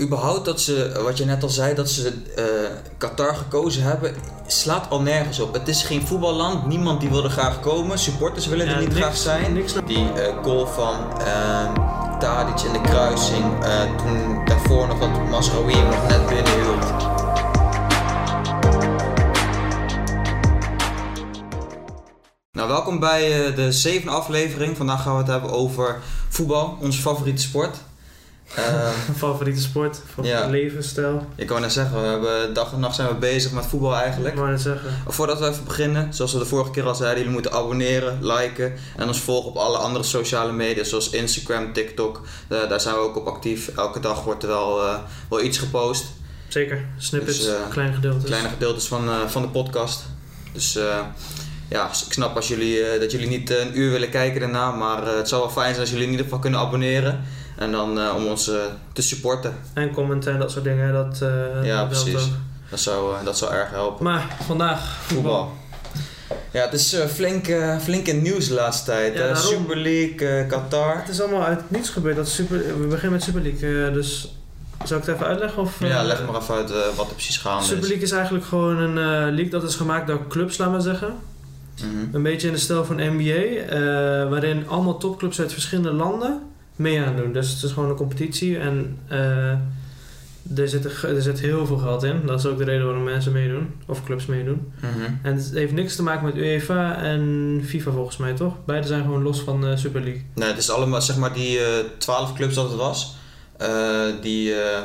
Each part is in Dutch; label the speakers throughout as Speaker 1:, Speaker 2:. Speaker 1: überhaupt dat ze, wat je net al zei, dat ze eh, Qatar gekozen hebben, slaat al nergens op. Het is geen voetballand, niemand die wil er graag komen, supporters willen
Speaker 2: Ja,
Speaker 1: er niet
Speaker 2: niks-
Speaker 1: graag zijn.
Speaker 2: niks naar-
Speaker 1: Die eh, goal van ehm Tadic in de kruising, eh, toen daarvoor nog dat Masraoui hem nog net binnenhield. Nou, welkom bij eh, de zevende aflevering. Vandaag gaan we het hebben over voetbal, onze favoriete sport. Ehm,
Speaker 2: Mijn favoriete sport, favoriete
Speaker 1: Ja.
Speaker 2: levensstijl.
Speaker 1: Ik kan net zeggen, we hebben dag en nacht zijn we bezig met voetbal eigenlijk.
Speaker 2: Ik wou net zeggen.
Speaker 1: Voordat we even beginnen, zoals we de vorige keer al zeiden, jullie moeten abonneren, liken en ons volgen op alle andere sociale media zoals Instagram, TikTok. Eh, daar zijn we ook op actief. Elke dag wordt er wel, eh, wel iets gepost.
Speaker 2: Zeker, snippets,
Speaker 1: Dus, eh,
Speaker 2: kleine gedeeltes.
Speaker 1: Kleine gedeeltes van, eh, van de podcast. Dus eh, ja, ik snap als jullie, eh, dat jullie niet eh, een uur willen kijken daarna, maar eh, het zou wel fijn zijn als jullie in ieder geval kunnen abonneren. En dan eh, om ons eh, te supporten.
Speaker 2: En commenten en dat soort dingen. Dat, eh,
Speaker 1: Ja,
Speaker 2: dat helpt
Speaker 1: precies.
Speaker 2: ook.
Speaker 1: Dat zou, eh, dat zou erg helpen.
Speaker 2: Maar vandaag voetbal.
Speaker 1: Voetbal. Ja, het is eh, flink, eh, flink in het nieuws de laatste tijd.
Speaker 2: Ja,
Speaker 1: hè.
Speaker 2: daarom.
Speaker 1: Super League, eh, Qatar.
Speaker 2: Het is allemaal uit het niets gebeurd. Dat is super, we beginnen met Super League. eh, dus zal ik het even uitleggen? Of, eh,
Speaker 1: Ja, leg maar even uit eh, wat er precies gaande
Speaker 2: Super League is eigenlijk gewoon een eh, league dat is gemaakt door clubs, laat maar zeggen.
Speaker 1: is. Mhm.
Speaker 2: Een beetje in de stijl van NBA, eh, waarin allemaal topclubs uit verschillende landen mee aan doen. Dus het is gewoon een competitie en eh, er, zit, er, er zit heel veel geld in. Dat is ook de reden waarom mensen meedoen, of clubs meedoen.
Speaker 1: Mhm.
Speaker 2: En het heeft niks te maken met UEFA en FIFA volgens mij, toch? Beide zijn gewoon los van de Super League.
Speaker 1: Nee, het is allemaal, zeg maar, die eh, twaalf clubs dat het was. eh, die eh,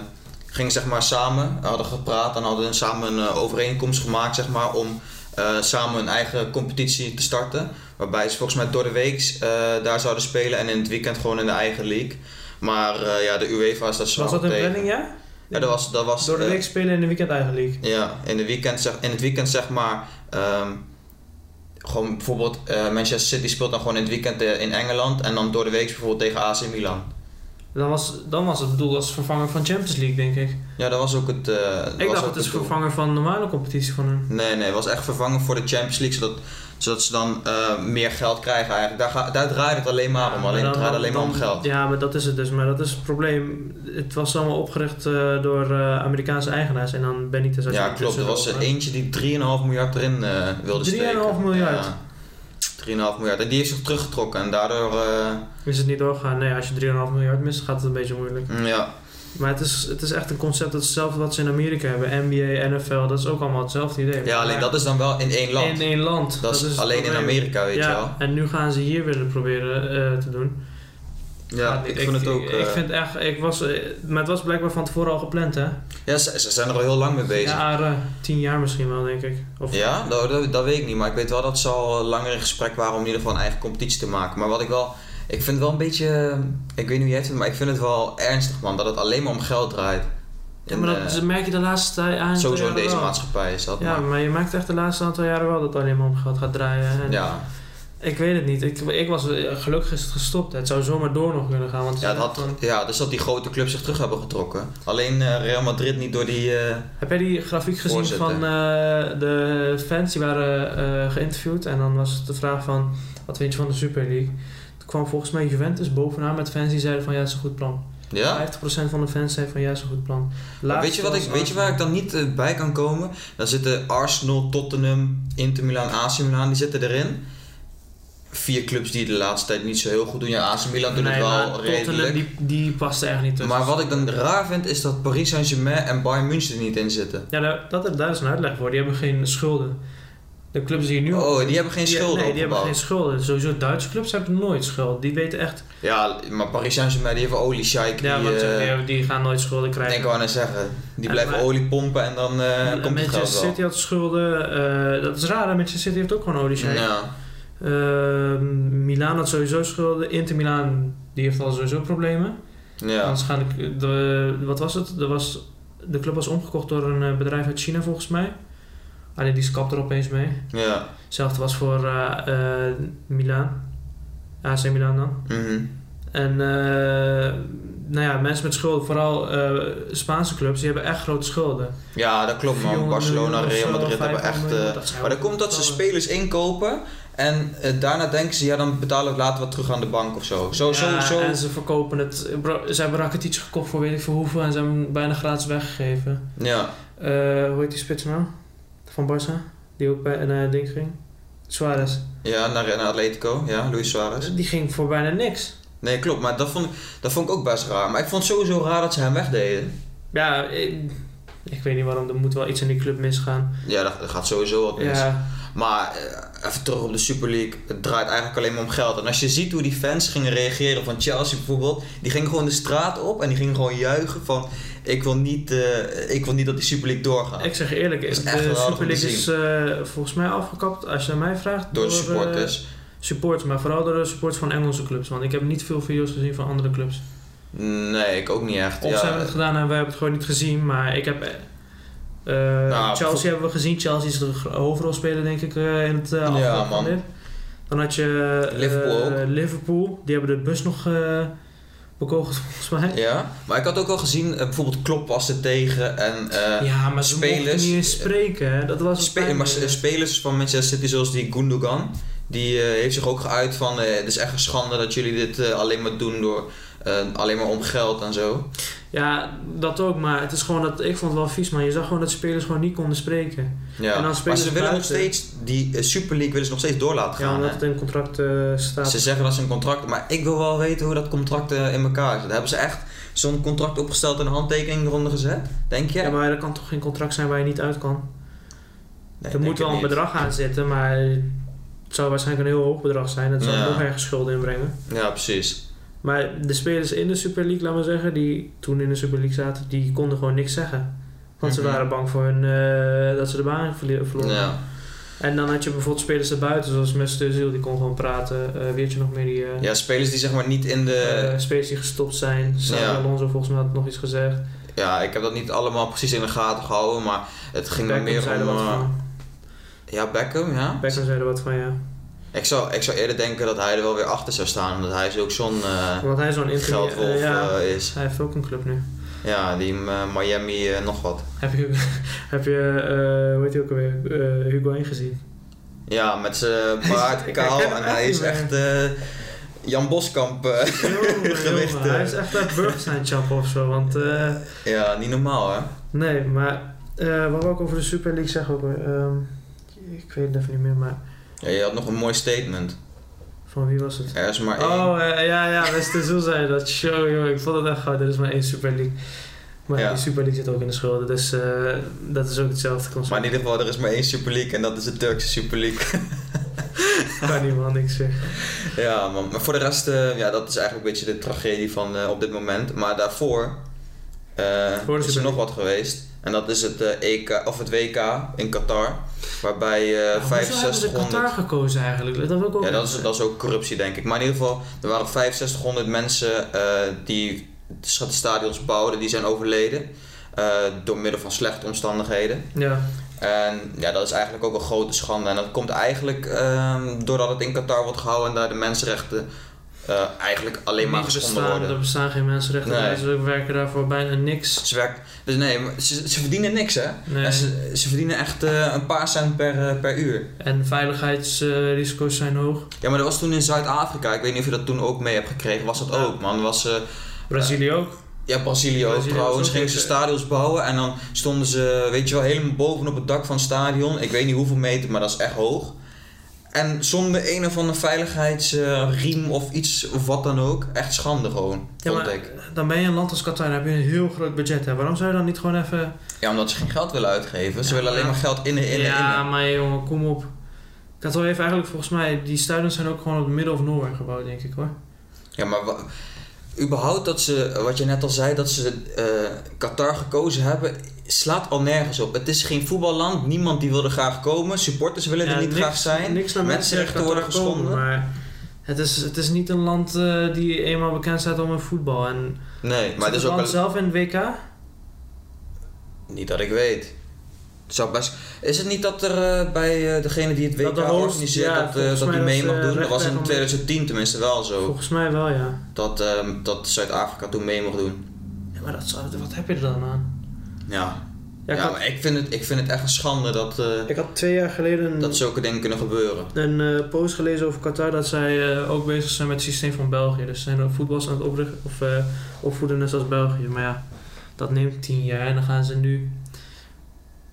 Speaker 1: gingen, zeg maar, samen, hadden gepraat en hadden samen een eh, overeenkomst gemaakt, zeg maar, om eh, samen een eigen competitie te starten. Waarbij ze volgens mij door de week eh, daar zouden spelen en in het weekend gewoon in de eigen league. Maar eh, ja, de UEFA is daar zwaar
Speaker 2: Was dat
Speaker 1: op
Speaker 2: een
Speaker 1: tegen.
Speaker 2: planning, ja?
Speaker 1: Ja, dat was, dat was
Speaker 2: Door de
Speaker 1: eh,
Speaker 2: week spelen en de weekend eigen league.
Speaker 1: Ja, in, de weekend, zeg, in het weekend zeg maar. ehm, gewoon bijvoorbeeld eh, Manchester City speelt dan gewoon in het weekend eh, in Engeland. En dan door de week bijvoorbeeld tegen AC Milan.
Speaker 2: Dan was, dan was het doel als vervanger van Champions League, denk ik.
Speaker 1: Ja, dat was ook het. eh, dat was
Speaker 2: Ik dacht
Speaker 1: ook
Speaker 2: het is
Speaker 1: doel.
Speaker 2: vervanger van de normale competitie van hun.
Speaker 1: Nee, nee, het was echt vervangen voor de Champions League. Zodat, zodat ze dan eh, meer geld krijgen eigenlijk. Daar, ga, daar draait het alleen maar om.
Speaker 2: Ja,
Speaker 1: Alleen,
Speaker 2: dan-
Speaker 1: het draait alleen maar om
Speaker 2: dan-
Speaker 1: geld.
Speaker 2: Ja, maar dat is het dus. Maar dat is het probleem. Het was allemaal opgericht eh, door eh, Amerikaanse eigenaars en dan Benitez. als je
Speaker 1: Ja,
Speaker 2: die
Speaker 1: klopt. Er was
Speaker 2: tussen-
Speaker 1: er eentje die 3,5 miljard erin eh, wilde steken.
Speaker 2: 3,5 miljard.
Speaker 1: Ja, 3,5 miljard. En die heeft zich teruggetrokken. En daardoor. eh,
Speaker 2: Is het niet doorgaan? Nee, als je 3,5 miljard mist, gaat het een beetje moeilijk.
Speaker 1: ja,
Speaker 2: Maar het is, het is echt een concept dat is hetzelfde wat ze in Amerika hebben. NBA, NFL, dat is ook allemaal hetzelfde idee.
Speaker 1: ja, alleen
Speaker 2: Maar
Speaker 1: dat is dan wel in één land.
Speaker 2: In één land.
Speaker 1: Dat, is
Speaker 2: het
Speaker 1: alleen in
Speaker 2: probleem.
Speaker 1: Amerika, weet je wel.
Speaker 2: Ja, en nu gaan ze hier willen proberen eh, te doen.
Speaker 1: Ja,
Speaker 2: Gaat niet.
Speaker 1: ik vind het ook...
Speaker 2: Ik,
Speaker 1: eh,
Speaker 2: vind echt, ik was, eh, maar het was blijkbaar van tevoren al gepland, hè?
Speaker 1: Ja, ze, ze zijn er al heel lang mee bezig. Ja,
Speaker 2: Ja, eh, tien jaar misschien wel, denk ik. Of
Speaker 1: dat, dat, dat weet ik niet. Maar ik weet wel dat ze al langer in gesprek waren om in ieder geval een eigen competitie te maken. Maar wat ik wel... Ik vind het wel een beetje... eh, Ik weet niet hoe jij het vindt, maar ik vind het wel ernstig, man. Dat het alleen maar om geld draait.
Speaker 2: Ja, maar
Speaker 1: En,
Speaker 2: dat
Speaker 1: eh,
Speaker 2: ze merk je de laatste tijd aan.
Speaker 1: Sowieso in deze
Speaker 2: maand. eh,
Speaker 1: maatschappij is dat.
Speaker 2: Ja,
Speaker 1: maar-
Speaker 2: maar je merkt echt de laatste aantal jaren wel dat het alleen maar om geld gaat draaien. En
Speaker 1: ja.
Speaker 2: Ik weet het niet. Ik, ik was eh, gelukkig is het gestopt. Het zou zomaar door nog kunnen gaan. Want
Speaker 1: Ja, het had,
Speaker 2: dan-
Speaker 1: ja, dus dat die grote clubs zich terug hebben getrokken. Alleen eh, Real Madrid niet door die... eh,
Speaker 2: Heb jij die grafiek gezien
Speaker 1: Voorzitter.
Speaker 2: van eh, de fans die waren eh, geïnterviewd? En dan was het de vraag van, wat vind je van de Super League? Toen kwam volgens mij Juventus bovenaan met fans die zeiden van, ja, het is een goed plan.
Speaker 1: ja?
Speaker 2: 50% van de fans zei van, ja, het is een goed plan.
Speaker 1: Maar
Speaker 2: Laatste
Speaker 1: Weet je, wat
Speaker 2: was
Speaker 1: ik, weet je waar ik dan niet eh, bij kan komen? Dan zitten Arsenal, Tottenham, Inter Milan, AC Milan, die zitten erin. Vier clubs die de laatste tijd niet zo heel goed doen. Ja, AC Milan doet
Speaker 2: Nee,
Speaker 1: het
Speaker 2: maar
Speaker 1: wel redelijk.
Speaker 2: Tottenham, die, die paste echt niet tussen.
Speaker 1: Maar wat ik dan raar vind, is dat Paris Saint-Germain en Bayern München er niet in zitten.
Speaker 2: Ja, daar, dat, daar is een uitleg voor. Die hebben geen schulden. De clubs die nu...
Speaker 1: Oh, die hebben geen schulden
Speaker 2: Nee, die hebben geen
Speaker 1: opgebouwd.
Speaker 2: schulden. Sowieso Duitse clubs hebben nooit schuld. Die weten echt...
Speaker 1: Ja, maar Paris Saint-Germain, die hebben olie shike.
Speaker 2: Ja,
Speaker 1: die,
Speaker 2: want
Speaker 1: eh,
Speaker 2: die, hebben- die gaan nooit schulden
Speaker 1: denk
Speaker 2: krijgen.
Speaker 1: ik wel aan het zeggen. Die
Speaker 2: En
Speaker 1: blijven
Speaker 2: maar-
Speaker 1: olie pompen en dan eh,
Speaker 2: En
Speaker 1: komt het
Speaker 2: Manchester
Speaker 1: geld wel.
Speaker 2: City had schulden. eh, dat is raar, hè? Manchester City heeft ook gewoon olie shake.
Speaker 1: Ja.
Speaker 2: Eh, Milaan had sowieso schulden. Inter Milaan die heeft al sowieso problemen.
Speaker 1: Ja.
Speaker 2: Anders gaan de, de- wat was het? Er was, de club was omgekocht door een eh, bedrijf uit China volgens mij. Alleen die skapt er opeens mee.
Speaker 1: Ja.
Speaker 2: Hetzelfde was voor eh, eh, Milaan. AC Milaan dan.
Speaker 1: Mhm.
Speaker 2: En eh, nou ja, mensen met schulden, vooral eh, Spaanse clubs, die hebben echt grote schulden.
Speaker 1: ja, dat klopt man.
Speaker 2: 400
Speaker 1: Barcelona,
Speaker 2: miljoen of
Speaker 1: Real
Speaker 2: zo,
Speaker 1: Madrid hebben
Speaker 2: 500
Speaker 1: echt... eh,
Speaker 2: miljoen, dat zijn
Speaker 1: Maar dan
Speaker 2: wel
Speaker 1: komt dat ze
Speaker 2: getallen.
Speaker 1: spelers inkopen En eh, daarna denken ze, ja, dan betalen we het later wat terug aan de bank of zo. Zo,
Speaker 2: Ja,
Speaker 1: zo, zo.
Speaker 2: En ze verkopen het. bro- Ze hebben Rakitic gekocht voor weet ik veel hoeveel en ze hebben hem bijna gratis weggegeven.
Speaker 1: Ja,
Speaker 2: Eh, hoe heet die spits nou? Van Barca? Die ook bij een ding ging. Suarez.
Speaker 1: ja naar, eh, naar Atletico, ja, Luis Suarez.
Speaker 2: Die ging voor bijna niks.
Speaker 1: Nee, klopt, maar dat vond, ik- dat vond ik ook best raar. Maar ik vond het sowieso raar dat ze hem wegdeden.
Speaker 2: Ja, ik, ik weet niet waarom. Er moet wel iets in die club misgaan.
Speaker 1: Ja, dat, dat gaat sowieso wat mis.
Speaker 2: Ja,
Speaker 1: Maar eh, even terug op de Super League. Het draait eigenlijk alleen maar om geld. En als je ziet hoe die fans gingen reageren van Chelsea bijvoorbeeld. Die gingen gewoon de straat op en die gingen gewoon juichen van... Ik wil niet, eh, ik wil niet dat die Super League doorgaat.
Speaker 2: ik zeg je eerlijk.
Speaker 1: Dat is echt
Speaker 2: de
Speaker 1: geweldig om
Speaker 2: Super
Speaker 1: te
Speaker 2: League is eh, volgens mij afgekapt, als je aan mij vraagt.
Speaker 1: door de
Speaker 2: eh,
Speaker 1: supporters.
Speaker 2: supporters, maar vooral door de supporters van Engelse clubs. Want ik heb niet veel video's gezien van andere clubs.
Speaker 1: Nee, ik ook niet echt.
Speaker 2: Of ze hebben
Speaker 1: Ja,
Speaker 2: het gedaan en wij hebben het gewoon niet gezien. Maar ik heb... eh, eh,
Speaker 1: Nou, voor-
Speaker 2: Chelsea hebben we gezien. Chelsea is de gro- hoofdrolspeler, denk ik, eh, in het eh afgelopen
Speaker 1: man.
Speaker 2: dit. Dan had je eh,
Speaker 1: Liverpool ook.
Speaker 2: Liverpool. Die hebben de bus nog eh bekogeld, volgens mij.
Speaker 1: ja, maar ik had ook al gezien, eh, bijvoorbeeld Klopp was er tegen. En, eh,
Speaker 2: Ja, maar ze
Speaker 1: spelers-
Speaker 2: mochten niet eens spreken. Hè? Dat was eh. het
Speaker 1: spe-
Speaker 2: pijnlijke.
Speaker 1: maar s- spelers van Manchester City zoals die Gundogan. Die eh, heeft zich ook geuit van... eh, het is echt een schande dat jullie dit eh, alleen maar doen door... eh, alleen maar om geld en zo.
Speaker 2: Ja, dat ook. Maar het is gewoon dat ik vond het wel vies. Maar je zag gewoon dat spelers gewoon niet konden spreken.
Speaker 1: Ja.
Speaker 2: En dan
Speaker 1: maar
Speaker 2: spelen
Speaker 1: ze
Speaker 2: ze
Speaker 1: willen nog
Speaker 2: buiten.
Speaker 1: steeds, die eh, Super League willen ze nog steeds door laten
Speaker 2: Ja,
Speaker 1: gaan.
Speaker 2: omdat
Speaker 1: hè?
Speaker 2: het in contract eh, staat.
Speaker 1: Ze zeggen dat ze een contract, maar ik wil wel weten hoe dat contract eh, in elkaar zit. Hebben ze echt zo'n contract opgesteld en een handtekening eronder gezet? Denk je?
Speaker 2: Ja, maar er kan toch geen contract zijn waar je niet uit kan.
Speaker 1: Nee,
Speaker 2: er
Speaker 1: denk
Speaker 2: moet
Speaker 1: ik
Speaker 2: wel een
Speaker 1: niet.
Speaker 2: bedrag aan zitten, maar het zou waarschijnlijk een heel hoog bedrag zijn. Dat zou
Speaker 1: Ja.
Speaker 2: nog ergens schulden inbrengen.
Speaker 1: Ja, precies.
Speaker 2: Maar de spelers in de Super League, laat maar zeggen, die toen in de Super League zaten, die konden gewoon niks zeggen. Want
Speaker 1: Mhm.
Speaker 2: ze waren bang voor hun, eh, dat ze de baan verli- verloren.
Speaker 1: Ja.
Speaker 2: En dan had je bijvoorbeeld spelers erbuiten, zoals Mesut Özil, die kon gewoon praten. Eh, weet je nog meer die eh
Speaker 1: ja, spelers die zeg maar niet in de...
Speaker 2: eh, spelers die gestopt zijn? Xabi
Speaker 1: ja.
Speaker 2: Alonso volgens mij had nog iets gezegd.
Speaker 1: ja, ik heb dat niet allemaal precies in de gaten gehouden, maar het ging er
Speaker 2: Beckham
Speaker 1: meer om...
Speaker 2: zei er wat
Speaker 1: eh,
Speaker 2: van.
Speaker 1: ja, Beckham, ja.
Speaker 2: Beckham zei er wat van, ja.
Speaker 1: Ik zou, ik zou eerder denken dat hij er wel weer achter zou staan, omdat hij is ook zo'n eh,
Speaker 2: Omdat hij zo'n interview...
Speaker 1: geldwolf
Speaker 2: eh, ja,
Speaker 1: eh, is.
Speaker 2: hij heeft ook een club nu.
Speaker 1: Ja, die eh, Miami eh, nog wat.
Speaker 2: Heb je, heb je eh, hoe heet hij ook alweer, Eh, Hugo ingezien?
Speaker 1: Ja, met zijn
Speaker 2: Hij is-
Speaker 1: baard
Speaker 2: ik
Speaker 1: kaal
Speaker 2: herken
Speaker 1: en
Speaker 2: hem
Speaker 1: hij
Speaker 2: echt
Speaker 1: is
Speaker 2: niet meer.
Speaker 1: echt eh, Jan Boskamp. eh. Gewicht, eh.
Speaker 2: Hij is echt uit Burgerstein chappen of zo, want... eh,
Speaker 1: ja, niet normaal hè.
Speaker 2: Nee, maar eh, wat we ook over de Super League zeggen, ook, weer, ehm, ik weet het even niet meer, maar
Speaker 1: Ja, je had nog een mooi statement.
Speaker 2: van wie was het?
Speaker 1: Er is maar één.
Speaker 2: Oh, eh, ja, ja, West Zoel zei dat. Show, joh, ik vond het echt goud. Er is maar één Super League. Maar
Speaker 1: Ja.
Speaker 2: die Super League zit ook in de schulden, dus eh, dat is ook hetzelfde concept.
Speaker 1: Maar in ieder geval, er is maar één Super League en dat is de Turkse Super League.
Speaker 2: kan niet, man, niks
Speaker 1: Eh,
Speaker 2: zeggen.
Speaker 1: ja, man. maar voor de rest, eh, ja, dat is eigenlijk een beetje de tragedie van eh, op dit moment. Maar daarvoor eh,
Speaker 2: Voor de
Speaker 1: is
Speaker 2: Super
Speaker 1: er nog wat geweest. En dat is het, eh, EK, of het WK in Qatar. Waarbij eh
Speaker 2: Nou, Hoezo hebben ze
Speaker 1: 6500...
Speaker 2: Qatar gekozen eigenlijk? Dat wil ik ook
Speaker 1: Ja, dat
Speaker 2: weten.
Speaker 1: is, dat is ook corruptie, denk ik. Maar in ieder geval, er waren 6500 mensen eh, die de stadions bouwden, die zijn overleden. eh, door middel van slechte omstandigheden.
Speaker 2: Ja,
Speaker 1: En ja, dat is eigenlijk ook een grote schande. En dat komt eigenlijk ehm, doordat het in Qatar wordt gehouden en daar de mensenrechten eh, eigenlijk alleen maar
Speaker 2: Niet
Speaker 1: geschonden
Speaker 2: bestaan,
Speaker 1: worden.
Speaker 2: Er bestaan geen mensenrechten.
Speaker 1: Nee.
Speaker 2: Nee. Ze werken daarvoor bijna niks.
Speaker 1: Ze werken, dus nee, maar ze, ze verdienen niks hè.
Speaker 2: Nee.
Speaker 1: En ze, ze verdienen echt eh, een paar cent per, eh, per uur.
Speaker 2: En veiligheidsrisico's zijn hoog.
Speaker 1: Ja, maar dat was toen in Zuid-Afrika. Ik weet niet of je dat toen ook mee hebt gekregen. Was dat
Speaker 2: Ja.
Speaker 1: ook, man? Was, eh,
Speaker 2: Brazilië ook.
Speaker 1: Ja, Brazilië ook
Speaker 2: Brazilië was
Speaker 1: trouwens.
Speaker 2: ook
Speaker 1: Gingen ze
Speaker 2: even-
Speaker 1: stadions bouwen en dan stonden ze, weet je wel, helemaal bovenop het dak van het stadion. Ik weet niet hoeveel meter, maar dat is echt hoog. En zonder een of andere veiligheidsriem of iets of wat dan ook. Echt schande gewoon,
Speaker 2: Ja,
Speaker 1: vond
Speaker 2: maar
Speaker 1: ik.
Speaker 2: dan ben je een land als Qatar, dan heb je een heel groot budget. Hè. Waarom zou je dan niet gewoon even...
Speaker 1: Ja, omdat ze geen geld willen uitgeven. Ze
Speaker 2: Ja,
Speaker 1: willen alleen
Speaker 2: maar-
Speaker 1: maar geld innen, innen,
Speaker 2: ja,
Speaker 1: innen.
Speaker 2: maar jongen, kom op. Qatar heeft eigenlijk volgens mij... Die stadions zijn ook gewoon op het midden of nowhere gebouwd, denk ik hoor.
Speaker 1: Ja, maar wa- überhaupt dat ze, wat je net al zei, dat ze eh, Qatar gekozen hebben, slaat al nergens op. Het is geen voetballand, niemand die wil er graag komen. Supporters willen
Speaker 2: Ja,
Speaker 1: er niet
Speaker 2: niks-
Speaker 1: graag zijn.
Speaker 2: Niks naar
Speaker 1: mensenrechten
Speaker 2: Qatar
Speaker 1: worden
Speaker 2: komen,
Speaker 1: geschonden.
Speaker 2: Maar het is, het is niet een land eh, die eenmaal bekend staat om hun voetbal. En
Speaker 1: Nee, maar
Speaker 2: zit
Speaker 1: het is
Speaker 2: het
Speaker 1: ook
Speaker 2: land
Speaker 1: wel-
Speaker 2: zelf in het WK?
Speaker 1: Niet dat ik weet. Het zou best... Is het niet dat er eh, bij eh, degene die het WK
Speaker 2: Dat de host-
Speaker 1: organiseert,
Speaker 2: ja,
Speaker 1: dat, eh,
Speaker 2: volgens
Speaker 1: dat die
Speaker 2: mij
Speaker 1: mee
Speaker 2: dat,
Speaker 1: mag
Speaker 2: eh,
Speaker 1: doen? Dat was
Speaker 2: rechtweg
Speaker 1: in
Speaker 2: om-
Speaker 1: 2010 tenminste wel zo.
Speaker 2: Volgens mij wel, ja.
Speaker 1: Dat, eh, dat Zuid-Afrika toen mee mocht doen.
Speaker 2: ja maar dat zou, wat heb je er dan aan?
Speaker 1: Ja.
Speaker 2: Ja,
Speaker 1: Ja,
Speaker 2: ik, had,
Speaker 1: maar ik vind, het, ik vind het echt een schande dat, eh,
Speaker 2: ik had twee jaar geleden een,
Speaker 1: dat zulke dingen kunnen gebeuren.
Speaker 2: een eh, post gelezen over Qatar dat zij eh, ook bezig zijn met het systeem van België. Dus ze zijn ook voetballers aan het oprichten of eh, opvoeden net zoals België. Maar ja, dat neemt tien jaar en dan gaan ze nu.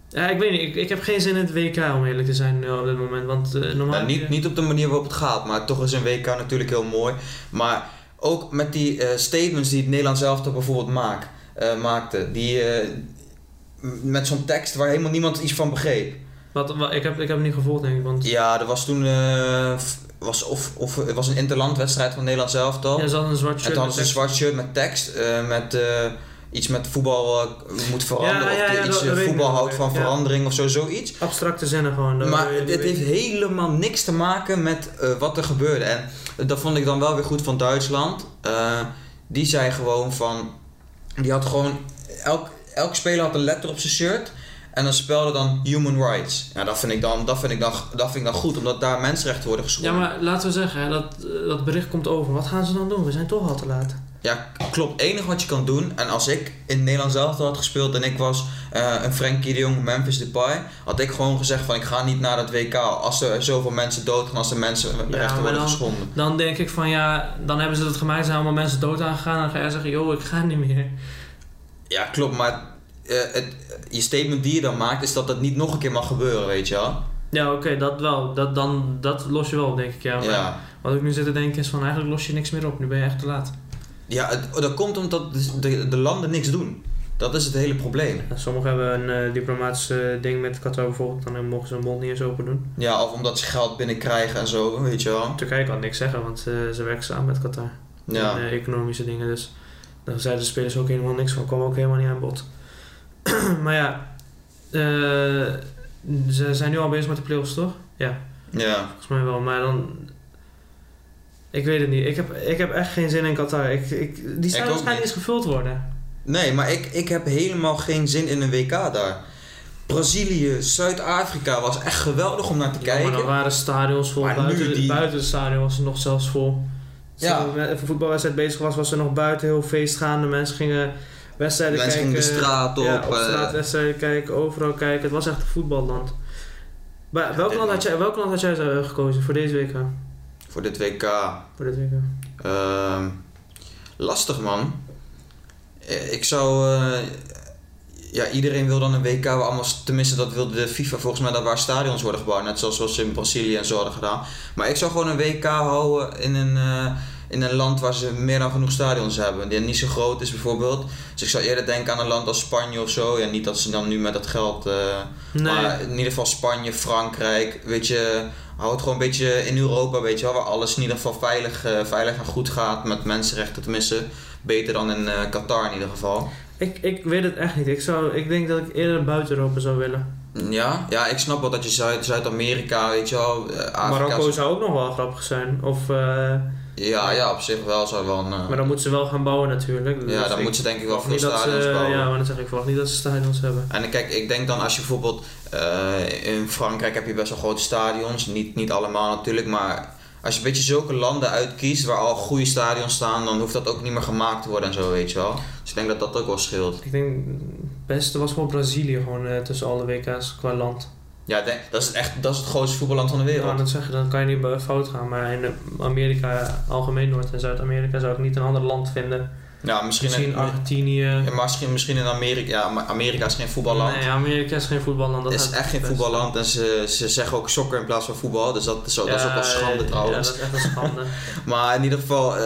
Speaker 2: Ja, ik weet niet, ik, ik heb geen zin in het WK om eerlijk te zijn nu op dit moment. Want eh, normaal.
Speaker 1: Nou, niet, niet op de manier waarop het gaat, maar toch is een WK natuurlijk heel mooi. Maar ook met die eh, statements die het Nederlands elftal bijvoorbeeld maakt, eh, maakte. Die, eh, m- met zo'n tekst waar helemaal niemand iets van begreep.
Speaker 2: Wat, wat- ik, heb, ik heb het niet gevolgd, denk ik. Want
Speaker 1: Ja, er was toen eh, f- was of, of, het was een interlandwedstrijd van het Nederlands elftal.
Speaker 2: ja, ze hadden een zwart
Speaker 1: en
Speaker 2: shirt.
Speaker 1: toen hadden ze een
Speaker 2: met
Speaker 1: zwart shirt met tekst, eh, met eh, iets met voetbal eh, moet veranderen.
Speaker 2: Ja, ja,
Speaker 1: of die
Speaker 2: ja,
Speaker 1: iets
Speaker 2: dat-
Speaker 1: eh,
Speaker 2: dat weet ik
Speaker 1: voetbal
Speaker 2: nog
Speaker 1: houdt
Speaker 2: wel,
Speaker 1: van
Speaker 2: ja.
Speaker 1: verandering of zo, zoiets.
Speaker 2: tekst. Abstracte zinnen gewoon. dat-
Speaker 1: Maar
Speaker 2: die- die
Speaker 1: dit
Speaker 2: weet-
Speaker 1: heeft helemaal niks te maken met eh, wat er gebeurde. En dat vond ik dan wel weer goed van Duitsland. Eh, die zei gewoon van... Die had gewoon... Elk, elk speler had een letter op zijn shirt. En dan spelde dan human rights. Ja, dat vind ik dan, dat vind ik dan, dat vind ik dan goed. Omdat daar mensenrechten worden
Speaker 2: Ja,
Speaker 1: geschonden. Ja,
Speaker 2: maar laten we zeggen, hè, dat, eh, dat bericht komt over. Wat gaan ze dan doen? We zijn toch al te laat.
Speaker 1: klopt. Enig wat je kan doen. En als ik in Nederland zelf had gespeeld. En ik was eh, een Frenkie de Jong, Memphis Depay. Had ik gewoon gezegd van ik ga niet naar dat WK. Als er zoveel mensen doodgaan. Als er mensenrechten
Speaker 2: maar
Speaker 1: worden
Speaker 2: dan-
Speaker 1: geschonden.
Speaker 2: Dan denk ik van ja, dan hebben ze dat gemaakt, zijn allemaal mensen dood aangegaan. En dan ga jij zeggen, joh, ik ga niet meer.
Speaker 1: Ja, klopt, maar eh, het, je statement die je dan maakt is dat dat niet nog een keer mag gebeuren, weet je wel?
Speaker 2: Ja, oké, dat wel. Dat, dan, dat los je wel op, denk ik. Ja. Maar
Speaker 1: Ja,
Speaker 2: Wat ik nu zit te denken is van eigenlijk los je niks meer op. Nu ben je echt te laat.
Speaker 1: ja het- dat komt omdat de, de, de landen niks doen. Dat is het hele probleem.
Speaker 2: Ja, sommigen hebben een eh, diplomatisch eh, ding met Qatar bijvoorbeeld. Dan eh, mogen ze hun mond niet eens open doen.
Speaker 1: Ja, of omdat ze geld binnenkrijgen en zo, weet je wel?
Speaker 2: Turkije kan niks zeggen, want eh, ze werken samen met Qatar. En,
Speaker 1: Ja,
Speaker 2: eh, economische dingen. Dus daar zeiden de spelers ook helemaal niks van. Kwam ook helemaal niet aan bod. maar ja, eh, ze zijn nu al bezig met de playoffs, toch?
Speaker 1: ja.
Speaker 2: Volgens mij wel. Maar dan. Ik weet het niet. Ik heb, ik heb echt geen zin in Qatar. Ik, ik, die
Speaker 1: Ik
Speaker 2: zou
Speaker 1: ook
Speaker 2: waarschijnlijk
Speaker 1: niet.
Speaker 2: eens gevuld worden.
Speaker 1: Nee, maar ik, ik heb helemaal geen zin in een WK daar. Brazilië, Zuid-Afrika was echt geweldig om naar te
Speaker 2: Ja, maar dan
Speaker 1: kijken.
Speaker 2: waren stadions vol.
Speaker 1: Maar nu
Speaker 2: Buiten,
Speaker 1: die-
Speaker 2: buiten het stadion was het nog zelfs vol.
Speaker 1: Ja.
Speaker 2: Als er een voetbalwedstrijd bezig was, was er nog buiten heel feest gaande. Mensen gingen wedstrijden
Speaker 1: Mensen
Speaker 2: kijken.
Speaker 1: gingen de straat op.
Speaker 2: Ja, op
Speaker 1: eh,
Speaker 2: straat wedstrijden kijken, overal kijken. Het was echt een voetballand. Maar welk,
Speaker 1: dit
Speaker 2: land had
Speaker 1: was-
Speaker 2: jij, welk land had jij zo, eh, gekozen voor deze week? hè?
Speaker 1: eh, voor dit WK.
Speaker 2: Voor dit week? hè?
Speaker 1: Ehm, lastig man. Eh, Ik zou. eh, ja, iedereen wil dan een WK. waar Allemaal, tenminste, dat wilde de FIFA volgens mij dat waar stadions worden gebouwd. Net zoals we ze in Brazilië en zo hadden gedaan. Maar ik zou gewoon een WK houden in een, eh, in een land waar ze meer dan genoeg stadions hebben. Die niet zo groot is bijvoorbeeld. Dus ik zou eerder denken aan een land als Spanje of zo. Ja, niet dat ze dan nu met dat geld. eh,
Speaker 2: Nee.
Speaker 1: Maar in ieder geval Spanje, Frankrijk. Weet je, hou het gewoon een beetje in Europa, weet je wel. Waar alles in ieder geval veilig, eh, veilig en goed gaat. Met mensenrechten tenminste. Beter dan in eh, Qatar in ieder geval.
Speaker 2: ik, ik weet het echt niet. Ik, zou, ik denk dat ik eerder buiten Europa zou willen.
Speaker 1: Ja, ja ik snap wel dat je Zuid- Zuid-Amerika, weet je wel. eh, Afrika.
Speaker 2: Marokko zou ook nog wel grappig zijn. Of, eh,
Speaker 1: Ja, ja, op zich wel. Zou wel een, eh,
Speaker 2: maar dan moeten ze wel gaan bouwen natuurlijk.
Speaker 1: ja,
Speaker 2: Dus
Speaker 1: dan
Speaker 2: ik
Speaker 1: moet je denk ik wel
Speaker 2: verwacht
Speaker 1: veel
Speaker 2: niet dat
Speaker 1: stadions
Speaker 2: ze,
Speaker 1: bouwen.
Speaker 2: Ja, maar dan zeg ik, ik verwacht niet dat ze stadions hebben.
Speaker 1: En kijk, ik denk dan als je bijvoorbeeld eh, in Frankrijk heb je best wel grote stadions, niet, niet allemaal natuurlijk, maar als je een beetje zulke landen uitkiest waar al goede stadions staan, dan hoeft dat ook niet meer gemaakt te worden en zo, weet je wel. Dus ik denk dat dat ook wel scheelt.
Speaker 2: Ik denk, het beste was gewoon Brazilië gewoon eh, tussen alle WK's qua land.
Speaker 1: Ja, ik denk, dat is echt dat is het grootste voetballand van de
Speaker 2: Ja,
Speaker 1: wereld.
Speaker 2: dat zeggen, dan kan je niet bij fout gaan. Maar in eh, Amerika, algemeen Noord- en Zuid-Amerika, zou ik niet een ander land vinden.
Speaker 1: Ja, misschien,
Speaker 2: Misschien
Speaker 1: in,
Speaker 2: Argentinië.
Speaker 1: ja, maar misschien, misschien in Amerika. Ja, maar Amerika is geen voetballand.
Speaker 2: Nee, Amerika is geen voetballand. Dat
Speaker 1: Het is
Speaker 2: had-
Speaker 1: echt geen
Speaker 2: best-
Speaker 1: voetballand en ze, ze zeggen ook sokker in plaats van voetbal. Dus dat is, ook- dat is ook wel schande
Speaker 2: ja,
Speaker 1: trouwens.
Speaker 2: Ja, dat is echt een schande.
Speaker 1: Maar in ieder geval, eh,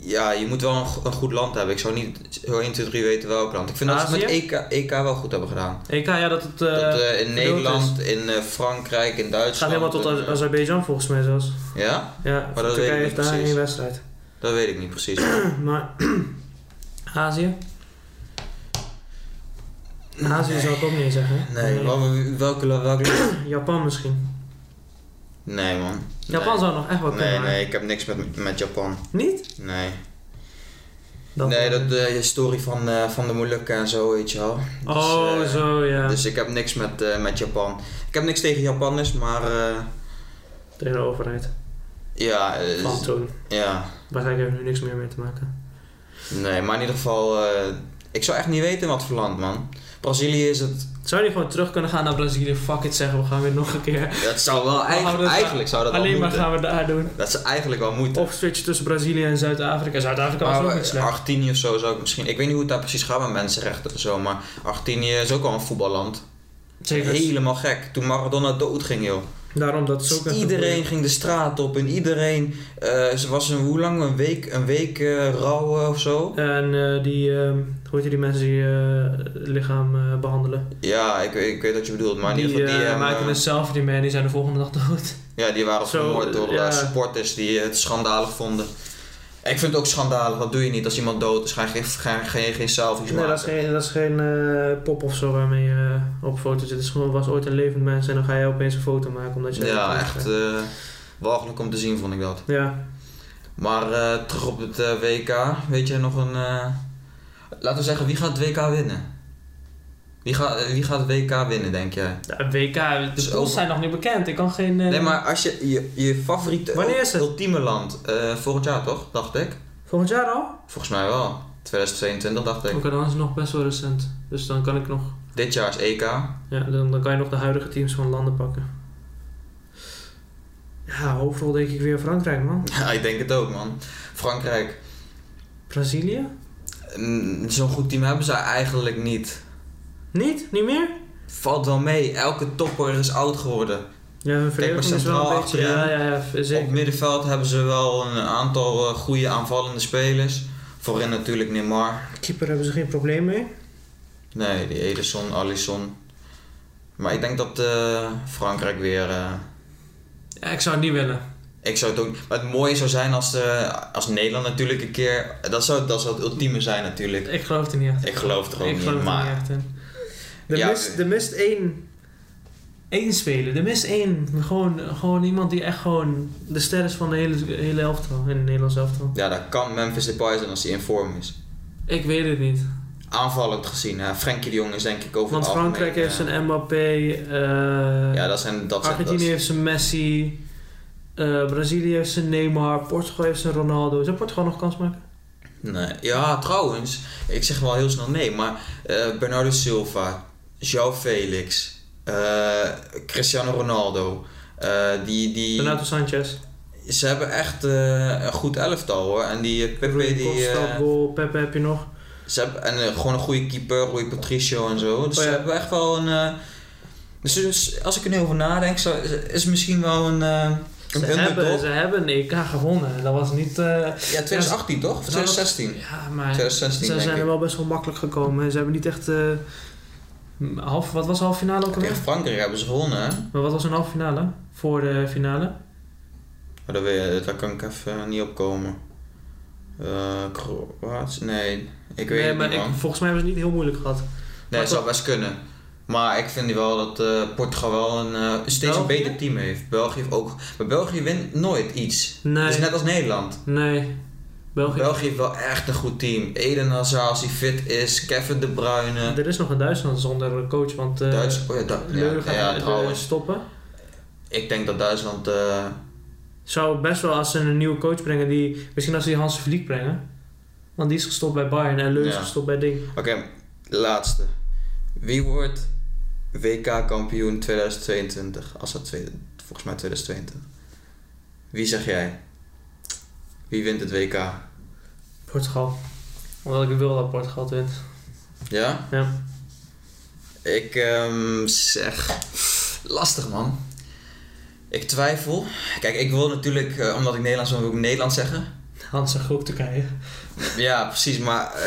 Speaker 1: ja, je moet wel een, go- een goed land hebben. Ik zou niet zo 1, 2, 3 weten welk land. Ik vind dat ze het met E
Speaker 2: Azië?
Speaker 1: EK, EK wel goed hebben gedaan.
Speaker 2: EK, ja, dat het... eh,
Speaker 1: dat eh, in
Speaker 2: verdeeld
Speaker 1: Nederland, in eh, Frankrijk, in
Speaker 2: het gaat
Speaker 1: Duitsland.
Speaker 2: helemaal tot
Speaker 1: eh,
Speaker 2: Az- Azerbeidzjan volgens mij zelfs.
Speaker 1: Ja?
Speaker 2: Ja,
Speaker 1: dat weet ik
Speaker 2: Turkije
Speaker 1: niet
Speaker 2: heeft daar
Speaker 1: precies.
Speaker 2: één wedstrijd.
Speaker 1: Dat weet ik niet precies.
Speaker 2: Maar Azië? Azië zou ik ook niet zeggen.
Speaker 1: Nee, wel- welke, welke,
Speaker 2: Japan misschien.
Speaker 1: Nee, man.
Speaker 2: Japan
Speaker 1: nee.
Speaker 2: zou nog echt wel kunnen.
Speaker 1: Nee,
Speaker 2: maar-
Speaker 1: nee, ik heb niks met, met Japan.
Speaker 2: Niet?
Speaker 1: Nee. nee, dat de historie van, eh, van de Molukken en zo, weet je wel. Dus,
Speaker 2: Oh,
Speaker 1: eh,
Speaker 2: zo ja.
Speaker 1: Dus ik heb niks met, eh, met Japan. Ik heb niks tegen Japanners, maar eh,
Speaker 2: Tegen de overheid.
Speaker 1: ja, eh,
Speaker 2: Van toen.
Speaker 1: ja,
Speaker 2: Waarschijnlijk heeft er nu niks meer mee te maken.
Speaker 1: Nee, maar in ieder geval, eh, Ik zou echt niet weten wat voor land, man. Brazilië is het...
Speaker 2: Zou die gewoon terug kunnen gaan naar Brazilië? Fuck it, zeggen we gaan weer nog een keer.
Speaker 1: Dat zou wel...
Speaker 2: houden
Speaker 1: Eigenlijk,
Speaker 2: het
Speaker 1: eigenlijk zou dat wel
Speaker 2: Alleen maar
Speaker 1: moeten.
Speaker 2: gaan we daar doen.
Speaker 1: Dat is eigenlijk wel moeten.
Speaker 2: Of switchen tussen Brazilië en Zuid-Afrika. Zuid-Afrika Oh, was
Speaker 1: Maar,
Speaker 2: ook niet
Speaker 1: eh,
Speaker 2: slecht.
Speaker 1: Argentinië of zo zou ik misschien... Ik weet niet hoe het daar precies gaat met mensenrechten en zo, maar Argentinië is ook wel een voetballand.
Speaker 2: Zeker.
Speaker 1: Helemaal gek. Toen Maradona doodging, joh.
Speaker 2: Daarom dat is ook echt een
Speaker 1: dus iedereen ging de straat op en iedereen... eh, ze was een, hoe lang? Een week, een week eh, rouwen of zo?
Speaker 2: En eh, die, ehm, hoe heet die, die mensen die eh, lichaam eh, behandelen?
Speaker 1: Ja, ik, ik weet wat je bedoelt, maar in
Speaker 2: die
Speaker 1: ieder geval...
Speaker 2: eh,
Speaker 1: hem,
Speaker 2: maken
Speaker 1: eh,
Speaker 2: een selfie mee en die zijn de volgende dag dood.
Speaker 1: Ja, die waren
Speaker 2: Zo,
Speaker 1: vermoord door
Speaker 2: ja.
Speaker 1: eh, supporters die het schandalig vonden. Ik vind het ook schandalig, dat doe je niet als iemand dood is. Ga je geen, ga, je- ga je geen selfies
Speaker 2: Nee,
Speaker 1: maken.
Speaker 2: dat is geen, dat is geen eh, pop of zo waarmee je eh, op foto zit. Het is gewoon, was ooit een levend mens en dan ga jij opeens een foto maken omdat je...
Speaker 1: Ja, echt eh walgelijk om te zien vond ik dat.
Speaker 2: Ja,
Speaker 1: Maar eh, terug op het eh, WK, weet je nog een... eh, Laten we zeggen, wie gaat het WK winnen? Wie, gaat eh, wie gaat het WK winnen, denk jij?
Speaker 2: Ja, WK, de
Speaker 1: Zo.
Speaker 2: pools zijn nog niet bekend. Ik kan geen... eh,
Speaker 1: Nee, maar als je je, je favoriete
Speaker 2: Wanneer is het?
Speaker 1: ultieme land... eh, volgend jaar toch, dacht ik?
Speaker 2: Volgend jaar al?
Speaker 1: Volgens mij wel. 2022 dacht ik.
Speaker 2: Oké, dan is het nog best wel recent. Dus dan kan ik nog...
Speaker 1: Dit jaar is E EK.
Speaker 2: Ja, dan, dan kan je nog de huidige teams van landen pakken. Ja, hoofdrol denk ik weer Frankrijk, man.
Speaker 1: Ja, ik denk het ook, man. Frankrijk.
Speaker 2: Brazilië?
Speaker 1: Mm, Zo'n goed team hebben ze eigenlijk niet.
Speaker 2: Niet? Niet meer?
Speaker 1: Valt wel mee, elke topper is oud geworden.
Speaker 2: Ja, hun verdediging is wel
Speaker 1: centraal
Speaker 2: een beetje... Ja,
Speaker 1: achterin.
Speaker 2: ja, ja, v-
Speaker 1: Op
Speaker 2: zeker.
Speaker 1: middenveld hebben ze wel een aantal eh, goede aanvallende spelers. Voorin natuurlijk Neymar.
Speaker 2: Keeper hebben ze geen probleem mee.
Speaker 1: Nee, die Ederson, Alisson. Maar ik denk dat eh, Frankrijk weer. eh,
Speaker 2: Ja, ik zou het niet willen.
Speaker 1: ik zou het ook. Maar het mooie zou zijn als, eh, als Nederland natuurlijk een keer. Dat zou, dat zou het ultieme zijn, natuurlijk.
Speaker 2: Ik geloof er niet echt in.
Speaker 1: Ik geloof er ook
Speaker 2: Ik
Speaker 1: niet,
Speaker 2: geloof er
Speaker 1: maar-
Speaker 2: niet echt in. Er
Speaker 1: Ja,
Speaker 2: mist, er mist één... één speler. Er mist één. Gewoon, gewoon iemand die echt gewoon de ster is van de hele, hele elftal. In het Nederlands elftal.
Speaker 1: Ja, dat kan Memphis Depay zijn als hij in vorm is.
Speaker 2: Ik weet het niet.
Speaker 1: Aanvallend gezien, hè. Frenkie de Jong is denk ik over
Speaker 2: Want
Speaker 1: het algemeen,
Speaker 2: Frankrijk heeft
Speaker 1: eh,
Speaker 2: zijn Mbappé. eh,
Speaker 1: Ja, dat zijn. Dat zijn dat
Speaker 2: Argentinië
Speaker 1: is-
Speaker 2: heeft zijn Messi. eh, Brazilië heeft zijn Neymar. Portugal heeft zijn Ronaldo. Zou Portugal nog kans maken?
Speaker 1: Nee. Ja, trouwens, ik zeg wel heel snel nee, maar eh, Bernardo Silva, João Felix, eh, Cristiano Ronaldo, eh, die, die,
Speaker 2: Renato Sanchez.
Speaker 1: ze hebben echt eh, een goed elftal hoor. En die eh, Pepe, die,
Speaker 2: Costa,
Speaker 1: eh,
Speaker 2: Gol, Pepe heb je nog.
Speaker 1: ze hebben, en eh, gewoon een goede keeper, Rui Patricio en zo. Dus
Speaker 2: Oh ja.
Speaker 1: ze hebben echt wel een. eh, dus, dus als ik er nu over nadenk, zou- is het misschien wel een. eh
Speaker 2: Ze
Speaker 1: een underdog.
Speaker 2: hebben, ze hebben een EK gewonnen. Dat was niet... eh,
Speaker 1: Ja, 2018 toch? Of
Speaker 2: Nou, dat-
Speaker 1: 2016?
Speaker 2: ja, maar
Speaker 1: 2016
Speaker 2: ze
Speaker 1: denk
Speaker 2: zijn
Speaker 1: ik.
Speaker 2: er wel best wel makkelijk gekomen. Ze hebben niet echt... eh, half, wat was de halve finale ook alweer?
Speaker 1: Tegen Frankrijk hebben ze gewonnen, hè?
Speaker 2: Maar wat was hun halve finale? Voor de finale?
Speaker 1: Maar daar, weet- daar kan ik even eh, niet op komen. Eh Kroatië? Nee, ik weet
Speaker 2: nee,
Speaker 1: het
Speaker 2: maar
Speaker 1: niet
Speaker 2: ik,
Speaker 1: man.
Speaker 2: volgens mij hebben ze het niet heel moeilijk gehad.
Speaker 1: Nee, het zou best kunnen. Maar ik vind wel dat eh, Portugal wel een eh, steeds een
Speaker 2: België?
Speaker 1: beter team heeft. België heeft ook... Maar België wint nooit iets.
Speaker 2: Nee,
Speaker 1: Dat is net als Nederland.
Speaker 2: nee. België.
Speaker 1: België, heeft wel echt een goed team. Eden Hazard als hij fit is. Kevin De Bruyne.
Speaker 2: Er is nog een Duitsland zonder coach, want... eh
Speaker 1: Duits... Oh ja, da- ja,
Speaker 2: Leuven
Speaker 1: ja,
Speaker 2: gaat, eh,
Speaker 1: trouwens.
Speaker 2: stoppen.
Speaker 1: Ik denk dat Duitsland... eh,
Speaker 2: Zou best wel als ze een nieuwe coach brengen die... Misschien als ze die Hans Vliek brengen. Want die is gestopt bij Bayern en Leuven is
Speaker 1: Ja.
Speaker 2: gestopt bij Ding.
Speaker 1: Oké, laatste. Wie wordt WK-kampioen 2022? Als dat tweede, volgens mij 2022. Wie zeg jij? Wie wint het WK?
Speaker 2: Portugal. Omdat ik wil dat Portugal het wint.
Speaker 1: Ja?
Speaker 2: Ja.
Speaker 1: Ik ehm, zeg. Lastig man. Ik twijfel. Kijk, ik wil natuurlijk, eh, omdat ik Nederlands ben, wil ik Nederland zeggen.
Speaker 2: Hans zegt ook Turkije.
Speaker 1: Ja, precies, maar eh,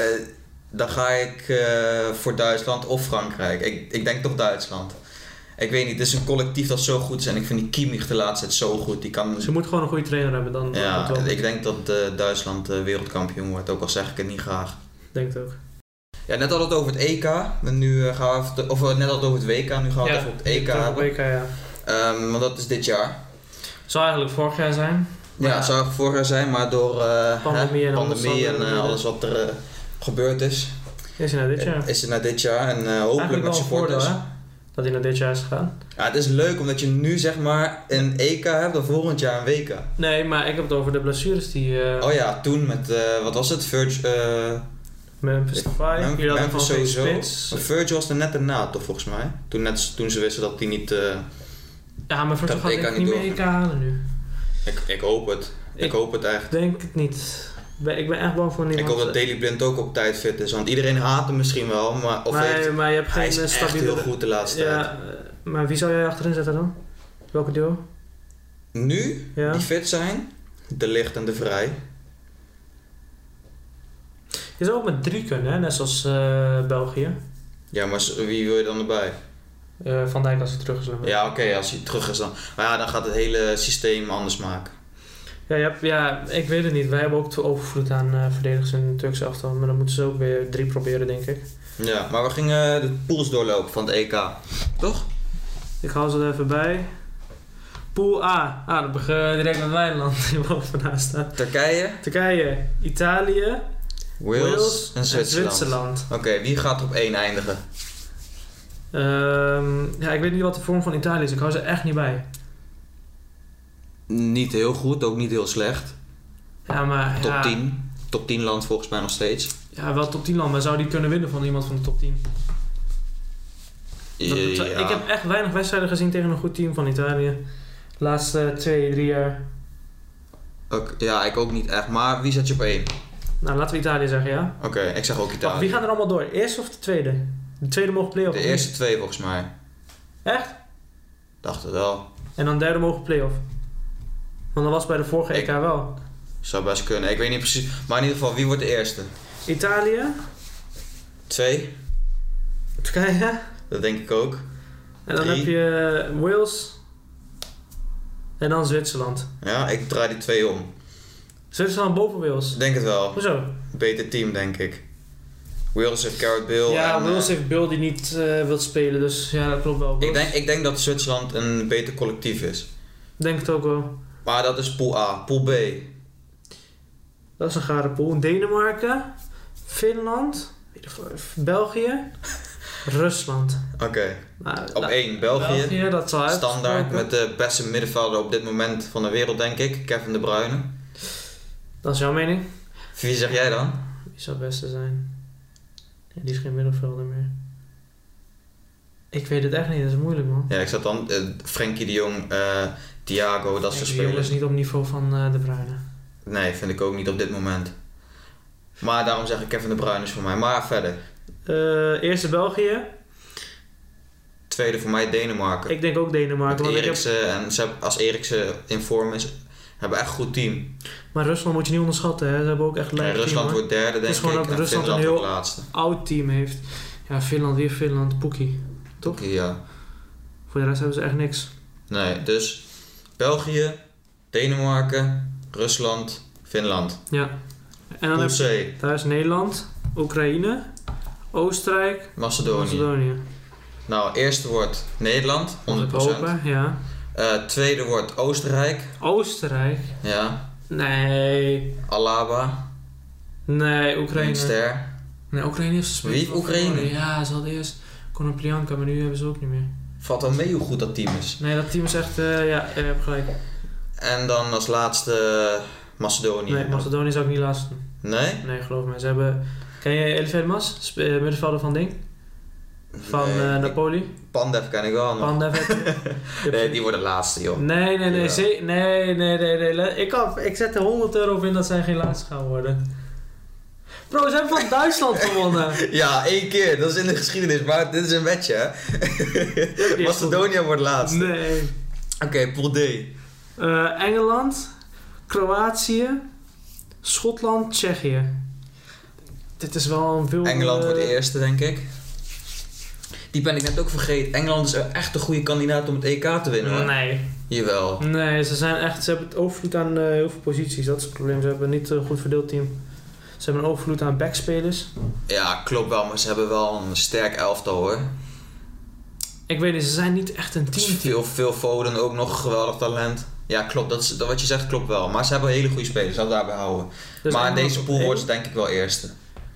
Speaker 1: dan ga ik eh, voor Duitsland of Frankrijk. Ik, ik denk toch Duitsland. Ik weet niet, het is een collectief dat zo goed is en ik vind die Kimmich de laatste tijd zo goed. Die kan...
Speaker 2: Ze moet gewoon een goede trainer hebben, dan dan
Speaker 1: Ja,
Speaker 2: komt het wel.
Speaker 1: ik denk dat eh, Duitsland eh, wereldkampioen wordt, ook al zeg ik het niet graag.
Speaker 2: Denk het ook.
Speaker 1: Ja, net hadden we het over het EK, en nu eh, gaan we even te- of eh, net hadden we het over het WK, nu gaan we het even op het EK
Speaker 2: terug op
Speaker 1: hebben.
Speaker 2: EK, E ja.
Speaker 1: Ehm, want dat is dit jaar.
Speaker 2: Zou eigenlijk vorig jaar zijn.
Speaker 1: Ja,
Speaker 2: Maar ja.
Speaker 1: het zou vorig jaar zijn, maar door eh,
Speaker 2: Pandemie
Speaker 1: hè,
Speaker 2: en alles
Speaker 1: pandemie
Speaker 2: wat
Speaker 1: en
Speaker 2: er
Speaker 1: eh,
Speaker 2: gebeurde.
Speaker 1: alles wat er eh, gebeurd is,
Speaker 2: Is hij naar dit jaar?
Speaker 1: is het naar dit jaar en eh, hopelijk
Speaker 2: Eigenlijk wel
Speaker 1: met
Speaker 2: een voordeel,
Speaker 1: supporters.
Speaker 2: hè? Dat hij naar dit jaar is gegaan.
Speaker 1: Ja, het is leuk omdat je nu zeg maar een EK hebt en volgend jaar een WK.
Speaker 2: Nee, maar ik heb het over de blessures die... eh,
Speaker 1: Oh ja, toen met, eh, wat was het, Virg, eh,
Speaker 2: Memphis Depay.
Speaker 1: Mem-
Speaker 2: Jullie hadden
Speaker 1: Memphis
Speaker 2: van geen
Speaker 1: sowieso.
Speaker 2: spits.
Speaker 1: Maar Virgil was er net erna toch volgens mij? Toen, net, toen ze wisten dat hij niet... eh,
Speaker 2: Ja, maar voor
Speaker 1: Dat
Speaker 2: gaat
Speaker 1: EK
Speaker 2: ik
Speaker 1: E niet
Speaker 2: niet meer
Speaker 1: doorgaan.
Speaker 2: EK halen nu.
Speaker 1: ik, ik hoop het. Ik,
Speaker 2: Ik-
Speaker 1: hoop het
Speaker 2: Ik
Speaker 1: eigenlijk.
Speaker 2: denk het niet. Ik ben- Ik ben echt bang voor niemand.
Speaker 1: Ik hoop dat Daily Blind ook op tijd fit is. Want iedereen haat hem misschien wel. Maar, of
Speaker 2: maar,
Speaker 1: heeft,
Speaker 2: maar je hebt
Speaker 1: hij
Speaker 2: geen
Speaker 1: is
Speaker 2: eh,
Speaker 1: echt
Speaker 2: stabiele...
Speaker 1: heel goed de laatste tijd.
Speaker 2: Ja, eh, maar wie zou jij achterin zetten dan? Welke duo?
Speaker 1: Nu,
Speaker 2: Ja.
Speaker 1: die fit zijn... De licht en de vrij.
Speaker 2: Je zou ook met drie kunnen, hè? net zoals eh, België.
Speaker 1: Ja, maar s- wie wil je dan erbij?
Speaker 2: Eh, Van Dijk als hij terug is. dan wel.
Speaker 1: Ja, oké, als hij terug is dan. Maar ja, dan gaat het hele systeem anders maken.
Speaker 2: Ja, je hebt, ja, ik weet het niet. Wij hebben ook te overvloed aan eh, verdedigers in de Turkse elftal. Maar dan moeten ze ook weer drie proberen, denk ik.
Speaker 1: Ja, maar we gingen de pools doorlopen van het EK. Toch?
Speaker 2: Ik haal ze er even bij. Pool A. Ah, dat begint direct met mijn land die bovenaan staat.
Speaker 1: Turkije,
Speaker 2: Turkije, Italië,
Speaker 1: Wales,
Speaker 2: Wales
Speaker 1: en Zwitserland.
Speaker 2: Zwitserland.
Speaker 1: Oké, wie gaat er op één eindigen?
Speaker 2: Ehm, ja, ik weet niet wat de vorm van Italië is. Ik hou ze echt niet bij.
Speaker 1: Niet heel goed, ook niet heel slecht.
Speaker 2: Ja, maar...
Speaker 1: Top
Speaker 2: ja,
Speaker 1: 10. Top 10 land volgens mij nog steeds.
Speaker 2: Ja, wel top 10 land. Maar zou die kunnen winnen van iemand van de top 10? Dat-
Speaker 1: Ja.
Speaker 2: Ik heb echt weinig wedstrijden gezien tegen een goed team van Italië. De laatste twee, drie jaar.
Speaker 1: Oké, ja, ik ook niet echt. Maar wie zet je op één?
Speaker 2: Nou, laten we Italië zeggen, ja.
Speaker 1: Oké, ik zeg ook
Speaker 2: Wacht, wie
Speaker 1: Italië.
Speaker 2: gaat er allemaal door? Eerste of de tweede? De tweede mogen play-off.
Speaker 1: De
Speaker 2: of niet?
Speaker 1: eerste twee volgens mij.
Speaker 2: Echt?
Speaker 1: Dacht het wel.
Speaker 2: En dan derde mogen play-off. Want dat was bij de vorige
Speaker 1: Ik-
Speaker 2: EK wel.
Speaker 1: Zou best kunnen. Ik weet niet precies. Maar in ieder geval, wie wordt de eerste?
Speaker 2: Italië,
Speaker 1: Twee?
Speaker 2: Turkije.
Speaker 1: Dat denk ik ook.
Speaker 2: En dan
Speaker 1: Drie.
Speaker 2: heb je eh, Wales. En dan Zwitserland.
Speaker 1: Ja, ik draai die twee om.
Speaker 2: Zwitserland boven Wales.
Speaker 1: Ik denk het wel.
Speaker 2: Hoezo?
Speaker 1: Beter team, denk ik. Wales heeft Garrett Bill.
Speaker 2: ja,
Speaker 1: en,
Speaker 2: Wales
Speaker 1: eh,
Speaker 2: heeft Bill die niet eh, wil spelen. Dus ja, dat klopt wel.
Speaker 1: ik,
Speaker 2: Wales-
Speaker 1: denk, ik denk dat Zwitserland een beter collectief is.
Speaker 2: denk het ook wel.
Speaker 1: Maar dat is pool A. Pool B.
Speaker 2: Dat is een gare pool. Denemarken. Finland. weet je voor- België. Rusland.
Speaker 1: Oké.
Speaker 2: Nou,
Speaker 1: Op
Speaker 2: nou,
Speaker 1: één, België.
Speaker 2: dat zal
Speaker 1: Standaard
Speaker 2: uitgesproken.
Speaker 1: met de beste middenvelder op dit moment van de wereld, denk ik. Kevin De Bruyne.
Speaker 2: Dat is jouw mening.
Speaker 1: Wie zeg jij dan?
Speaker 2: Wie zou het beste zijn? Ja, die is geen middenvelder meer. Ik weet het echt niet, dat is moeilijk man.
Speaker 1: Ja, ik zat dan eh, Frenkie de Jong, eh Thiago, dat
Speaker 2: Ik
Speaker 1: soort
Speaker 2: zie jongens
Speaker 1: spelers.
Speaker 2: niet op niveau van eh, De Bruyne.
Speaker 1: Nee, vind ik ook niet op dit moment. Maar daarom zeg ik Kevin De Bruyne is voor mij. Maar verder.
Speaker 2: Eh, eerste België.
Speaker 1: Tweede voor mij Denemarken.
Speaker 2: Ik denk ook
Speaker 1: Met
Speaker 2: Denemarken. Want ik heb,
Speaker 1: Eriksen en ze hebben- als Eriksen in vorm is, hebben echt een goed team.
Speaker 2: maar Rusland moet je niet onderschatten. Hè. Ze hebben ook echt
Speaker 1: En
Speaker 2: leuk team.
Speaker 1: Rusland
Speaker 2: hoor.
Speaker 1: wordt derde, denk
Speaker 2: is gewoon
Speaker 1: ik.
Speaker 2: dat
Speaker 1: en
Speaker 2: Rusland
Speaker 1: Finland
Speaker 2: een
Speaker 1: wordt
Speaker 2: heel-
Speaker 1: laatste.
Speaker 2: Oud team heeft. Ja, Finland, weer Finland, Poekie. Toch?
Speaker 1: Oké, Ja.
Speaker 2: Voor de rest hebben ze echt niks.
Speaker 1: Nee, dus België, Denemarken, Rusland, Finland.
Speaker 2: Ja. En dan
Speaker 1: Pool
Speaker 2: heb je
Speaker 1: C,
Speaker 2: thuis Nederland, Oekraïne, Oostenrijk,
Speaker 1: Macedonië.
Speaker 2: Macedonië.
Speaker 1: Nou, eerste wordt Nederland, 100%.
Speaker 2: Open, ja.
Speaker 1: Eh, tweede wordt Oostenrijk.
Speaker 2: Oostenrijk.
Speaker 1: Ja.
Speaker 2: Nee.
Speaker 1: Alaba,
Speaker 2: Nee,
Speaker 1: een
Speaker 2: Oekraïne.
Speaker 1: ster.
Speaker 2: Nee, Oekraïne heeft gespeeld.
Speaker 1: Wie? Oekraïne?
Speaker 2: Ja, ze hadden eerst Konoplyanka, maar nu hebben ze ook niet meer.
Speaker 1: Valt wel mee hoe goed dat team is.
Speaker 2: Nee, dat team is echt... eh, ja, je hebt gelijk.
Speaker 1: En dan als laatste eh, Macedonië.
Speaker 2: Nee, Macedonië zou ik niet laatst doen.
Speaker 1: Nee?
Speaker 2: Nee, geloof me. Ze hebben... Ken je Elifed Mas? Sp- eh, middenvelder van Ding? Van
Speaker 1: Nee,
Speaker 2: eh,
Speaker 1: ik-
Speaker 2: Napoli?
Speaker 1: Pandev ken ik wel nog.
Speaker 2: Pandev heb je. Je hebt-
Speaker 1: Nee, die worden laatste, joh.
Speaker 2: Nee, nee, nee,
Speaker 1: Ja.
Speaker 2: ze- nee, nee, nee, nee. le- Ik, kan, ik zet er 100 euro op in dat zij geen laatste gaan worden. Bro, ze hebben van Duitsland gewonnen.
Speaker 1: Ja, één keer. Dat is in de geschiedenis. Maar dit is een match, hè? Macedonië wordt laatst.
Speaker 2: Nee.
Speaker 1: Oké, pool D.
Speaker 2: Eh, Engeland, Kroatië, Schotland, Tsjechië. Dit is wel een veel.
Speaker 1: Engeland wordt
Speaker 2: eh,
Speaker 1: de eerste, denk ik. Die ben ik net ook vergeten. Engeland is echt een goede kandidaat om het EK te winnen, hoor. Oh.
Speaker 2: Nee,
Speaker 1: Jawel.
Speaker 2: nee, ze zijn echt. Ze hebben het overvloed aan eh, heel veel posities. Dat is het probleem. Ze hebben niet een goed verdeeld team. Ze hebben een overvloed aan backspelers.
Speaker 1: Ja, klopt wel. Maar ze hebben wel een sterk elftal, hoor.
Speaker 2: Ik weet niet, ze zijn niet echt een
Speaker 1: Het is
Speaker 2: team.
Speaker 1: Veel, veel Foden, ook nog geweldig talent. Ja, klopt. Dat is, dat wat je zegt klopt wel. Maar ze hebben hele goede spelers. Laten we daarbij houden.
Speaker 2: Dus
Speaker 1: maar in
Speaker 2: Engeland
Speaker 1: deze
Speaker 2: op
Speaker 1: pool
Speaker 2: één.
Speaker 1: wordt ze denk ik wel eerste.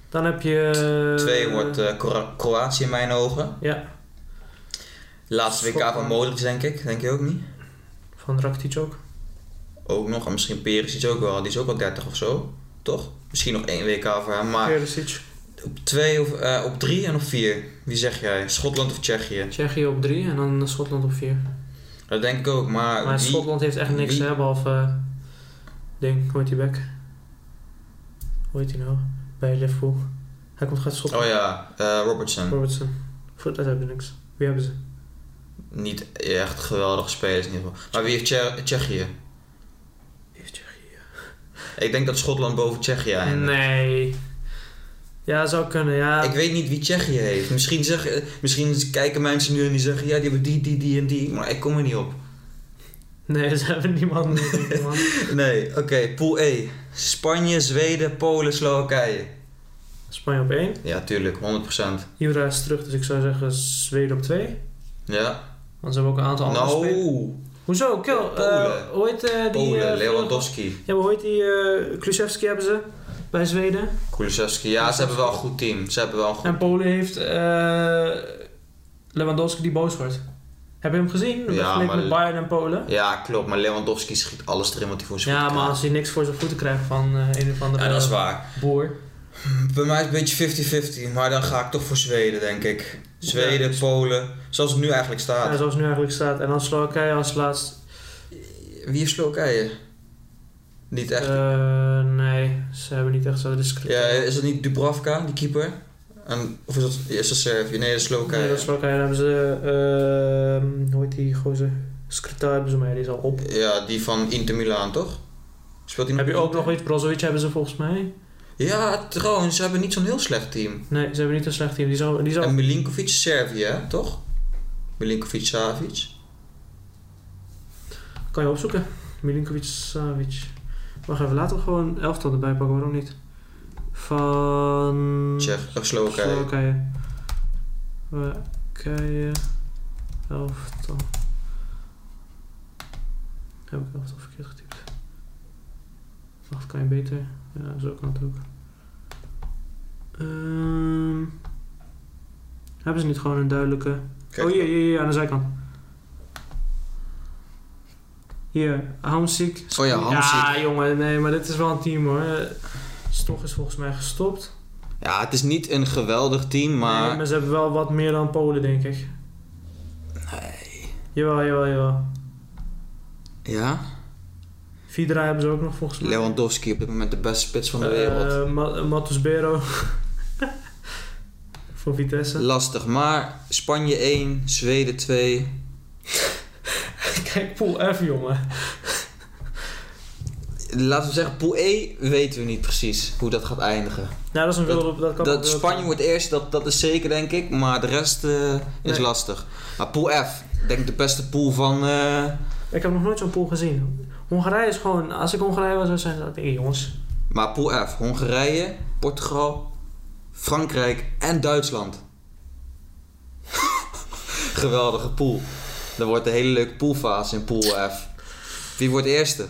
Speaker 2: Dan heb je. eh,
Speaker 1: Twee wordt eh, Kro- Kroatië in mijn ogen.
Speaker 2: Ja,
Speaker 1: Laatste WK van
Speaker 2: Schotland.
Speaker 1: Modric, denk ik. Denk je ook niet?
Speaker 2: van Rakitic ook.
Speaker 1: Ook nog, en misschien Perisic ook wel. Die is ook al 30 of zo, toch? Misschien nog één WK voor hem. Maar
Speaker 2: Perisic.
Speaker 1: Op twee of eh, op drie en op vier. Wie zeg jij? Schotland of Tsjechië?
Speaker 2: Tsjechië op drie en dan Schotland op vier.
Speaker 1: Dat denk ik ook, maar,
Speaker 2: maar
Speaker 1: Ah, wie-
Speaker 2: Schotland heeft echt niks,
Speaker 1: wie-
Speaker 2: hè, behalve... eh, ding, hoe heet die back? Hoe heet die nou? Bij Liverpool. Hij komt gaat Schotland.
Speaker 1: Oh ja, eh, Robertson.
Speaker 2: Robertson. Voor dat hebben we niks. Wie hebben ze?
Speaker 1: Niet echt geweldige spelers in ieder geval. Maar wie heeft Tsje- Tsjechië?
Speaker 2: Wie heeft Tsjechië?
Speaker 1: Ik denk dat Schotland boven Tsjechië eindigt.
Speaker 2: nee. Ja, zou kunnen, ja.
Speaker 1: Ik weet niet wie Tsjechië heeft. Misschien, zeg, eh, misschien kijken mensen nu en die zeggen... Ja, die hebben die, die, die en die. Maar ik kom er niet op.
Speaker 2: Nee, ze hebben niemand. meer, man.
Speaker 1: Nee, oké. pool E. Spanje, Zweden, Polen, Slowakije.
Speaker 2: Spanje op één.
Speaker 1: Ja, tuurlijk. 100%.
Speaker 2: Ibra is terug, dus ik zou zeggen Zweden op twee.
Speaker 1: Ja.
Speaker 2: Want ze hebben ook een aantal andere spelers.
Speaker 1: Nou,
Speaker 2: Hoezo? Kill. eh,
Speaker 1: Polen.
Speaker 2: hoe heet eh, die...
Speaker 1: Polen,
Speaker 2: eh,
Speaker 1: Lewandowski,
Speaker 2: Ja, maar hoe heet die... eh Kulusevski hebben ze bij Zweden.
Speaker 1: Kulusevski. Ja, ze hebben wel een goed team. Ze hebben wel een goed...
Speaker 2: En Polen heeft eh, Lewandowski die boos wordt. Heb je hem gezien?
Speaker 1: Ja,
Speaker 2: Vergeleken
Speaker 1: maar-
Speaker 2: met Bayern en Polen.
Speaker 1: Ja, klopt. Maar Lewandowski schiet alles erin wat hij voor zijn
Speaker 2: Ja,
Speaker 1: voeten
Speaker 2: maar
Speaker 1: krijgt.
Speaker 2: als hij niks voor zijn voeten krijgt van eh, een of andere
Speaker 1: Ja, dat is waar.
Speaker 2: boer.
Speaker 1: Bij mij is het een beetje 50-50. Maar dan ga ik toch voor Zweden, denk ik. Zweden, Polen. Zoals het nu eigenlijk
Speaker 2: Ja,
Speaker 1: staat.
Speaker 2: zoals nu eigenlijk staat. En dan Slowakije als laatst.
Speaker 1: Wie heeft Slowakije? Niet echt.
Speaker 2: Eh, nee, ze hebben niet echt zo discreet.
Speaker 1: ja, is dat niet Dubravka, die keeper? En, of is dat, is dat Servië? Nee, dat is Slowakije.
Speaker 2: Nee, dat is Slowakije. Dan hebben ze... ehm hoe heet die gozer? Skrtar hebben ze mij. Die is al op.
Speaker 1: Ja, die van Inter Milaan, toch? Speelt hij
Speaker 2: Heb je ook nog iets? Brozovic hebben ze volgens mij.
Speaker 1: Ja, trouwens, ze hebben niet zo'n heel slecht team.
Speaker 2: Nee, ze hebben niet een slecht team. Die zou... Die
Speaker 1: En
Speaker 2: zou...
Speaker 1: Milinkovic is Servië, hè, toch? Milinkovic, Savic.
Speaker 2: Kan je opzoeken. Milinkovic, Savic. Wacht even, laten we gewoon elftal erbij pakken. Waarom niet? Van...
Speaker 1: Tsjech, of Slowakije.
Speaker 2: Slowakije. Slowakije. Elftal. Heb ik elftal verkeerd getypt? Wacht, kan je beter? Ja, zo kan het ook. Ehm, hebben ze niet gewoon een duidelijke...
Speaker 1: Kijk,
Speaker 2: Oh, hier, hier, hier, aan de zijkant. Hier, Hamsik.
Speaker 1: Oh ja, Hamsik.
Speaker 2: Ja, jongen, nee, maar dit is wel een team hoor. Stog is volgens mij gestopt.
Speaker 1: Ja, het is niet een geweldig team, maar...
Speaker 2: Nee, maar ze hebben wel wat meer dan Polen, denk ik.
Speaker 1: Nee.
Speaker 2: Jawel, jawel, jawel.
Speaker 1: Ja?
Speaker 2: Vidra hebben ze ook nog volgens mij.
Speaker 1: Lewandowski op dit moment de beste spits van de wereld.
Speaker 2: Eh, Ma- Matus Bero. Voor Vitesse.
Speaker 1: Lastig, maar Spanje 1, Zweden 2.
Speaker 2: Kijk, Pool F, jongen.
Speaker 1: Laten we zeggen, pool E weten we niet precies hoe dat gaat eindigen.
Speaker 2: Nou, dat is een
Speaker 1: Dat-
Speaker 2: wilde... Dat, kan
Speaker 1: Dat Spanje wordt eerst, dat, dat is zeker denk ik, maar de rest eh, is
Speaker 2: Nee.
Speaker 1: lastig. Maar pool F, denk ik de beste pool van... eh,
Speaker 2: Ik heb nog nooit zo'n pool gezien. Hongarije is gewoon... Als ik Hongarije was, zou zijn dat... Hé, jongens.
Speaker 1: maar pool F, Hongarije, Portugal, Frankrijk en Duitsland. Geweldige pool. Dat wordt een hele leuke poolfase in pool F. Wie wordt eerste?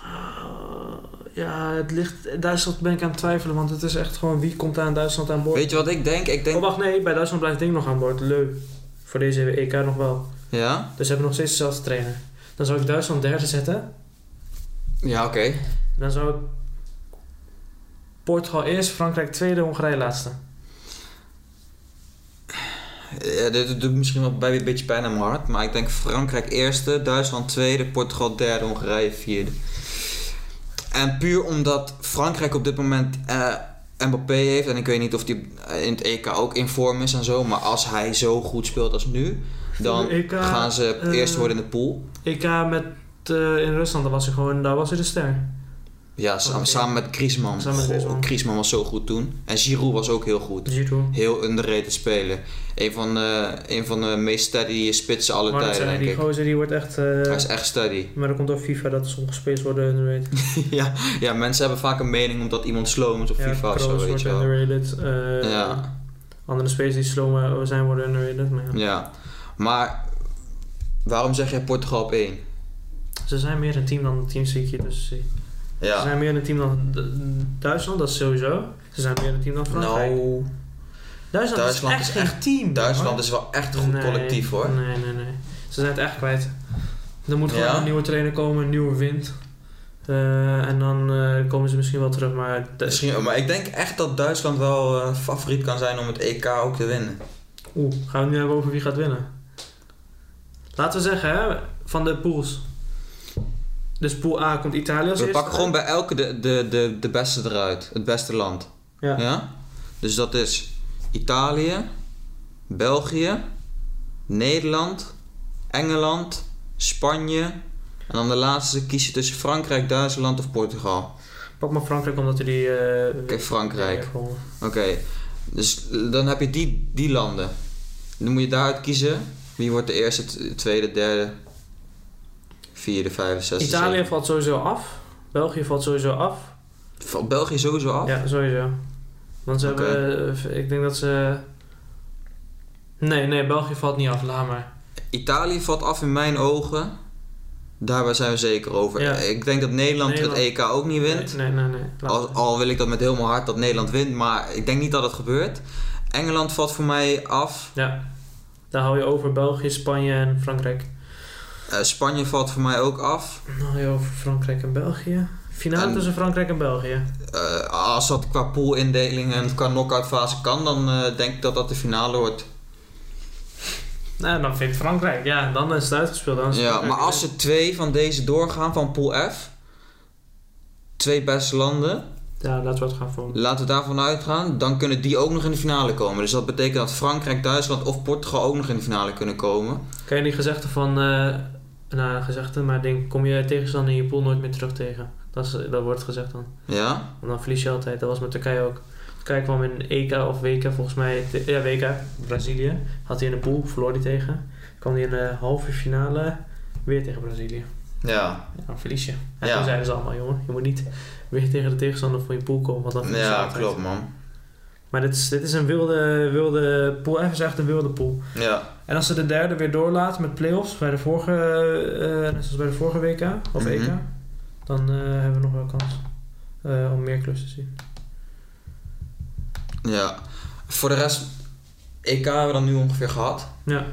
Speaker 2: Ah, ja, het ligt... Duitsland ben ik aan het twijfelen, want het is echt gewoon... Wie komt daar in Duitsland aan boord?
Speaker 1: Weet je wat ik denk? Ik
Speaker 2: Oh,
Speaker 1: denk...
Speaker 2: wacht, nee. Bij Duitsland blijft Ding nog aan boord. Leuk. Voor deze EK nog wel.
Speaker 1: Ja?
Speaker 2: Dus ze hebben nog steeds dezelfde trainer. Dan zou ik Duitsland derde zetten.
Speaker 1: Ja, oké.
Speaker 2: Dan zou ik Portugal eerst, Frankrijk tweede, Hongarije laatste.
Speaker 1: Eh, Ja, dit dit doet misschien wel bij een beetje pijn aan mijn hart. Maar ik denk Frankrijk eerste, Duitsland tweede, Portugal derde, Hongarije vierde. En puur omdat Frankrijk op dit moment eh, Mbappé heeft. En ik weet niet of die in het EK ook in vorm is en zo. Maar als hij zo goed speelt als nu, dan
Speaker 2: de EK,
Speaker 1: gaan ze
Speaker 2: eh,
Speaker 1: eerst worden in de pool.
Speaker 2: EK met, eh, in Rusland, daar was hij gewoon, daar was hij de ster.
Speaker 1: Ja, sa-
Speaker 2: oké.
Speaker 1: samen met Griezmann.
Speaker 2: Samen met
Speaker 1: Goh,
Speaker 2: Griezmann.
Speaker 1: Griezmann was zo goed toen. En Giroud was ook heel goed.
Speaker 2: Giroud.
Speaker 1: Heel underrated speler. Een van de, een van de meest steady spitsen alle
Speaker 2: Maar dat
Speaker 1: tijden,
Speaker 2: zijn
Speaker 1: denk ik.
Speaker 2: die gozer, die wordt echt... eh,
Speaker 1: Hij is echt steady.
Speaker 2: maar dat komt door FIFA dat sommige spelers worden underrated.
Speaker 1: ja, ja, mensen hebben vaak een mening omdat iemand sloom is op FIFA of
Speaker 2: Kroos
Speaker 1: zo, weet
Speaker 2: wordt
Speaker 1: je wel.
Speaker 2: underrated. eh,
Speaker 1: Ja. Mm.
Speaker 2: Andere spelers die slow zijn worden underrated. Maar ja.
Speaker 1: Ja. Maar waarom zeg jij Portugal op 1?
Speaker 2: Ze zijn meer een team dan een team, zie ik hier dus. zie. Ze zijn meer een team dan D- Duitsland, dat is sowieso. Ze zijn meer een team dan Frankrijk.
Speaker 1: Nou,
Speaker 2: Duitsland,
Speaker 1: Duitsland
Speaker 2: is echt
Speaker 1: is
Speaker 2: geen team.
Speaker 1: Duitsland
Speaker 2: hoor.
Speaker 1: is wel echt een goed
Speaker 2: Nee,
Speaker 1: collectief hoor.
Speaker 2: Nee, nee, nee. Ze zijn het echt kwijt. Er moet gewoon
Speaker 1: Ja?
Speaker 2: een nieuwe trainer komen, een nieuwe wind. Eh, en dan eh, komen ze misschien wel terug, maar... de-
Speaker 1: Misschien, maar ik denk echt dat Duitsland wel eh, favoriet kan zijn om het EK ook te winnen.
Speaker 2: Oeh, gaan we het nu hebben over wie gaat winnen? Laten we zeggen, hè, van de pools. Dus pool A komt Italië als
Speaker 1: We
Speaker 2: eerste.
Speaker 1: pakken gewoon bij elke de, de, de, de beste eruit. Het beste land.
Speaker 2: Ja.
Speaker 1: Dus dat is Italië, België, Nederland, Engeland, Spanje. En dan de laatste kies je tussen Frankrijk, Duitsland of Portugal.
Speaker 2: Pak maar Frankrijk, omdat hij die... eh,
Speaker 1: Oké, Frankrijk.
Speaker 2: Ja, gewoon.
Speaker 1: Oké, dus dan heb je die, die landen. Dan moet je daaruit kiezen. Wie wordt de eerste, t- tweede, derde, vierde, vijfde, zesde,
Speaker 2: Italië
Speaker 1: zevende.
Speaker 2: valt sowieso af. België valt sowieso af.
Speaker 1: Valt België sowieso af?
Speaker 2: Ja, sowieso. Want ze
Speaker 1: Oké.
Speaker 2: hebben... eh, ik denk dat ze... Nee, nee, België valt niet af. Laat maar.
Speaker 1: Italië valt af in mijn ogen. Daarbij zijn we zeker over.
Speaker 2: Ja.
Speaker 1: Ik denk dat Nederland, het
Speaker 2: Nederland.
Speaker 1: EK ook niet wint.
Speaker 2: Nee, nee, nee. nee. Laat
Speaker 1: Al,
Speaker 2: maar.
Speaker 1: al wil ik dat met heel mijn hart dat Nederland wint, maar ik denk niet dat het gebeurt. Engeland valt voor mij af.
Speaker 2: Ja. Daar hou je over België, Spanje en Frankrijk.
Speaker 1: Eh, Spanje valt voor mij ook af.
Speaker 2: Dan hou je over Frankrijk en België. Finale
Speaker 1: En-
Speaker 2: tussen Frankrijk en België.
Speaker 1: Eh, als dat qua poolindeling en qua knock-out fase kan, dan eh, denk ik dat dat de finale wordt.
Speaker 2: Nou, dan vindt Frankrijk. Ja, dan is het uitgespeeld. Dan is het
Speaker 1: Ja,
Speaker 2: Frankrijk
Speaker 1: maar als
Speaker 2: weer.
Speaker 1: er twee van deze doorgaan van Pool F, twee beste landen,
Speaker 2: Ja, laten we het gaan voor.
Speaker 1: laten we daarvan uitgaan, dan kunnen die ook nog in de finale komen. Dus dat betekent dat Frankrijk, Duitsland of Portugal ook nog in de finale kunnen komen.
Speaker 2: Ken je die gezegde van... eh nou, gezegde, maar denk, kom je tegenstander in je pool nooit meer terug tegen. Dat, is, dat wordt gezegd dan.
Speaker 1: Ja?
Speaker 2: Want dan verlies je altijd. Dat was met Turkije ook. Turkije kwam in EK of WK volgens mij. te- Ja, WK. Brazilië. Had hij in de pool. Verloor hij tegen. Kwam hij in de halve finale weer tegen Brazilië.
Speaker 1: Ja.
Speaker 2: Ja, dan verlies je. En
Speaker 1: Ja.
Speaker 2: toen zeiden ze allemaal, jongen, je moet niet weer tegen de tegenstander van je pool komen. Want dan verlies je
Speaker 1: Ja,
Speaker 2: altijd.
Speaker 1: klopt man.
Speaker 2: Maar dit is, dit is een wilde, wilde pool. Even echt een wilde pool.
Speaker 1: Ja.
Speaker 2: En als ze de derde weer doorlaat met play-offs, bij de vorige, eh, net zoals bij de vorige WK of
Speaker 1: Mhm.
Speaker 2: EK, dan eh, hebben we nog wel kans eh, om meer clubs te zien.
Speaker 1: Ja. Voor de rest, EK hebben we dan nu ongeveer gehad.
Speaker 2: Ja.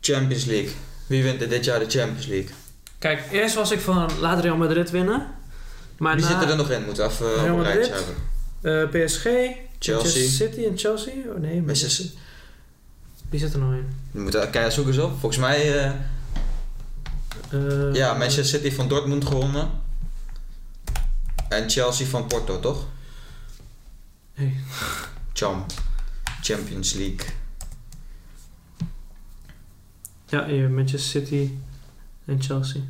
Speaker 1: Champions League. Wie wint er dit jaar de Champions League?
Speaker 2: Kijk, eerst was ik van laat Real Madrid winnen. Maar
Speaker 1: Wie
Speaker 2: na
Speaker 1: zit er dan nog in? Moeten we even eh,
Speaker 2: Real
Speaker 1: op een rijtje
Speaker 2: Madrid,
Speaker 1: hebben.
Speaker 2: eh, PSG, Manchester
Speaker 1: Chelsea.
Speaker 2: City en Chelsea? Oh nee,
Speaker 1: Manchester.
Speaker 2: Wie zit er nou in?
Speaker 1: We moeten kijken, zoek eens op. Volgens mij, eh,
Speaker 2: Eh,
Speaker 1: ja, Manchester City van Dortmund gewonnen. En Chelsea van Porto, toch?
Speaker 2: Hey.
Speaker 1: Cham. Champions League.
Speaker 2: Ja, hier, Manchester City en Chelsea.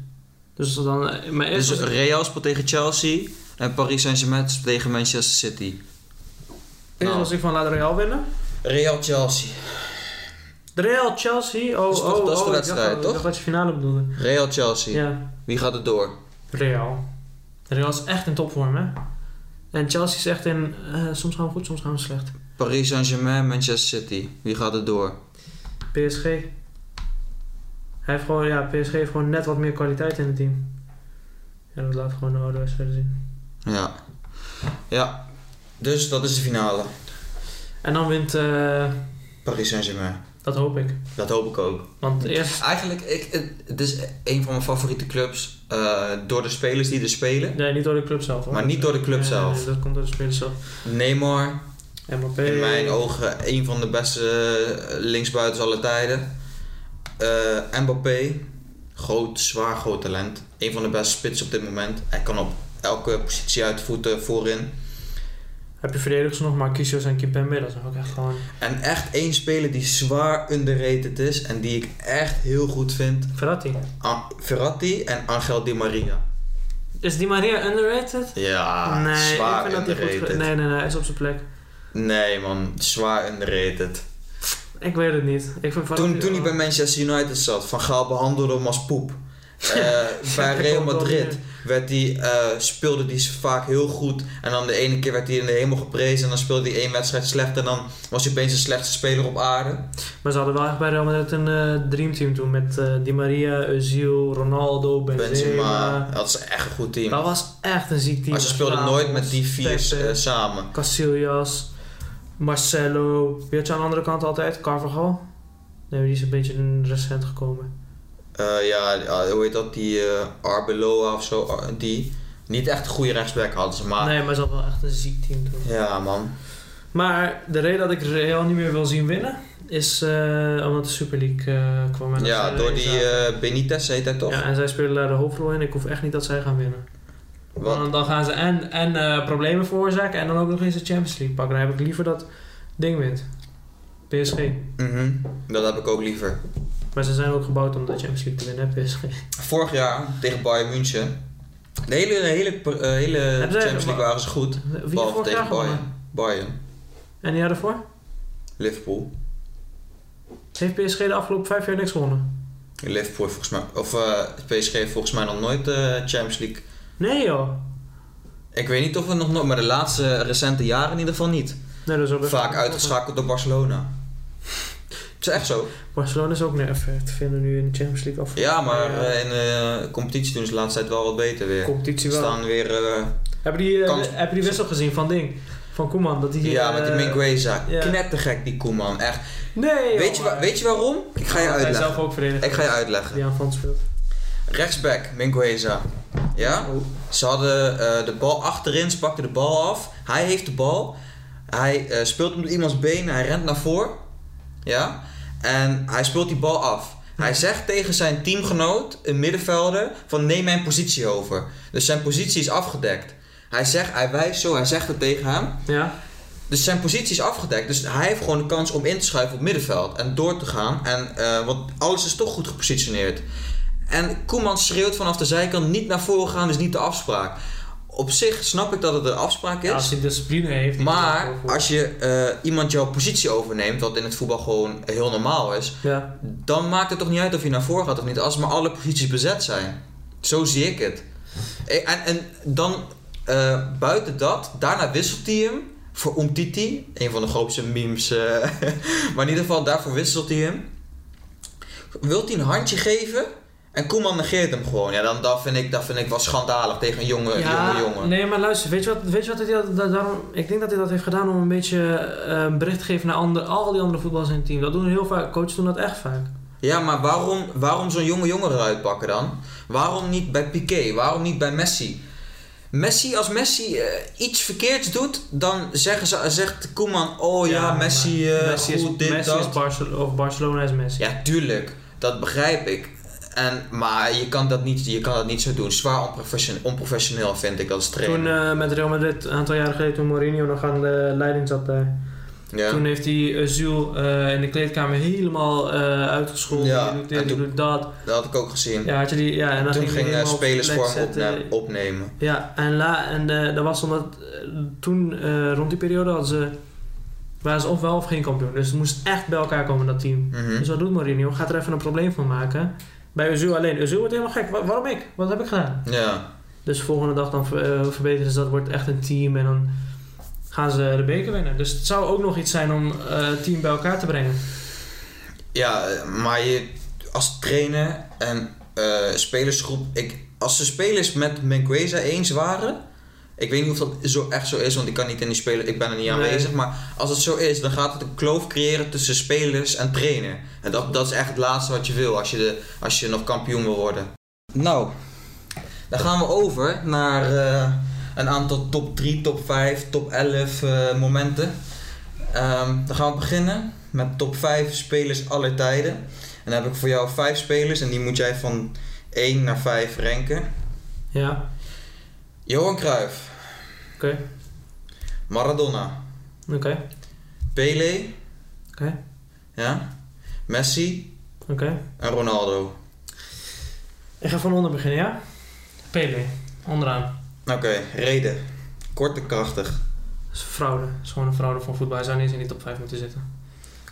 Speaker 2: Dus dan, eh, maar eerst
Speaker 1: Dus
Speaker 2: was ik-
Speaker 1: Real speelt tegen Chelsea en Paris Saint-Germain speelt tegen Manchester City.
Speaker 2: eerst was ik van laat Real winnen.
Speaker 1: Real Chelsea.
Speaker 2: De Real Chelsea, oh,
Speaker 1: Dat is toch-
Speaker 2: oh,
Speaker 1: dat is de
Speaker 2: oh, ik dacht
Speaker 1: wedstrijd,
Speaker 2: al- ik
Speaker 1: toch?
Speaker 2: dacht dat je finale bedoelde.
Speaker 1: Real Chelsea.
Speaker 2: Ja,
Speaker 1: Wie gaat er door?
Speaker 2: Real. Real is echt in topvorm, hè? En Chelsea is echt in, eh, soms gaan we goed, soms gaan we slecht.
Speaker 1: Paris Saint-Germain, Manchester City. Wie gaat er door?
Speaker 2: PSG. Hij heeft gewoon, ja, PSG heeft gewoon net wat meer kwaliteit in het team. En dat laat gewoon de oude wedstrijden zien.
Speaker 1: Ja. Ja. Dus dat is de finale.
Speaker 2: En dan wint, eh,
Speaker 1: Paris Saint-Germain.
Speaker 2: dat hoop ik.
Speaker 1: Dat hoop ik ook.
Speaker 2: Want eerst,
Speaker 1: Eigenlijk, ik, het- het is een van mijn favoriete clubs eh, door de spelers die er spelen.
Speaker 2: nee, niet door de club zelf hoor.
Speaker 1: Maar niet door de club
Speaker 2: Nee, nee,
Speaker 1: zelf.
Speaker 2: nee, dat komt door de spelers zelf.
Speaker 1: Neymar,
Speaker 2: Mbappé.
Speaker 1: in mijn ogen een van de beste eh, linksbuitens aller tijden. Eh Mbappé, groot, zwaar groot talent. Een van de beste spitsen op dit moment. Hij kan op elke positie uitvoeten voorin.
Speaker 2: Heb je verdedigers nog, maar Kishos en Kimpembe, dat is ook echt gewoon...
Speaker 1: En echt één speler die zwaar underrated is en die ik echt heel goed vind.
Speaker 2: Verratti.
Speaker 1: An- Verratti en Angel Di Maria.
Speaker 2: Is Di Maria underrated?
Speaker 1: Ja,
Speaker 2: nee,
Speaker 1: Ah, zwaar
Speaker 2: ik vind dat hij
Speaker 1: underrated.
Speaker 2: goed... ge- Nee, nee, nee, hij is op zijn plek.
Speaker 1: Nee man, zwaar underrated.
Speaker 2: Ik weet het niet. Ik vind
Speaker 1: Toen,
Speaker 2: Verratti
Speaker 1: toen hij bij
Speaker 2: wel-
Speaker 1: Manchester United zat, Van Gaal behandelde hem als poep. Eh, bij
Speaker 2: dat
Speaker 1: Real
Speaker 2: komt wel
Speaker 1: Madrid
Speaker 2: neer.
Speaker 1: werd die, eh, speelde hij vaak heel goed. En dan de ene keer werd hij in de hemel geprezen. En dan speelde hij één wedstrijd slecht. En dan was hij opeens de slechtste speler op aarde.
Speaker 2: Maar ze hadden wel echt bij Real Madrid een eh dreamteam toen met eh, Di Maria, Özil, Ronaldo, Benzema.
Speaker 1: Benzema, dat is echt een goed team.
Speaker 2: Dat was echt een ziek team.
Speaker 1: Maar ze speelden
Speaker 2: Ramos,
Speaker 1: nooit met die vier
Speaker 2: Pepe,
Speaker 1: eh, samen.
Speaker 2: Casillas, Marcelo. Wie had je aan de andere kant altijd? Carvajal? Nee, die is een beetje recent gekomen.
Speaker 1: eh, ja, ja, hoe heet dat? Die eh Arbeloa of zo. Ar- Die niet echt een goede rechtsback hadden ze. Maar
Speaker 2: Nee, maar ze hadden wel echt een ziek team toen.
Speaker 1: ja, man.
Speaker 2: Maar de reden dat ik Real niet meer wil zien winnen, is eh, omdat de Super League eh, kwam. en dat
Speaker 1: Ja,
Speaker 2: zij
Speaker 1: door
Speaker 2: erin
Speaker 1: die
Speaker 2: zaten.
Speaker 1: eh, Benitez heet hij toch?
Speaker 2: Ja, en zij spelen daar de hoofdrol in. Ik hoef echt niet dat zij gaan winnen.
Speaker 1: Wat?
Speaker 2: Want dan gaan ze en, en eh, problemen veroorzaken en dan ook nog eens de Champions League pakken. Dan heb ik liever dat ding wint. PSG.
Speaker 1: Mhm. Dat heb ik ook liever.
Speaker 2: Maar ze zijn ook gebouwd om de Champions League te winnen, hè, PSG.
Speaker 1: Vorig jaar tegen Bayern München. De hele, de hele, eh, hele
Speaker 2: Hebben ze-
Speaker 1: Champions League waren ze goed.
Speaker 2: Wie heeft
Speaker 1: Behalve
Speaker 2: vorig jaar
Speaker 1: tegen
Speaker 2: gewonnen?
Speaker 1: Bayern. Bayern.
Speaker 2: En die jaar daarvoor?
Speaker 1: Liverpool.
Speaker 2: Heeft PSG de afgelopen vijf jaar niks gewonnen?
Speaker 1: Liverpool heeft volgens mij. Of eh, PSG heeft volgens mij nog nooit de Champions League.
Speaker 2: Nee joh.
Speaker 1: Ik weet niet of we nog nooit, maar de laatste recente jaren in ieder geval niet.
Speaker 2: Nee, dat is ook echt-
Speaker 1: Vaak uitgeschakeld door Barcelona. Het is echt zo.
Speaker 2: Barcelona is ook nerveus te vinden nu in de Champions League af.
Speaker 1: Ja, maar
Speaker 2: Ja.
Speaker 1: eh, in de competitie doen ze de laatste tijd wel wat beter weer.
Speaker 2: competitie
Speaker 1: Ze
Speaker 2: wel.
Speaker 1: staan weer. eh,
Speaker 2: Hebben die, eh,
Speaker 1: Kans-
Speaker 2: hebben die wissel gezien van ding? Van Koeman? Dat die,
Speaker 1: ja,
Speaker 2: eh,
Speaker 1: met die Mingueza.
Speaker 2: ja.
Speaker 1: Knettergek die Koeman. Echt.
Speaker 2: Nee joh,
Speaker 1: Weet je, wa-
Speaker 2: maar-
Speaker 1: weet je waarom? Ik ga je
Speaker 2: Want Hij
Speaker 1: uitleggen.
Speaker 2: zelf ook verdedigd.
Speaker 1: Ik ga je uitleggen.
Speaker 2: Die aan Frans speelt.
Speaker 1: Rechtsback, Mingueza. Ja?
Speaker 2: Oh.
Speaker 1: Ze hadden eh, de bal achterin, ze pakten de bal af. Hij heeft de bal. Hij eh, speelt hem door iemands been, hij rent naar voren. Ja? En hij speelt die bal af. Hij zegt tegen zijn teamgenoot, een middenvelder, van neem mijn positie over. Dus zijn positie is afgedekt. Hij, zegt, hij wijst zo, hij zegt het tegen hem.
Speaker 2: Ja.
Speaker 1: Dus zijn positie is afgedekt. Dus hij heeft gewoon de kans om in te schuiven op middenveld. En door te gaan. En, eh, want alles is toch goed gepositioneerd. En Koeman schreeuwt vanaf de zijkant niet naar voren gaan. Dus niet de afspraak. Op zich snap ik dat het een afspraak
Speaker 2: Ja, als
Speaker 1: is.
Speaker 2: hij discipline heeft.
Speaker 1: Maar
Speaker 2: dan-
Speaker 1: als je eh, iemand jouw positie overneemt. Wat in het voetbal gewoon heel normaal is.
Speaker 2: Ja.
Speaker 1: Dan maakt het toch niet uit of je naar voren gaat of niet. Als maar alle posities bezet zijn. Zo zie ik het. En, en, en dan eh, buiten dat, daarna wisselt hij hem voor Umtiti. Een van de grootste memes. eh, maar in ieder geval, daarvoor wisselt hij hem. Wilt hij een handje geven? En Koeman negeert hem gewoon. Ja, dan, dat, vind ik, dat vind ik wel schandalig tegen een jonge, jonge Oh, jongen.
Speaker 2: nee, maar luister, weet je wat, weet je wat hij dat, dat- daarom, ik denk dat hij dat heeft gedaan om een beetje eh, een bericht te geven naar ander, al die andere voetballers in het team. Dat doen heel vaak, coaches doen dat echt vaak.
Speaker 1: Ja, maar waarom, waarom zo'n jonge jongen eruit pakken dan? Waarom niet bij Piqué? Waarom niet bij Messi? Messi, als Messi eh, iets verkeerds doet, dan zeggen ze, zegt Koeman... Oh ja,
Speaker 2: maar
Speaker 1: Messi, eh,
Speaker 2: Messi
Speaker 1: goed,
Speaker 2: is,
Speaker 1: dit,
Speaker 2: Messi
Speaker 1: dat.
Speaker 2: is Barcelona, of Barcelona is Messi.
Speaker 1: Ja, tuurlijk. Dat begrijp ik. En, maar je kan, dat niet, je kan dat niet zo doen. Zwaar onprofessioneel, onprofessioneel vind ik als trainer.
Speaker 2: Toen eh, met Real Madrid, een aantal jaren geleden, toen Mourinho nog aan de leiding zat eh, daar.
Speaker 1: ja.
Speaker 2: Toen heeft hij Azul eh, in de kleedkamer helemaal eh uitgescholden.
Speaker 1: Ja,
Speaker 2: Ja, doet dit,
Speaker 1: en
Speaker 2: je
Speaker 1: toen-
Speaker 2: doet dat.
Speaker 1: Dat had ik ook gezien.
Speaker 2: Ja, had je die, ja, en dan
Speaker 1: Toen
Speaker 2: ging, hij
Speaker 1: ging eh,
Speaker 2: helemaal op zijn
Speaker 1: spelers
Speaker 2: plek
Speaker 1: voor hem
Speaker 2: zetten.
Speaker 1: opna- opnemen.
Speaker 2: Ja, en, la, en eh, dat was omdat eh, toen, eh, rond die periode, hadden ze, waren ze of wel of geen kampioen. Dus het moest echt bij elkaar komen, dat team.
Speaker 1: Mhm.
Speaker 2: Dus wat doet Mourinho? Gaat er even een probleem van maken. Bij Azul alleen. Azul wordt helemaal gek. Wa- waarom ik? Wat heb ik gedaan?
Speaker 1: Ja.
Speaker 2: Dus de volgende dag dan ver- eh, verbeteren ze dat. Wordt echt een team en dan gaan ze de beker winnen. Dus het zou ook nog iets zijn om eh, het team bij elkaar te brengen.
Speaker 1: ja, eh, maar je, als trainer en eh, spelersgroep... Ik, als de spelers met Mengueza eens waren... Ik weet niet of dat zo echt zo is, want ik kan niet in die spelen, ik ben er niet
Speaker 2: Nee.
Speaker 1: aanwezig. Maar als het zo is, dan gaat het een kloof creëren tussen spelers en trainer. En dat, dat is echt het laatste wat je wil als je, de, als je nog kampioen wil worden. Nou, dan gaan we over naar eh, een aantal top 3, top 5, top 11 eh, momenten. Ehm, dan gaan we beginnen met top 5 spelers aller tijden. En dan heb ik voor jou 5 spelers en die moet jij van 1 naar 5 ranken.
Speaker 2: Ja,
Speaker 1: Johan Cruijff.
Speaker 2: oké.
Speaker 1: Maradona,
Speaker 2: Oké,
Speaker 1: Pele,
Speaker 2: oké,
Speaker 1: ja, Messi
Speaker 2: oké.
Speaker 1: en Ronaldo.
Speaker 2: Ik ga van onder beginnen, ja? Pele, E, onderaan.
Speaker 1: Oké, reden. Kort en krachtig.
Speaker 2: Dat is fraude. Dat is gewoon een fraude van voetbal. Hij zou niet eens in die top 5 moeten zitten.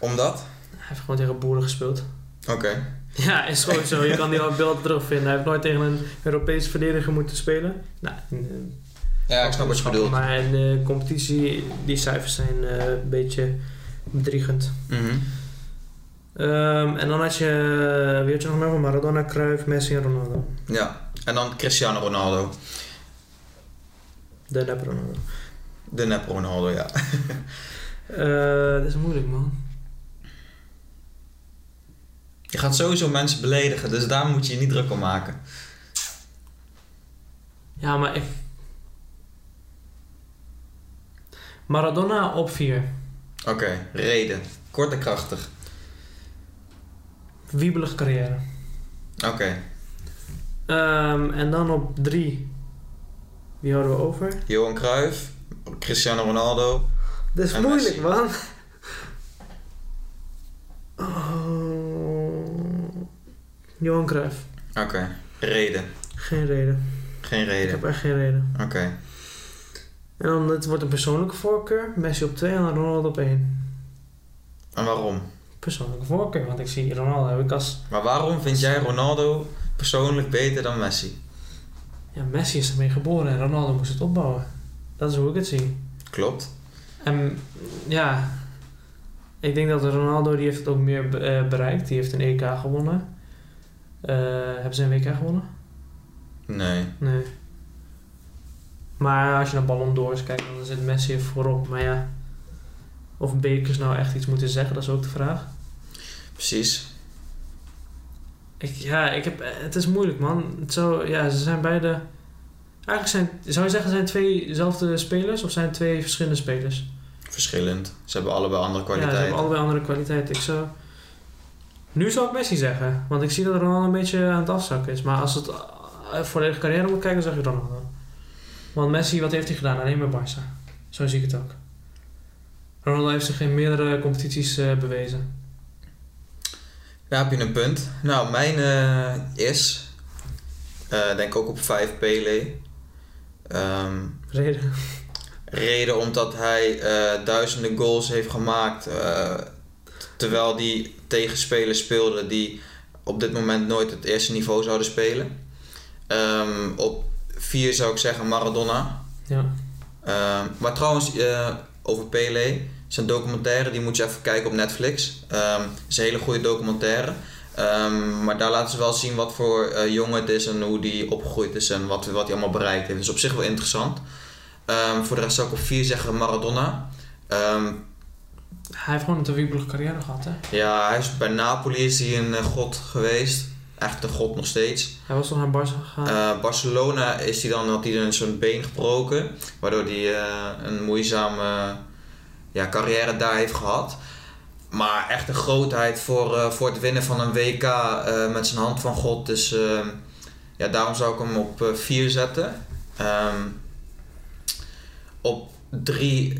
Speaker 1: Omdat?
Speaker 2: Hij heeft gewoon tegen boeren gespeeld.
Speaker 1: Oké.
Speaker 2: Ja, is gewoon zo. Je kan die al beelden terugvinden. Hij heeft nooit tegen een Europese verdediger moeten spelen. Nou, eh,
Speaker 1: Ja, ik snap wat je bedoelt.
Speaker 2: Maar in de competitie, die cijfers zijn eh, een beetje bedriegend.
Speaker 1: Mhm.
Speaker 2: Ehm, en dan had je, eh, wie had je nog meer van Maradona, Cruyff, Messi en Ronaldo.
Speaker 1: Ja, en dan Cristiano Ronaldo.
Speaker 2: De nep Ronaldo.
Speaker 1: De nep Ronaldo, ja.
Speaker 2: Eh, dat is moeilijk, man.
Speaker 1: Je gaat sowieso mensen beledigen, dus daar moet je je niet druk om maken.
Speaker 2: Ja, maar ik... Maradona op 4.
Speaker 1: Oké, reden. Kort en krachtig.
Speaker 2: Wiebelige carrière.
Speaker 1: Oké.
Speaker 2: Ehm, en dan op 3. Wie houden we over?
Speaker 1: Johan Cruijff, Cristiano Ronaldo.
Speaker 2: Dat is
Speaker 1: En
Speaker 2: moeilijk,
Speaker 1: Messi.
Speaker 2: man. Oh. Johan Cruijff.
Speaker 1: Oké, reden.
Speaker 2: Geen reden.
Speaker 1: Geen
Speaker 2: Ik
Speaker 1: reden.
Speaker 2: heb echt geen reden.
Speaker 1: Oké.
Speaker 2: En dan, het wordt een persoonlijke voorkeur. Messi op 2 en Ronaldo op 1.
Speaker 1: En waarom?
Speaker 2: Persoonlijke voorkeur, want ik zie Ronaldo heb ik als...
Speaker 1: Maar waarom vind jij Ronaldo persoonlijk beter dan Messi?
Speaker 2: Ja, Messi is ermee geboren en Ronaldo moest het opbouwen. Dat is hoe ik het zie.
Speaker 1: Klopt.
Speaker 2: En Ehm, ja... Ik denk dat Ronaldo, die heeft het ook meer be- eh, bereikt. Die heeft een EK gewonnen. Eh, hebben ze een WK gewonnen?
Speaker 1: Nee.
Speaker 2: Nee. Maar als je naar Ballon d'Ors kijkt, dan zit Messi er voorop. Maar ja, of bekers nou echt iets moeten zeggen, dat is ook de vraag.
Speaker 1: Precies.
Speaker 2: Ik, ja, ik heb, eh, het is moeilijk, man. Het zou, ja, ze zijn beide... Eigenlijk zijn, zou je zeggen, zijn tweezelfde spelers of zijn twee verschillende spelers?
Speaker 1: Verschillend. Ze hebben allebei andere
Speaker 2: Ja, ze
Speaker 1: kwaliteiten.
Speaker 2: hebben allebei andere kwaliteiten. Ik zou... Nu zou ik Messi zeggen, want ik zie dat Ronaldo een beetje aan het afzakken is. Maar als het eh, volledige carrière moet kijken, dan zeg ik Ronaldo. Want Messi, wat heeft hij gedaan? Alleen bij Barca. Zo zie ik het ook. Ronaldo heeft zich in meerdere competities eh, bewezen.
Speaker 1: Daar heb je een punt. Nou, mijn eh, is, eh, denk ook op 5 Pele. Ehm,
Speaker 2: Reden.
Speaker 1: reden omdat hij eh, duizenden goals heeft gemaakt. eh, t- terwijl hij tegen spelers speelde die op dit moment nooit het eerste niveau zouden spelen. Ehm, op 4 zou ik zeggen Maradona.
Speaker 2: Ja.
Speaker 1: Ehm, maar trouwens, eh, over Pele. Zijn documentaire, die moet je even kijken op Netflix. Ehm is een hele goede documentaire. Ehm, maar daar laten ze wel zien wat voor eh, jongen het is en hoe die opgegroeid is en wat, wat hij allemaal bereikt heeft. Dus op zich wel interessant. Ehm, voor de rest zou ik op 4 zeggen Maradona. Ehm,
Speaker 2: Hij heeft gewoon een te wiebelige carrière gehad, hè.
Speaker 1: ja, hij is, bij Napoli is hij een eh, god geweest. Echt een god nog steeds.
Speaker 2: Hij was toch naar Barca gegaan.
Speaker 1: Eh, Barcelona is hij dan, had hij dan zo'n been gebroken, waardoor hij eh, een moeizame eh, ja, carrière daar heeft gehad. Maar echt een grootheid voor, eh, voor het winnen van een WK eh, met zijn hand van God. Dus eh, ja, daarom zou ik hem op 4 zetten. Ehm, op 3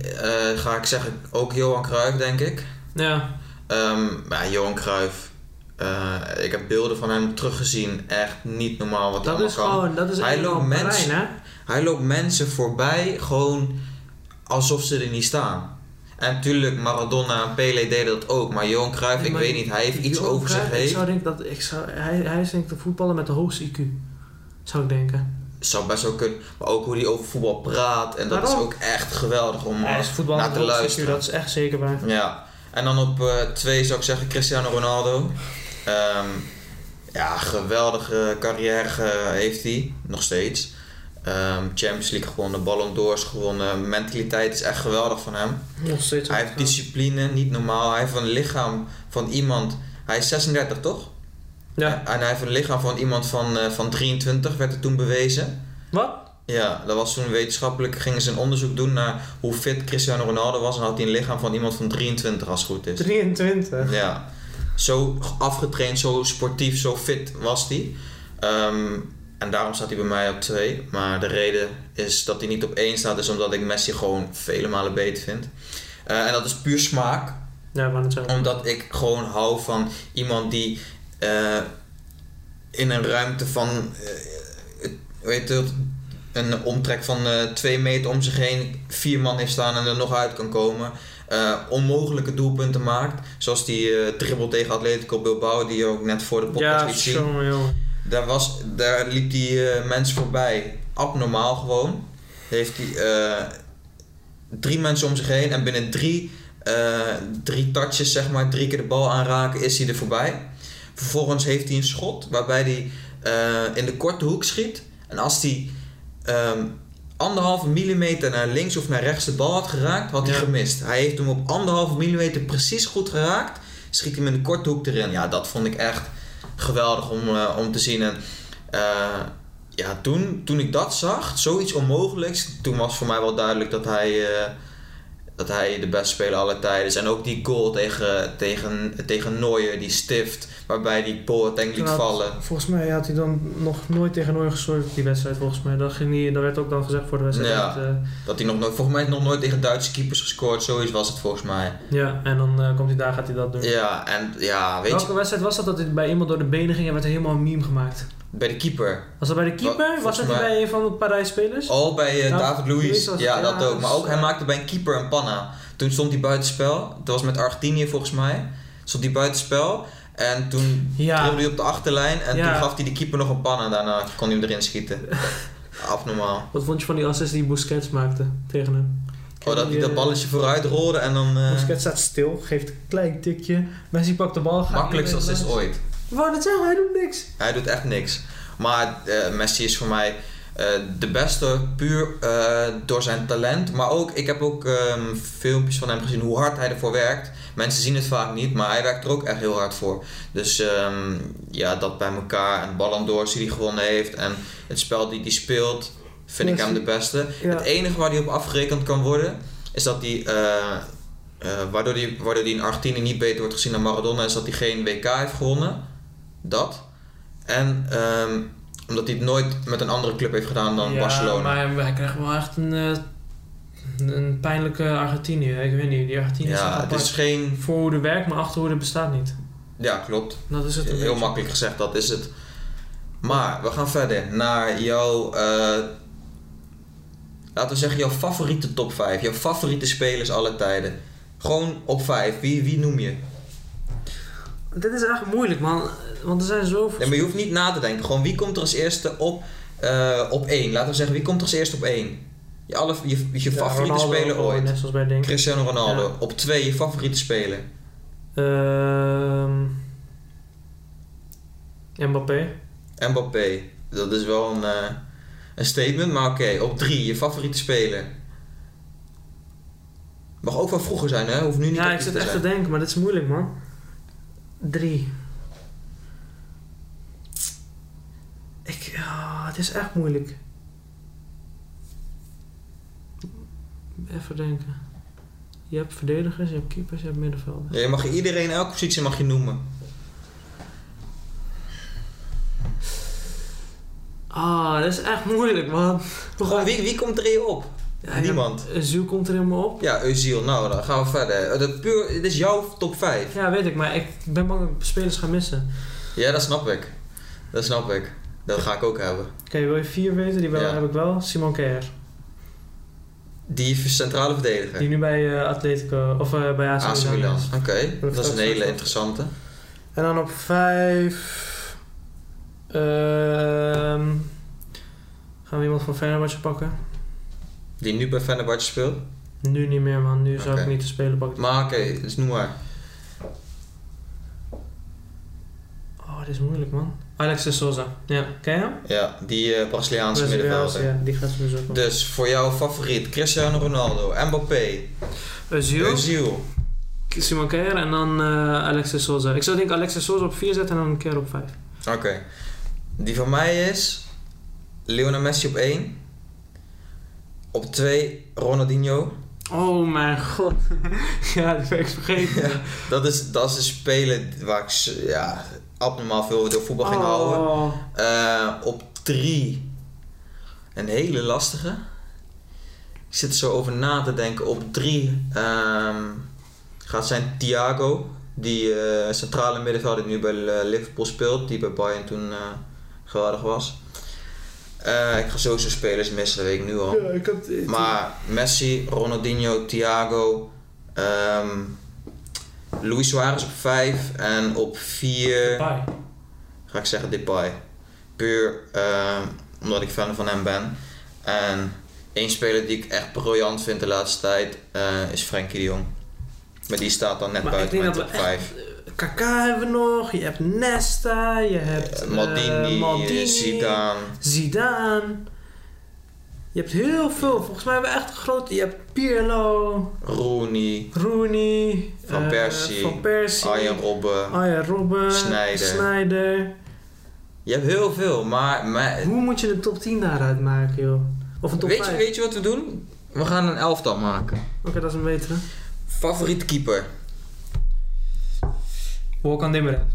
Speaker 1: ga ik zeggen ook Johan Cruijff, denk ik.
Speaker 2: ja.
Speaker 1: Ehm, maar Johan Cruijff, eh, ik heb beelden van hem teruggezien. Echt niet normaal wat hij
Speaker 2: Dat
Speaker 1: allemaal
Speaker 2: is
Speaker 1: kan.
Speaker 2: gewoon... Dat is
Speaker 1: Hij
Speaker 2: eenmaal
Speaker 1: loopt mens-
Speaker 2: Berlijn, hè.
Speaker 1: Hij loopt mensen voorbij gewoon alsof ze er niet staan. En natuurlijk, Maradona en Pele deden dat ook. Maar Johan Cruijff,
Speaker 2: Nee,
Speaker 1: ik
Speaker 2: maar
Speaker 1: weet niet, hij heeft iets
Speaker 2: Johan
Speaker 1: over
Speaker 2: Cruijff,
Speaker 1: zich heen.
Speaker 2: Ik zou
Speaker 1: Zou...
Speaker 2: denken dat ik zou, hij, hij is denk ik de voetballer met de hoogste IQ. Zou ik denken.
Speaker 1: best wel kunnen. Maar ook hoe hij over voetbal praat. En dat
Speaker 2: Daarom.
Speaker 1: is ook echt geweldig om
Speaker 2: hij is voetballer
Speaker 1: naar
Speaker 2: met de
Speaker 1: te
Speaker 2: hoogste IQ,
Speaker 1: luisteren.
Speaker 2: dat is echt zeker waar.
Speaker 1: Ja. En dan op 2 zou ik zeggen Cristiano Ronaldo. Ehm, ja, geweldige carrière eh, heeft hij. Nog steeds. Ehm, Champions League gewonnen, Ballon d'Ors gewonnen. Mentaliteit is echt geweldig van hem.
Speaker 2: Nog steeds.
Speaker 1: Dus
Speaker 2: eh,
Speaker 1: Hij heeft discipline, niet normaal. Hij heeft een lichaam van iemand. Hij is 36, toch?
Speaker 2: Ja.
Speaker 1: En hij heeft een lichaam van iemand van, eh, van 23, werd er toen bewezen.
Speaker 2: Wat?
Speaker 1: Ja, dat was toen wetenschappelijk. Gingen ze een onderzoek doen naar hoe fit Cristiano Ronaldo was. En had hij een lichaam van iemand van 23, als het goed is.
Speaker 2: 23.
Speaker 1: Ja. Zo afgetraind, zo sportief, zo fit was hij. Ehm, en daarom staat hij bij mij op 2. Maar de reden is dat hij niet op 1 staat, is omdat ik Messi gewoon vele malen beter vind. Eh, en dat is puur smaak
Speaker 2: Ja, maar het zo.
Speaker 1: omdat ik gewoon hou van iemand die eh, in een ruimte van, eh, weet je, het, een omtrek van eh twee meter om zich heen vier man heeft staan en er nog uit kan komen. Eh, onmogelijke doelpunten maakt. Zoals die eh, dribbel tegen Atletico Bilbao, die je ook net voor de podcast
Speaker 2: Ja,
Speaker 1: liet zien.
Speaker 2: jongen, jongen.
Speaker 1: Daar, was, daar liep die eh, mens voorbij. Abnormaal gewoon. Heeft hij eh, drie mensen om zich heen en binnen drie, eh, drie touches, zeg maar, drie keer de bal aanraken, is hij er voorbij. Vervolgens heeft hij een schot waarbij hij eh, in de korte hoek schiet. En als hij ehm anderhalve millimeter naar links of naar rechts de bal had geraakt, had hij
Speaker 2: Ja.
Speaker 1: gemist. Hij heeft hem op anderhalve millimeter precies goed geraakt. schiet hij hem in de korte hoek erin. Ja, dat vond ik echt geweldig om, eh, om te zien. En eh, ja, toen, toen ik dat zag, zoiets onmogelijks, toen was voor mij wel duidelijk dat hij, eh, dat hij de beste speler aller tijden is. En ook die goal tegen, tegen, tegen Neuer, die stift, waarbij die Paul uiteindelijk liet
Speaker 2: Klopt.
Speaker 1: vallen.
Speaker 2: Volgens mij had hij dan nog nooit tegen Noor gescoord die wedstrijd volgens mij. Dat, ging niet, dat werd ook dan gezegd voor de wedstrijd.
Speaker 1: Ja.
Speaker 2: dat, eh,
Speaker 1: Dat hij nog nooit, volgens mij nog nooit tegen Duitse keepers gescoord, zoiets was het volgens mij.
Speaker 2: ja, en dan eh, komt hij daar, gaat hij dat doen.
Speaker 1: Ja, en ja, weet
Speaker 2: Welke
Speaker 1: je,
Speaker 2: wedstrijd was dat dat hij bij iemand door de benen ging en werd er helemaal een meme gemaakt?
Speaker 1: bij de keeper.
Speaker 2: Was dat bij de
Speaker 1: Wa-
Speaker 2: keeper? was
Speaker 1: volgens
Speaker 2: dat die
Speaker 1: mij-
Speaker 2: bij een van de Parijs-spelers?
Speaker 1: Oh, bij eh,
Speaker 2: Ja,
Speaker 1: David
Speaker 2: Luiz
Speaker 1: Luiz.
Speaker 2: was het,
Speaker 1: Ja,
Speaker 2: ja,
Speaker 1: dat ook. Maar
Speaker 2: dus,
Speaker 1: ook, hij
Speaker 2: eh,
Speaker 1: maakte bij een keeper een panna. Toen stond hij buitenspel. Dat was met Argentinië volgens mij. Stond hij buitenspel. En toen
Speaker 2: Ja.
Speaker 1: dribbelde hij op de achterlijn. En
Speaker 2: Ja.
Speaker 1: toen gaf hij de keeper nog een panna. Daarna kon hij hem erin schieten. Abnormaal.
Speaker 2: Wat vond je van die assist die Busquets maakte tegen hem?
Speaker 1: Oh, dat hij
Speaker 2: Die,
Speaker 1: dat
Speaker 2: eh,
Speaker 1: balletje vooruit rolde en dan... eh,
Speaker 2: Busquets staat stil, geeft een klein tikje. Messi pakt de bal. gaat
Speaker 1: makkelijkst
Speaker 2: iedereen
Speaker 1: assist
Speaker 2: langs.
Speaker 1: ooit.
Speaker 2: Ik wou net zeggen, hij doet niks.
Speaker 1: Hij doet echt niks. Maar eh, Messi is voor mij eh, de beste puur eh, door zijn talent. Maar ook, ik heb ook ehm, filmpjes van hem gezien hoe hard hij ervoor werkt. Mensen zien het vaak niet, maar hij werkt er ook echt heel hard voor. Dus ehm, ja, dat bij elkaar. En Ballon d'Ors die hij gewonnen heeft. En het spel die hij speelt, vind ik
Speaker 2: Messi.
Speaker 1: hem de beste.
Speaker 2: Ja.
Speaker 1: Het enige waar hij op afgerekend kan worden, is dat hij... eh, eh, waardoor hij waardoor die in Argentinië niet beter wordt gezien dan Maradona, is dat hij geen WK heeft gewonnen. Dat. En ehm, omdat hij het nooit met een andere club heeft gedaan dan
Speaker 2: Ja,
Speaker 1: Barcelona.
Speaker 2: Maar hij krijgt wel echt een, eh, een pijnlijke Argentinië. Ik weet niet, die Argentinië is
Speaker 1: ja,
Speaker 2: apart.
Speaker 1: het is geen.
Speaker 2: Voorhoede werkt, maar achterhoede bestaat niet.
Speaker 1: Ja, klopt.
Speaker 2: Dat is het. een
Speaker 1: Heel
Speaker 2: beetje.
Speaker 1: makkelijk gezegd, dat is het. Maar we gaan verder naar jouw. eh, laten we zeggen, jouw favoriete top 5. Jouw favoriete spelers aller tijden. Gewoon op 5. Wie, wie noem je?
Speaker 2: Dit is echt moeilijk, man. Want er zijn zoveel...
Speaker 1: Nee, maar je hoeft niet na te denken. Gewoon wie komt er als eerste op, eh, op 1? Laten we zeggen, wie komt er als eerste op 1? Je, alle, je, je
Speaker 2: Ja,
Speaker 1: favoriete
Speaker 2: Ronaldo
Speaker 1: speler
Speaker 2: gewoon,
Speaker 1: ooit.
Speaker 2: Net zoals bij Dink.
Speaker 1: Cristiano Ronaldo.
Speaker 2: Ja.
Speaker 1: Op twee, je favoriete speler.
Speaker 2: Ehm Mbappé.
Speaker 1: Mbappé. Dat is wel een, eh, een statement, maar oké. Op drie, je favoriete speler. Mag ook van vroeger zijn, hè? Hoeft nu niet
Speaker 2: Ja, ik
Speaker 1: actief
Speaker 2: zit
Speaker 1: te
Speaker 2: echt te
Speaker 1: zijn.
Speaker 2: denken, maar dit is moeilijk, man. Drie. Ik, ja, het is echt moeilijk. Even denken. Je hebt verdedigers, je hebt keepers, je hebt middenvelders.
Speaker 1: Ja, je mag iedereen, elke positie mag je noemen.
Speaker 2: Ah, dat is echt moeilijk, man.
Speaker 1: Gewoon, wie, wie komt er in je op?
Speaker 2: Ja,
Speaker 1: Niemand.
Speaker 2: ja, Zul komt er helemaal op.
Speaker 1: Ja, Eusiel. Nou, dan gaan we verder. Eh, dat puur, dit is jouw top 5.
Speaker 2: Ja, weet ik, maar ik ben bang dat ik spelers ga missen.
Speaker 1: Ja, dat snap ik. Dat snap ik. Dat ga ik ook hebben.
Speaker 2: Oké, wil je vier weten? Die wel,
Speaker 1: Ja.
Speaker 2: heb ik wel. Simon Kerr.
Speaker 1: Die centrale verdediger.
Speaker 2: Die nu bij eh, Atletico, of eh, bij AC,
Speaker 1: AC Milan.
Speaker 2: Milan is.
Speaker 1: Oké, dat is een hele interessante.
Speaker 2: En dan op vijf... ehm, gaan we iemand van Fenerbahce pakken?
Speaker 1: Die nu bij Fenerbahce speelt.
Speaker 2: Nu niet meer, man. Nu zou
Speaker 1: Oké.
Speaker 2: ik niet te spelen pakken.
Speaker 1: Maar oké, dus noem maar.
Speaker 2: Oh, dit is moeilijk, man. Alex de Souza. Ja, ken je hem?
Speaker 1: Ja, die eh, Braziliaanse
Speaker 2: Braziliaans,
Speaker 1: middenvelder.
Speaker 2: ja. Die gaat sowieso komen.
Speaker 1: Dus voor jouw favoriet Cristiano Ronaldo, Mbappé,
Speaker 2: Özil,
Speaker 1: Özil.
Speaker 2: Simon Kerr en dan eh Alex de Souza. Ik zou denk Alex de Souza op vier zetten en dan Kerr op vijf.
Speaker 1: Oké. Die van mij is Lionel Messi op 1. Op 2 Ronaldinho.
Speaker 2: Oh mijn god. ja, dat ben ik vergeten.
Speaker 1: Dat is, dat is een speler waar ik s- ja, abnormaal veel door voetbal ging houden.
Speaker 2: Oh.
Speaker 1: Eh, op 3 een hele lastige. Ik zit er zo over na te denken. Op 3 gaat zijn Thiago, die eh, centrale middenvelder die nu bij eh, Liverpool speelt, die bij Bayern toen eh, geweldig was. Eh, ik ga sowieso spelers missen, dat weet ik nu al.
Speaker 2: Ja, ik had...
Speaker 1: Maar Messi, Ronaldinho, Thiago, ehm Luis Suarez op 5 en op 4
Speaker 2: Bye.
Speaker 1: ga ik zeggen Depay. Puur eh, omdat ik fan van hem ben. En één speler die ik echt briljant vind de laatste tijd eh, is Frenkie de Jong. Maar die staat dan net
Speaker 2: Maar ik
Speaker 1: buiten
Speaker 2: denk
Speaker 1: mijn
Speaker 2: dat
Speaker 1: top
Speaker 2: we echt- eh,
Speaker 1: 5.
Speaker 2: Kaka hebben we nog, je hebt Nesta, je hebt eh,
Speaker 1: Maldini, eh,
Speaker 2: Maldini,
Speaker 1: Zidane.
Speaker 2: Zidane. Je hebt heel veel. Volgens mij hebben we echt grote... Je hebt Pirlo,
Speaker 1: Rooney,
Speaker 2: Rooney...
Speaker 1: Van
Speaker 2: eh,
Speaker 1: Persie,
Speaker 2: Van Persie.
Speaker 1: Arjen Robben.
Speaker 2: Arjen Robben.
Speaker 1: Sneijder.
Speaker 2: Sneijder.
Speaker 1: Je hebt heel veel, maar... maar
Speaker 2: Hoe moet je de top 10 daaruit maken, joh? Of een top
Speaker 1: weet,
Speaker 2: 5?
Speaker 1: je, weet je wat we doen? We gaan een elftal maken.
Speaker 2: Oké, dat is een betere.
Speaker 1: Favoriet keeper?
Speaker 2: Wolkan Dimmeren.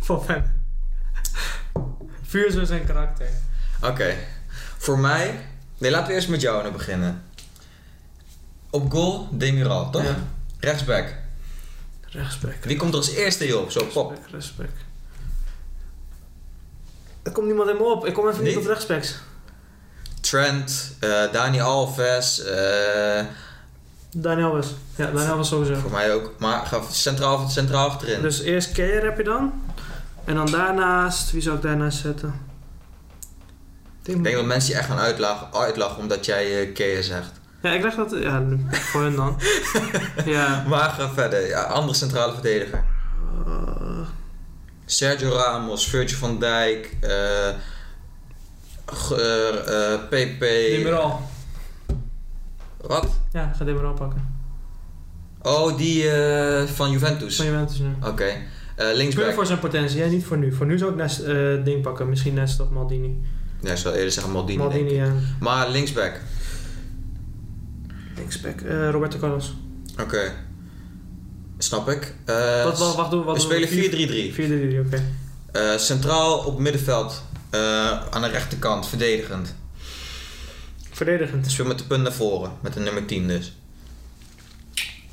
Speaker 2: Van Fem. Vuur zo zijn karakter.
Speaker 1: Oké. Voor mij... Nee, laten we eerst met jou nou beginnen. Op goal, Demiral, toch?
Speaker 2: Ja.
Speaker 1: Rechtsback.
Speaker 2: Rechtsback.
Speaker 1: Wie komt er als eerste hier op? Zo, pop.
Speaker 2: Respect, respect. Er komt niemand in me op. Ik kom even niet,
Speaker 1: Niet?
Speaker 2: op rechtsbacks.
Speaker 1: Trent, eh, Dani Alves, eh,
Speaker 2: Daniel was. Ja, Daniel was sowieso.
Speaker 1: voor mij ook. Maar ga centraal, centraal achterin.
Speaker 2: Dus eerst Keer heb je dan. En dan daarnaast, wie zou ik daarnaast zetten?
Speaker 1: Ik denk dat mensen je echt gaan uitlachen, uitlachen omdat jij eh Kea zegt.
Speaker 2: Ja, ik leg dat. Ja, nu, voor hun dan. ja.
Speaker 1: Maar ga verder. Ja, andere centrale verdediger.
Speaker 2: Eh,
Speaker 1: Sergio Ramos, Virgil van Dijk, eh, G- eh, eh, PP.
Speaker 2: Demirel.
Speaker 1: Wat?
Speaker 2: Ja, ga Demirel pakken.
Speaker 1: Oh, die eh, van Juventus.
Speaker 2: Van Juventus dus nu.
Speaker 1: Oké. Eh,
Speaker 2: Puur
Speaker 1: linksback.
Speaker 2: voor zijn potentie, ja, niet voor nu. Voor nu zou ik Nest eh, ding pakken. Misschien Nest of Maldini.
Speaker 1: Nee, ik zou eerder zeggen Maldini. denk
Speaker 2: Maldini,
Speaker 1: ik.
Speaker 2: ja.
Speaker 1: Maar linksback.
Speaker 2: Linksback. eh, Roberto Carlos.
Speaker 1: Oké. Snap ik. Eh,
Speaker 2: wat, wat, wacht, doen- wat
Speaker 1: we
Speaker 2: doen
Speaker 1: spelen 4-3-3.
Speaker 2: 4-3-3, oké.
Speaker 1: Eh, centraal op middenveld. eh, aan de rechterkant, verdedigend.
Speaker 2: Verdedigend.
Speaker 1: Speel met de punt naar voren. Met de nummer 10 dus.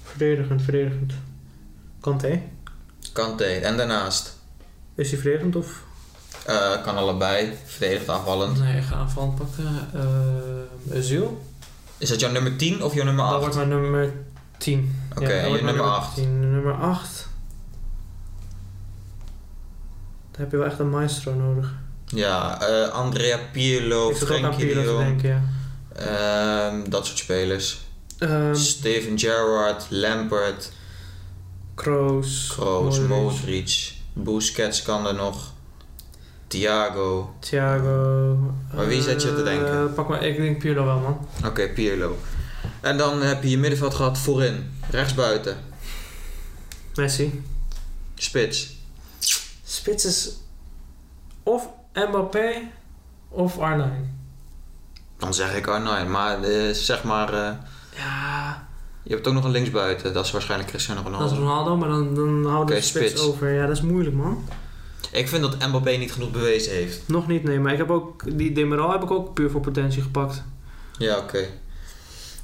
Speaker 2: Verdedigend, verdedigend. Kanté.
Speaker 1: Kante. En daarnaast.
Speaker 2: Is hij verdedigend of?
Speaker 1: eh, kan allebei. Verdedigend aanvallend.
Speaker 2: Oh, Nee, ik ga aanval pakken. Uh, Azul.
Speaker 1: Is dat jouw nummer 10 of jouw nummer
Speaker 2: Dat
Speaker 1: 8?
Speaker 2: wordt mijn nummer 10.
Speaker 1: Oké,
Speaker 2: dat
Speaker 1: en je
Speaker 2: wordt mijn
Speaker 1: nummer 8.
Speaker 2: 10. Nummer 8. Daar heb je wel echt een maestro nodig.
Speaker 1: Ja, eh, Andrea Pirlo,
Speaker 2: ik zat ook aan
Speaker 1: Frenkie de
Speaker 2: Pirlo te
Speaker 1: Jong.
Speaker 2: denken, ja.
Speaker 1: ehm, dat soort spelers.
Speaker 2: Ehm,
Speaker 1: Steven Gerrard, Lampert,
Speaker 2: Kroos.
Speaker 1: Kroos,
Speaker 2: Modric,
Speaker 1: Modric, Busquets kan er nog. Thiago.
Speaker 2: Thiago.
Speaker 1: Maar wie zet je te
Speaker 2: eh,
Speaker 1: denken?
Speaker 2: pak maar, ik denk Pirlo wel, man.
Speaker 1: Oké, Pirlo. En dan heb je je middenveld gehad voorin. Rechtsbuiten.
Speaker 2: Messi.
Speaker 1: Spits.
Speaker 2: Spits is of Mbappé of Arnijn.
Speaker 1: Dan zeg ik Arnijn. Maar eh, zeg maar, eh,
Speaker 2: Ja,
Speaker 1: je hebt ook nog een linksbuiten. Dat is waarschijnlijk Cristiano
Speaker 2: dat is
Speaker 1: Ronaldo.
Speaker 2: Ronaldo, maar dan, dan houden we
Speaker 1: Oké,
Speaker 2: de spits,
Speaker 1: spits.
Speaker 2: over. Ja, dat is moeilijk, man.
Speaker 1: Ik vind dat Mbappé niet genoeg bewezen heeft.
Speaker 2: Nog niet, nee. Maar ik heb ook... Die Demeral heb ik ook puur voor potentie gepakt.
Speaker 1: Ja, oké.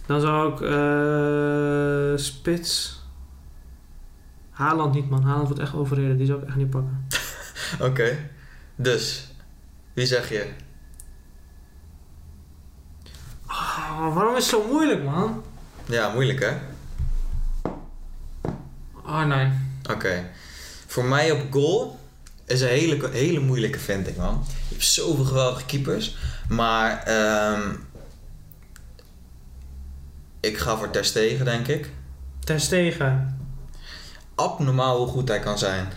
Speaker 2: Dan zou ik... eh, spits... Haaland niet, man. Haaland wordt echt overreden. Die zou ik echt niet pakken.
Speaker 1: Oké. Dus, wie zeg je?
Speaker 2: Ah, waarom is het zo moeilijk, man?
Speaker 1: Ja, moeilijk hè?
Speaker 2: Arnijn.
Speaker 1: Oké. Voor mij op goal is een hele, hele moeilijke, vind ik man. Je hebt zoveel geweldige keepers. Maar ehm ik ga voor Ter Stegen, denk ik.
Speaker 2: Ter Stegen.
Speaker 1: Abnormaal hoe goed hij kan zijn.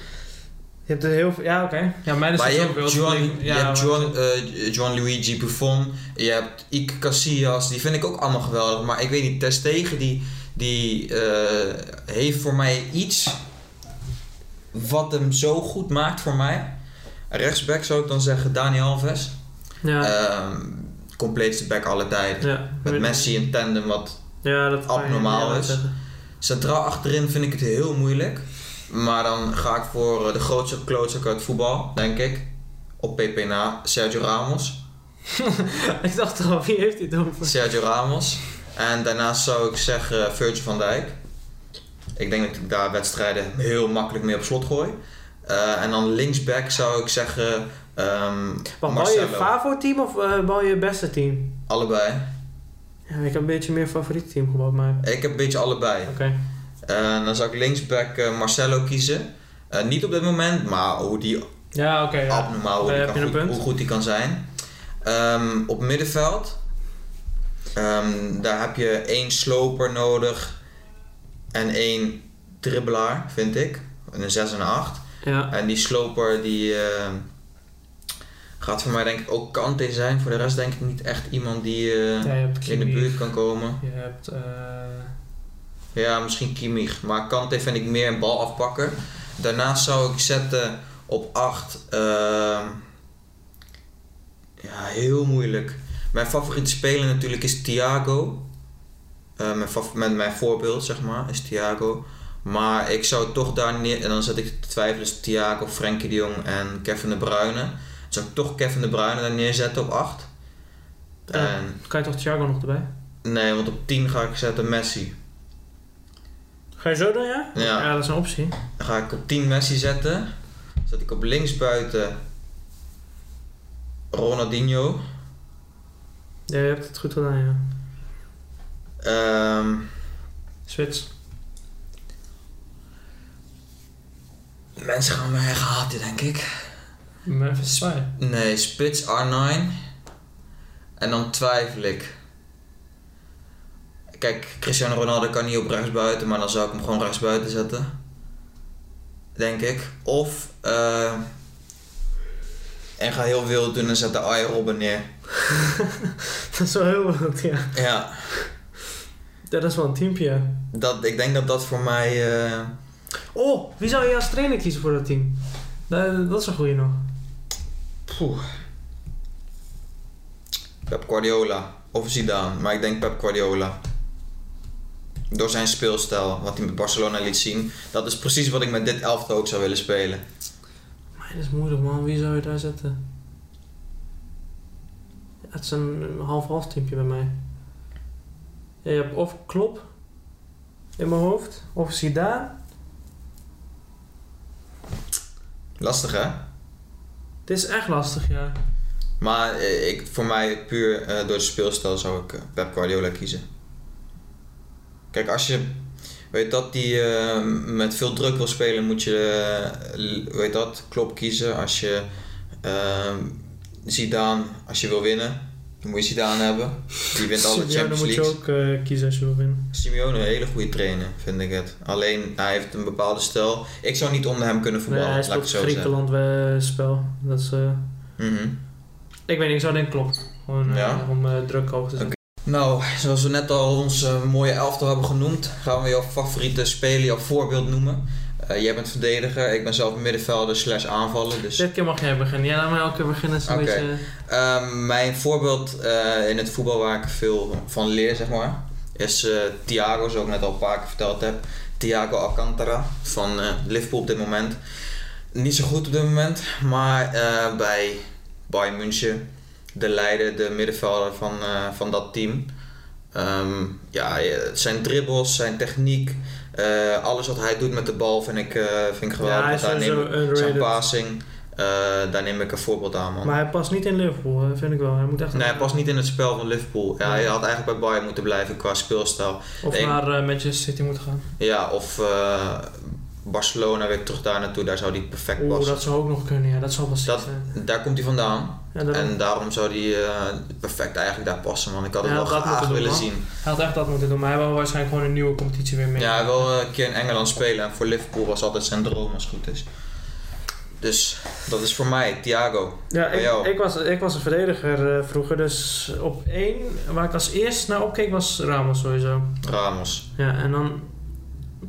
Speaker 2: Je hebt er heel veel... Ja, oké. Ja, mij is
Speaker 1: Maar
Speaker 2: het
Speaker 1: je
Speaker 2: ook
Speaker 1: hebt
Speaker 2: wel-
Speaker 1: John, je
Speaker 2: ja,
Speaker 1: hebt
Speaker 2: maar-
Speaker 1: John, eh, John Luigi Buffon, je hebt Ike Casillas, die vind ik ook allemaal geweldig. Maar ik weet niet, Ter Stegen die, die eh, heeft voor mij iets wat hem zo goed maakt voor mij. Rechtsback zou ik dan zeggen Dani Alves.
Speaker 2: Ja.
Speaker 1: Ehm, compleetste back alle tijden.
Speaker 2: ja.
Speaker 1: Met Messi in tandem wat
Speaker 2: Ja, dat ga je-
Speaker 1: abnormaal
Speaker 2: ja, dat
Speaker 1: is.
Speaker 2: zeggen.
Speaker 1: centraal achterin vind ik het heel moeilijk. Maar dan ga ik voor eh, de grootste klootzak uit voetbal, denk ik. Op PP na Sergio Ramos.
Speaker 2: ik dacht al, wie heeft dit over?
Speaker 1: Sergio Ramos. En daarnaast zou ik zeggen eh, Virgil van Dijk. Ik denk dat ik daar wedstrijden heel makkelijk mee op slot gooi. Eh, en dan linksback zou ik zeggen ehm
Speaker 2: Maar bouw je
Speaker 1: Marcelo.
Speaker 2: je Favo-team of eh, bouw je je beste team?
Speaker 1: allebei.
Speaker 2: Ja, ik heb een beetje meer favoriet team gebouwd, maar... Oké.
Speaker 1: Ik heb een beetje allebei. En dan zou ik linksback eh, Marcelo kiezen. Eh, niet op dit moment, maar hoe die
Speaker 2: Ja, oké. ja.
Speaker 1: abnormaal hoe,
Speaker 2: Daar
Speaker 1: die
Speaker 2: heb
Speaker 1: kan
Speaker 2: je een
Speaker 1: goed-
Speaker 2: punt.
Speaker 1: hoe goed die kan zijn. Ehm, op middenveld, ehm, daar heb je één sloper nodig en één dribbelaar, vind ik. Een 6 en een 8.
Speaker 2: Ja.
Speaker 1: En die sloper die ehm, Gaat voor mij denk ik ook Kante zijn. Voor de rest denk ik niet echt iemand die eh,
Speaker 2: Ja, je hebt
Speaker 1: in de
Speaker 2: Kimmich,
Speaker 1: buurt kan komen.
Speaker 2: Je hebt... eh,
Speaker 1: Ja, misschien Kimmich. Maar Kante vind ik meer een bal afpakken. Daarnaast zou ik zetten op 8. ja, heel moeilijk. Mijn favoriete speler natuurlijk is Thiago. Eh, mijn, fav- mijn, mijn voorbeeld, zeg maar, is Thiago. Maar ik zou toch daar neer... En dan zet ik te twijfelen tussen Thiago, Frenkie de Jong en Kevin de Bruyne. Dan zou ik toch Kevin de Bruyne daar neerzetten op 8.
Speaker 2: eh,
Speaker 1: En
Speaker 2: kan je toch Thiago nog erbij?
Speaker 1: nee, want op 10 ga ik zetten Messi.
Speaker 2: Ga je zo doen, ja?
Speaker 1: Ja.
Speaker 2: Ja, dat is een optie.
Speaker 1: Dan ga ik op 10 Messi zetten. Zet ik op linksbuiten Ronaldinho.
Speaker 2: Ja, je hebt het goed gedaan, ja.
Speaker 1: Ehm,
Speaker 2: Swits.
Speaker 1: mensen gaan me echt haten, denk ik.
Speaker 2: Memphis Spy.
Speaker 1: Nee, spits R9. En dan twijfel ik. Kijk, Cristiano Ronaldo kan niet op rechtsbuiten, maar dan zou ik hem gewoon rechtsbuiten zetten. Denk ik. Of, eh, en ga heel wild doen en zet de Arjen Robben neer.
Speaker 2: dat is wel heel goed, ja.
Speaker 1: Ja,
Speaker 2: Ja, dat is wel een teampje, ja.
Speaker 1: dat, ik denk dat dat voor mij... eh,
Speaker 2: Oh, wie zou je als trainer kiezen voor dat team? Dat, dat is een goeie nog.
Speaker 1: Poeh. Pep Guardiola of Zidane, maar ik denk Pep Guardiola. Door zijn speelstijl, wat hij met Barcelona liet zien. Dat is precies wat ik met dit elftal ook zou willen spelen.
Speaker 2: Maar dat is moeilijk, man. Wie zou je daar zetten? Ja, het is een half-half teampje bij mij. Ja, je hebt of Klop in mijn hoofd, of Zidane.
Speaker 1: Lastig hè?
Speaker 2: Het is echt lastig, ja.
Speaker 1: Maar eh, ik, voor mij puur eh, door de speelstijl zou ik eh, Pep Guardiola kiezen. Kijk, als je weet dat die eh, met veel druk wil spelen, moet je eh, l- weet dat klop kiezen. Als je eh, Zidane, als je wil winnen, dan moet je Zidane hebben. Die wint alle
Speaker 2: Simeone
Speaker 1: Champions
Speaker 2: moet je
Speaker 1: League.
Speaker 2: ook eh, kiezen als je wil winnen.
Speaker 1: Simeone, een hele goede trainer, vind ik het. Alleen hij heeft een bepaalde stijl. Ik zou niet onder hem kunnen
Speaker 2: Nee,
Speaker 1: voetballen,
Speaker 2: hij
Speaker 1: laat ik
Speaker 2: speelt
Speaker 1: het zo zeggen.
Speaker 2: Griekenland eh, spel. Dat is, eh,
Speaker 1: Mhm.
Speaker 2: ik weet niet, ik zou denken Klop. Gewoon eh,
Speaker 1: Ja?
Speaker 2: om eh, druk hoog te zetten.
Speaker 1: Nou, zoals we net al onze mooie elftal hebben genoemd, gaan we jouw favoriete speler, jouw voorbeeld noemen. Eh, jij bent verdediger, ik ben zelf middenvelder slash aanvaller. Dus,
Speaker 2: Dit keer mag jij beginnen. Ja, laat mij elke keer beginnen. is een
Speaker 1: Oké.
Speaker 2: beetje... eh,
Speaker 1: Ehm, mijn voorbeeld eh, in het voetbal waar ik veel van leer, zeg maar, is eh, Thiago, zoals ik net al een paar keer verteld heb. Thiago Alcantara van eh, Liverpool op dit moment. Niet zo goed op dit moment, maar eh, bij Bayern München, de leider, de middenvelder van, eh, van dat team. Ehm, ja, je- zijn dribbles, zijn techniek, eh, alles wat hij doet met de bal vind ik, eh, vind ik geweldig.
Speaker 2: Ja, hij is
Speaker 1: Daar neem
Speaker 2: sowieso
Speaker 1: ik- zijn
Speaker 2: underrated.
Speaker 1: passing, eh, daar neem ik een voorbeeld aan, man.
Speaker 2: Maar hij past niet in Liverpool, eh, vind ik wel. Hij moet echt
Speaker 1: Nee, hij past niet in het spel van Liverpool. Ja, hij had eigenlijk bij Bayern moeten blijven qua speelstijl.
Speaker 2: Of
Speaker 1: Nee.
Speaker 2: naar eh, Manchester City moeten gaan.
Speaker 1: Ja, of eh, Barcelona weer terug daar naartoe, daar zou hij perfect
Speaker 2: Oeh,
Speaker 1: passen.
Speaker 2: dat zou ook nog kunnen, ja. Dat zou wel ziek
Speaker 1: Dat-
Speaker 2: zijn.
Speaker 1: Daar komt hij vandaan
Speaker 2: Ja, dat,
Speaker 1: en daarom zou hij eh, perfect eigenlijk daar passen, man. Ik had het
Speaker 2: Ja,
Speaker 1: wel
Speaker 2: dat
Speaker 1: graag
Speaker 2: moeten we
Speaker 1: willen
Speaker 2: doen,
Speaker 1: zien.
Speaker 2: Hij had echt dat moeten doen, maar hij wil waarschijnlijk gewoon een nieuwe competitie weer mee.
Speaker 1: Ja, hij wil eh, een keer in Engeland spelen en voor Liverpool was altijd zijn droom als het goed is. Dus dat is voor mij, Thiago.
Speaker 2: Ja,
Speaker 1: Bij jou?
Speaker 2: ik, ik, was, ik was een verdediger eh, vroeger, dus op één, waar ik als eerst naar opkeek, was Ramos sowieso.
Speaker 1: Ramos.
Speaker 2: Ja, en dan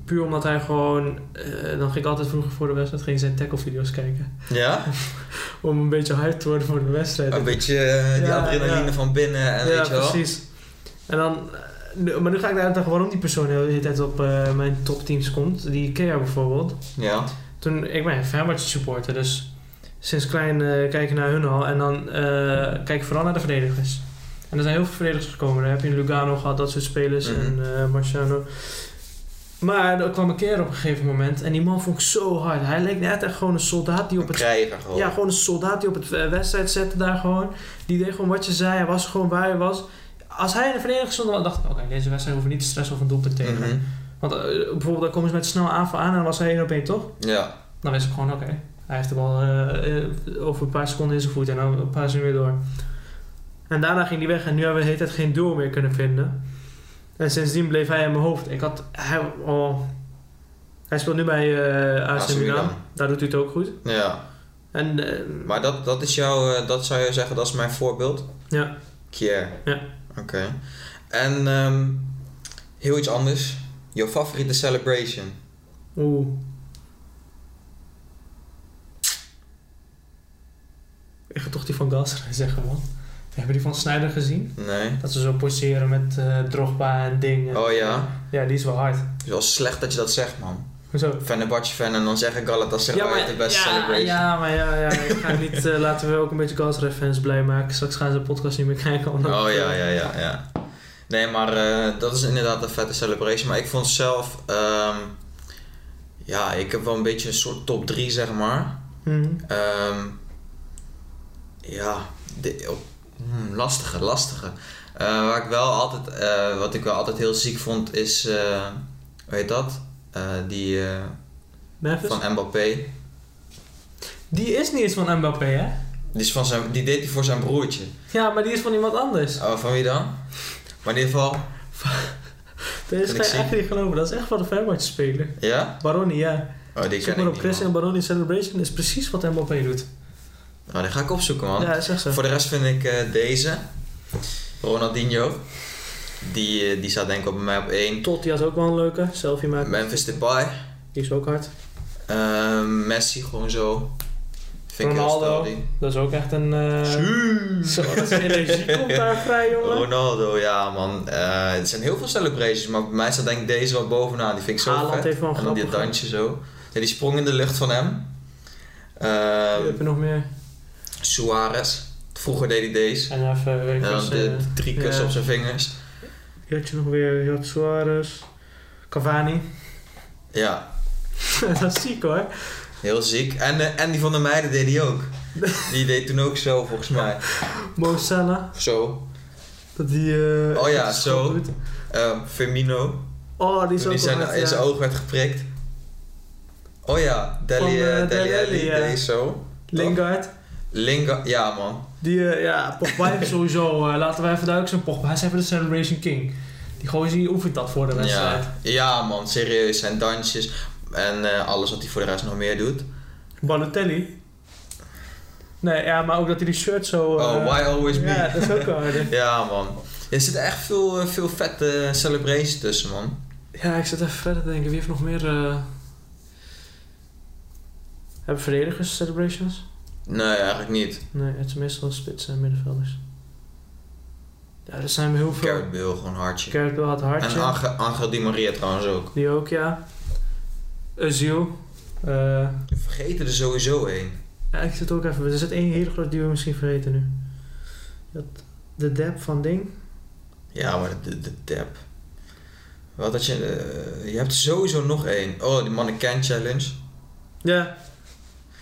Speaker 2: puur omdat hij gewoon... eh, dan ging ik altijd vroeger voor de wedstrijd ging ik zijn tackle-video's kijken.
Speaker 1: Ja?
Speaker 2: Om een beetje hyped te worden voor de wedstrijd.
Speaker 1: Een beetje eh, die
Speaker 2: Ja,
Speaker 1: adrenaline
Speaker 2: ja.
Speaker 1: van binnen en
Speaker 2: ja,
Speaker 1: weet je wel.
Speaker 2: precies. En dan, eh, nu- maar nu ga ik daar uitleggen waarom die persoon de hele tijd op eh, mijn topteams komt. Die Ikea bijvoorbeeld.
Speaker 1: Ja.
Speaker 2: Toen, ik ben een Fenerbahce supporter, dus sinds klein eh, kijk ik naar hun al. En dan eh, kijk ik vooral naar de verdedigers. En er zijn heel veel verdedigers gekomen. Daar heb je Lugano gehad, dat soort spelers.
Speaker 1: Mhm.
Speaker 2: En eh, Marciano. Maar er kwam een keer op een gegeven moment. En die man vond ik zo hard. Hij leek net echt gewoon een soldaat die op
Speaker 1: Een
Speaker 2: het
Speaker 1: krijger gewoon.
Speaker 2: ja, gewoon een soldaat die op het eh, wedstrijd zette daar gewoon. Die deed gewoon wat je zei. Hij was gewoon waar hij was. Als hij in de verdediging stond, dan dacht ik... Oké, deze wedstrijd hoeven we niet te stressen of een doelpunt tegen.
Speaker 1: Mhm.
Speaker 2: Want eh, bijvoorbeeld, dan komen ze met snel aanval aan en dan was hij één op één, toch?
Speaker 1: Ja.
Speaker 2: Dan wist ik gewoon, oké. hij heeft de bal eh, eh, over een paar seconden in zijn voet en dan een paar seconden weer door. En daarna ging hij weg en nu hebben we de hele tijd geen duel meer kunnen vinden. En sindsdien bleef hij in mijn hoofd. Ik had... Hij, oh, hij speelt nu bij eh AC,
Speaker 1: AC Milan.
Speaker 2: Milan. Daar doet hij het ook goed.
Speaker 1: Ja,
Speaker 2: En eh,
Speaker 1: Maar dat, dat is jouw, eh, dat zou je zeggen, dat is mijn voorbeeld?
Speaker 2: Ja.
Speaker 1: Kier.
Speaker 2: Ja.
Speaker 1: Oké. En ehm, heel iets anders. Jouw favoriete celebration?
Speaker 2: Oeh. Ik ga toch die van Galatasaray zeggen, man. Hebben die van Snyder gezien?
Speaker 1: Nee.
Speaker 2: Dat ze zo poseren met eh Drogba en dingen.
Speaker 1: Oh ja.
Speaker 2: Ja, die is wel hard.
Speaker 1: Het is wel slecht dat je dat zegt, man.
Speaker 2: Hoezo?
Speaker 1: Fenerbahce fan en dan zeggen Galatasaray de beste
Speaker 2: ja,
Speaker 1: celebration.
Speaker 2: ja, maar ja, ja, ik ga niet... eh, laten we ook een beetje Galatasaray-fans blij maken. Straks gaan ze de podcast niet meer kijken. omdat-
Speaker 1: Oh ja, ja, ja, ja. Nee, maar eh, dat is inderdaad een vette celebration. Maar ik vond zelf, ehm, ja, ik heb wel een beetje een soort top 3, zeg maar.
Speaker 2: Mhm.
Speaker 1: Ehm, ja, de, op- hmm, lastige, lastige. Eh, waar ik wel altijd, eh, wat ik wel altijd heel ziek vond, is, eh hoe heet dat? Eh, die eh,
Speaker 2: Memphis?
Speaker 1: van Mbappé.
Speaker 2: Die is niet eens van Mbappé, hè?
Speaker 1: Die, is van zijn, die deed hij voor zijn broertje.
Speaker 2: Ja, maar die is van iemand anders.
Speaker 1: Oh, van wie dan? Maar in ieder geval, ik
Speaker 2: Dat is
Speaker 1: zien.
Speaker 2: geen echt niet geloven. Dat is echt van de Fenerbahce speler.
Speaker 1: ja?
Speaker 2: Baroni, ja.
Speaker 1: Oh, die ken
Speaker 2: Zoek maar
Speaker 1: ik
Speaker 2: op
Speaker 1: niet.
Speaker 2: Chris
Speaker 1: man.
Speaker 2: en Baroni Celebration is precies wat Mbappé doet.
Speaker 1: Nou, die ga ik opzoeken, man.
Speaker 2: Ja, dat is echt zo.
Speaker 1: Voor de rest vind ik eh, deze, Ronaldinho. Die, eh, die staat denk ik op bij mij op 1.
Speaker 2: Tot, die had ook wel een leuke. Selfie maken.
Speaker 1: Memphis Depay.
Speaker 2: Die is ook hard.
Speaker 1: Ehm, Messi gewoon zo. Vind
Speaker 2: Ronaldo.
Speaker 1: ik heel
Speaker 2: Dat is ook echt een... eh,
Speaker 1: stel,
Speaker 2: Zo,
Speaker 1: die.
Speaker 2: wat een energie komt daar vrij,
Speaker 1: Oh,
Speaker 2: jongen.
Speaker 1: Ronaldo, ja man. Eh er zijn heel veel celebrations, maar bij mij staat denk ik deze wel bovenaan. Die vind ik zo
Speaker 2: Haaland
Speaker 1: vet.
Speaker 2: heeft wel een
Speaker 1: en dan die
Speaker 2: grappige.
Speaker 1: dansje zo. Ja, die sprong in de lucht van hem. Ehm,
Speaker 2: Wie heb je nog meer?
Speaker 1: Suarez. Vroeger deed hij deze.
Speaker 2: En even... weet ik
Speaker 1: En dan
Speaker 2: eens,
Speaker 1: de
Speaker 2: eh,
Speaker 1: drie kussen
Speaker 2: ja.
Speaker 1: op zijn vingers.
Speaker 2: Wie had je nog weer? Je had Suarez. Cavani.
Speaker 1: Ja,
Speaker 2: dat is ziek, hoor.
Speaker 1: heel ziek. En, eh, en die van de meiden deed hij ook. Die deed toen ook zo volgens mij.
Speaker 2: Mo Salah.
Speaker 1: Zo.
Speaker 2: Dat die... eh,
Speaker 1: Oh ja,
Speaker 2: dat is
Speaker 1: zo.
Speaker 2: goed doet.
Speaker 1: Ehm, Firmino.
Speaker 2: Oh, die is
Speaker 1: Toen
Speaker 2: ook
Speaker 1: hij zijn,
Speaker 2: wel hard,
Speaker 1: in
Speaker 2: ja.
Speaker 1: zijn oog werd geprikt. Oh ja, Deli,
Speaker 2: Van, eh,
Speaker 1: eh, Deli
Speaker 2: Dele
Speaker 1: Alli
Speaker 2: Alli, ja.
Speaker 1: deed zo.
Speaker 2: Lingard.
Speaker 1: Linga, ja man.
Speaker 2: Die, eh, ja, Pogba heeft sowieso, eh, laten we even duidelijk zijn, Pogba is even de Celebration King. Die gozer die oefent dat voor de wedstrijd.
Speaker 1: Ja. ja man, serieus. Zijn dansjes en eh, alles wat hij voor de rest nog meer doet.
Speaker 2: Oh, Balotelli. Nee, ja, maar ook dat hij die shirt zo... eh,
Speaker 1: oh, why always me?
Speaker 2: Ja,
Speaker 1: Ja,
Speaker 2: dat is ook wel harder.
Speaker 1: man. Er zitten echt veel, eh, veel vette celebrations tussen man.
Speaker 2: Ja, ik zit even verder te denken, wie heeft nog meer... eh, Hebben verdedigers celebrations?
Speaker 1: Nee, eigenlijk niet.
Speaker 2: Nee, het is meestal spitsen en middenvelders. Ja, er zijn heel veel.
Speaker 1: Gareth Bale, gewoon hartje.
Speaker 2: Carrot had hartje.
Speaker 1: En Angel, Angel Di Maria trouwens ook.
Speaker 2: Die ook, ja. Azil. Eh...
Speaker 1: We vergeten er sowieso één.
Speaker 2: Ja, ik zit ook even. Er zit één hele groot die we misschien vergeten nu. Dat, de dep van Ding.
Speaker 1: Ja, maar de, de tap. Wat had je... eh, je hebt sowieso nog één. Oh, die mannequin challenge.
Speaker 2: Ja.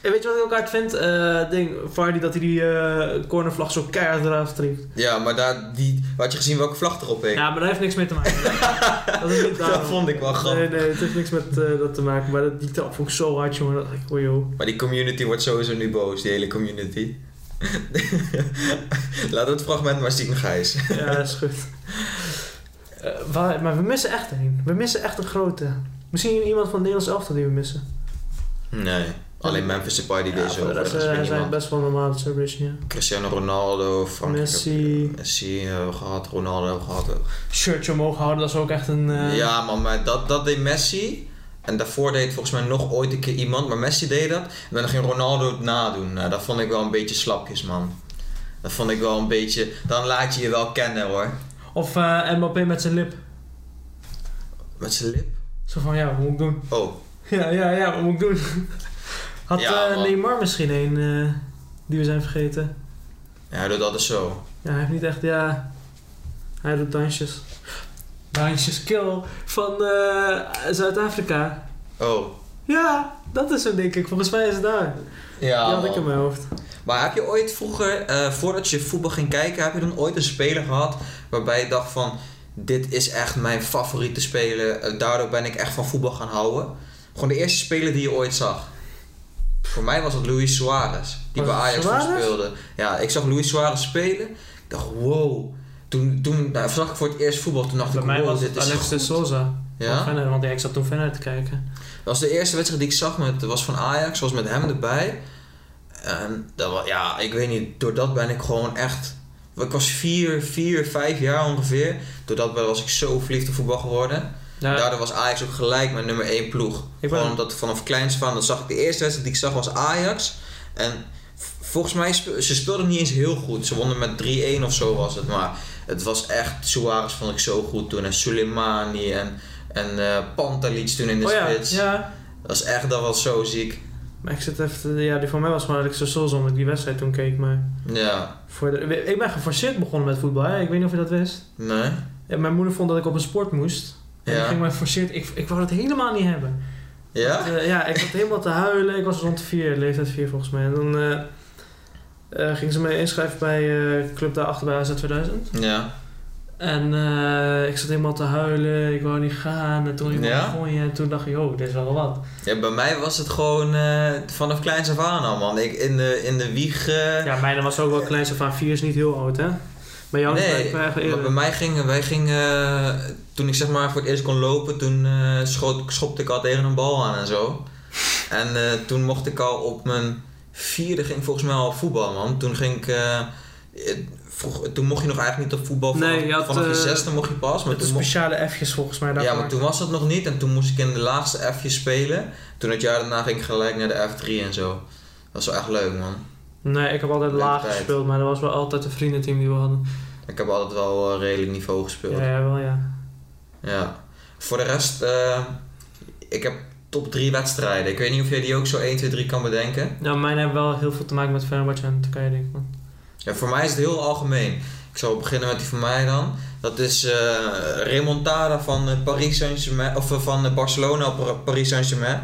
Speaker 2: En weet je wat ik ook hard vind? Eh, ding, Vardy dat hij die eh cornervlag zo keihard eraf trekt.
Speaker 1: Ja, maar daar... Die, had je gezien welke vlag erop hing?
Speaker 2: Ja, maar daar heeft niks mee te maken. dat, is niet
Speaker 1: Dat
Speaker 2: daarom.
Speaker 1: vond ik wel grappig.
Speaker 2: Nee, nee, het heeft niks met eh, dat te maken. Maar dat, die trap vond ik zo hard, jongen. Dat ik, oh joh.
Speaker 1: Maar die community wordt sowieso nu boos. Die hele community. Laat het fragment maar zien, Gijs.
Speaker 2: Ja, dat is goed. Eh, waar- maar we missen echt één. We missen echt een grote. Misschien iemand van het Nederlands elftal die we missen.
Speaker 1: Nee. Alleen Memphis Depay die
Speaker 2: ja,
Speaker 1: deze
Speaker 2: voor de
Speaker 1: over.
Speaker 2: rest,
Speaker 1: Dat is
Speaker 2: eh,
Speaker 1: weer
Speaker 2: zijn
Speaker 1: niemand.
Speaker 2: best wel normale celebration, ja.
Speaker 1: Cristiano Ronaldo, Frank
Speaker 2: Messi.
Speaker 1: Messi hebben we gehad, Ronaldo hebben we gehad.
Speaker 2: shirtje omhoog houden, dat is ook echt een. eh,
Speaker 1: Ja, man, maar dat, dat deed Messi. En daarvoor deed volgens mij nog ooit een keer iemand, maar Messi deed dat. En dan ging Ronaldo het nadoen. Nou, dat vond ik wel een beetje slapjes, man. Dat vond ik wel een beetje. Dan laat je je wel kennen hoor.
Speaker 2: Of eh Mbappé met zijn lip.
Speaker 1: Met zijn lip.
Speaker 2: Zo van ja, wat moet ik doen?
Speaker 1: Oh,
Speaker 2: Ja, ja, ja, wat moet ik doen? Had
Speaker 1: Ja,
Speaker 2: eh,
Speaker 1: man.
Speaker 2: Neymar misschien een eh, die we zijn vergeten?
Speaker 1: ja, hij doet altijd zo.
Speaker 2: Ja, hij heeft niet echt, ja. Hij doet dansjes. Dansjes kill van eh, Zuid-Afrika.
Speaker 1: Oh.
Speaker 2: Ja, dat is hem denk ik. Volgens mij is het daar.
Speaker 1: Ja,
Speaker 2: die had ik
Speaker 1: man.
Speaker 2: in mijn hoofd.
Speaker 1: Maar heb je ooit vroeger, eh, voordat je voetbal ging kijken, heb je dan ooit een speler gehad waarbij je dacht van, dit is echt mijn favoriete speler, eh, daardoor ben ik echt van voetbal gaan houden? Gewoon de eerste speler die je ooit zag. Voor mij was dat Luis Suarez, die
Speaker 2: Was
Speaker 1: bij Ajax
Speaker 2: het
Speaker 1: toen
Speaker 2: Suarez?
Speaker 1: speelde. Ja, ik zag Luis Suarez spelen, ik dacht wow. Toen, toen nou, zag ik voor het eerst voetbal, toen dacht
Speaker 2: Bij
Speaker 1: ik
Speaker 2: mij
Speaker 1: wow,
Speaker 2: was
Speaker 1: dit
Speaker 2: het
Speaker 1: is
Speaker 2: Alex de
Speaker 1: goed.
Speaker 2: Souza.
Speaker 1: Ja?
Speaker 2: Van Feyenoord, want ja, ik zat toen verder te kijken.
Speaker 1: Dat was de eerste wedstrijd die ik zag, met, was van Ajax, was met hem erbij. En dat, wa- ja, ik weet niet, doordat ben ik gewoon echt... Ik was vier, vier, vijf jaar ongeveer. Doordat ben- was ik zo verliefd op voetbal geworden.
Speaker 2: Ja,
Speaker 1: Daardoor was Ajax ook gelijk mijn nummer één ploeg.
Speaker 2: Ik ben-
Speaker 1: Gewoon omdat vanaf kleins van, dat zag ik de eerste wedstrijd die ik zag was Ajax. En v- volgens mij, spe- ze speelden niet eens heel goed. Ze wonnen met 3-1 of zo was het. Maar het was echt, Suarez vond ik zo goed toen. En Soleimani en, en eh Pantalic toen in de
Speaker 2: oh ja,
Speaker 1: spits.
Speaker 2: ja.
Speaker 1: Dat was echt, dat was zo ziek.
Speaker 2: Maar ik zit even, te- ja, die voor mij was gewoon Alex de Souls omdat ik die wedstrijd toen keek. Maar
Speaker 1: Ja,
Speaker 2: voor de, ik ben geforceerd begonnen met voetbal, hè. ik weet niet of je dat wist.
Speaker 1: nee.
Speaker 2: Ja, mijn moeder vond dat ik op een sport moest. En die
Speaker 1: Ja.
Speaker 2: ging mij forceerd, ik, ik wou dat helemaal niet hebben.
Speaker 1: Ja?
Speaker 2: Eh, ja, ik zat helemaal te huilen. Ik was rond vier, leeftijd vier volgens mij. En dan eh eh, gingen ze me inschrijven bij eh, Club Daarachter bij AZ 2000.
Speaker 1: Ja.
Speaker 2: En eh, ik zat helemaal te huilen. Ik wou niet gaan. En toen
Speaker 1: Ja?
Speaker 2: begon je. En toen dacht ik, oh, dit is wel wat.
Speaker 1: ja. Bij mij was het gewoon eh, vanaf kleins af aan al, man. Ik in de, in de wieg... eh,
Speaker 2: Ja, mijne was ook wel klein. Zo van vier is niet heel oud, hè? Bij jou is het
Speaker 1: Nee,
Speaker 2: eigenlijk
Speaker 1: maar bij
Speaker 2: eerder.
Speaker 1: mij ging, wij gingen, eh, toen ik zeg maar voor het eerst kon lopen, toen eh, schoot, schopte ik al tegen een bal aan en zo. En eh, toen mocht ik al op mijn vierde ging ik volgens mij al voetbal man. Toen ging ik, eh, eh, vroeg, toen mocht je nog eigenlijk niet op voetbal, vanaf,
Speaker 2: Nee, je had,
Speaker 1: vanaf je
Speaker 2: eh,
Speaker 1: zesde mocht je pas. Maar
Speaker 2: Met de
Speaker 1: toen mocht-
Speaker 2: speciale F'jes volgens mij daarvoor.
Speaker 1: ja, maar toen was dat nog niet en toen moest ik in de laatste F'je spelen. Toen het jaar daarna ging ik gelijk naar de F3 en zo. Dat was wel echt leuk man.
Speaker 2: Nee, ik heb altijd
Speaker 1: Leuke
Speaker 2: laag
Speaker 1: tijd.
Speaker 2: gespeeld. Maar dat was wel altijd een vriendenteam die we hadden.
Speaker 1: Ik heb altijd wel eh, redelijk niveau gespeeld.
Speaker 2: Ja, ja, wel ja.
Speaker 1: Ja. Voor de rest, eh, ik heb top 3 wedstrijden. Ik weet niet of jij die ook zo 1, 2, 3 kan bedenken.
Speaker 2: Nou, mijne hebben wel heel veel te maken met Fenerbahce en Turkije, denk ik. man.
Speaker 1: Ja, voor mij is het heel algemeen. Ik zal beginnen met die van mij dan. Dat is eh remontada van, eh, Paris Saint-Germain, of eh, van eh, Barcelona op Par- Paris Saint-Germain.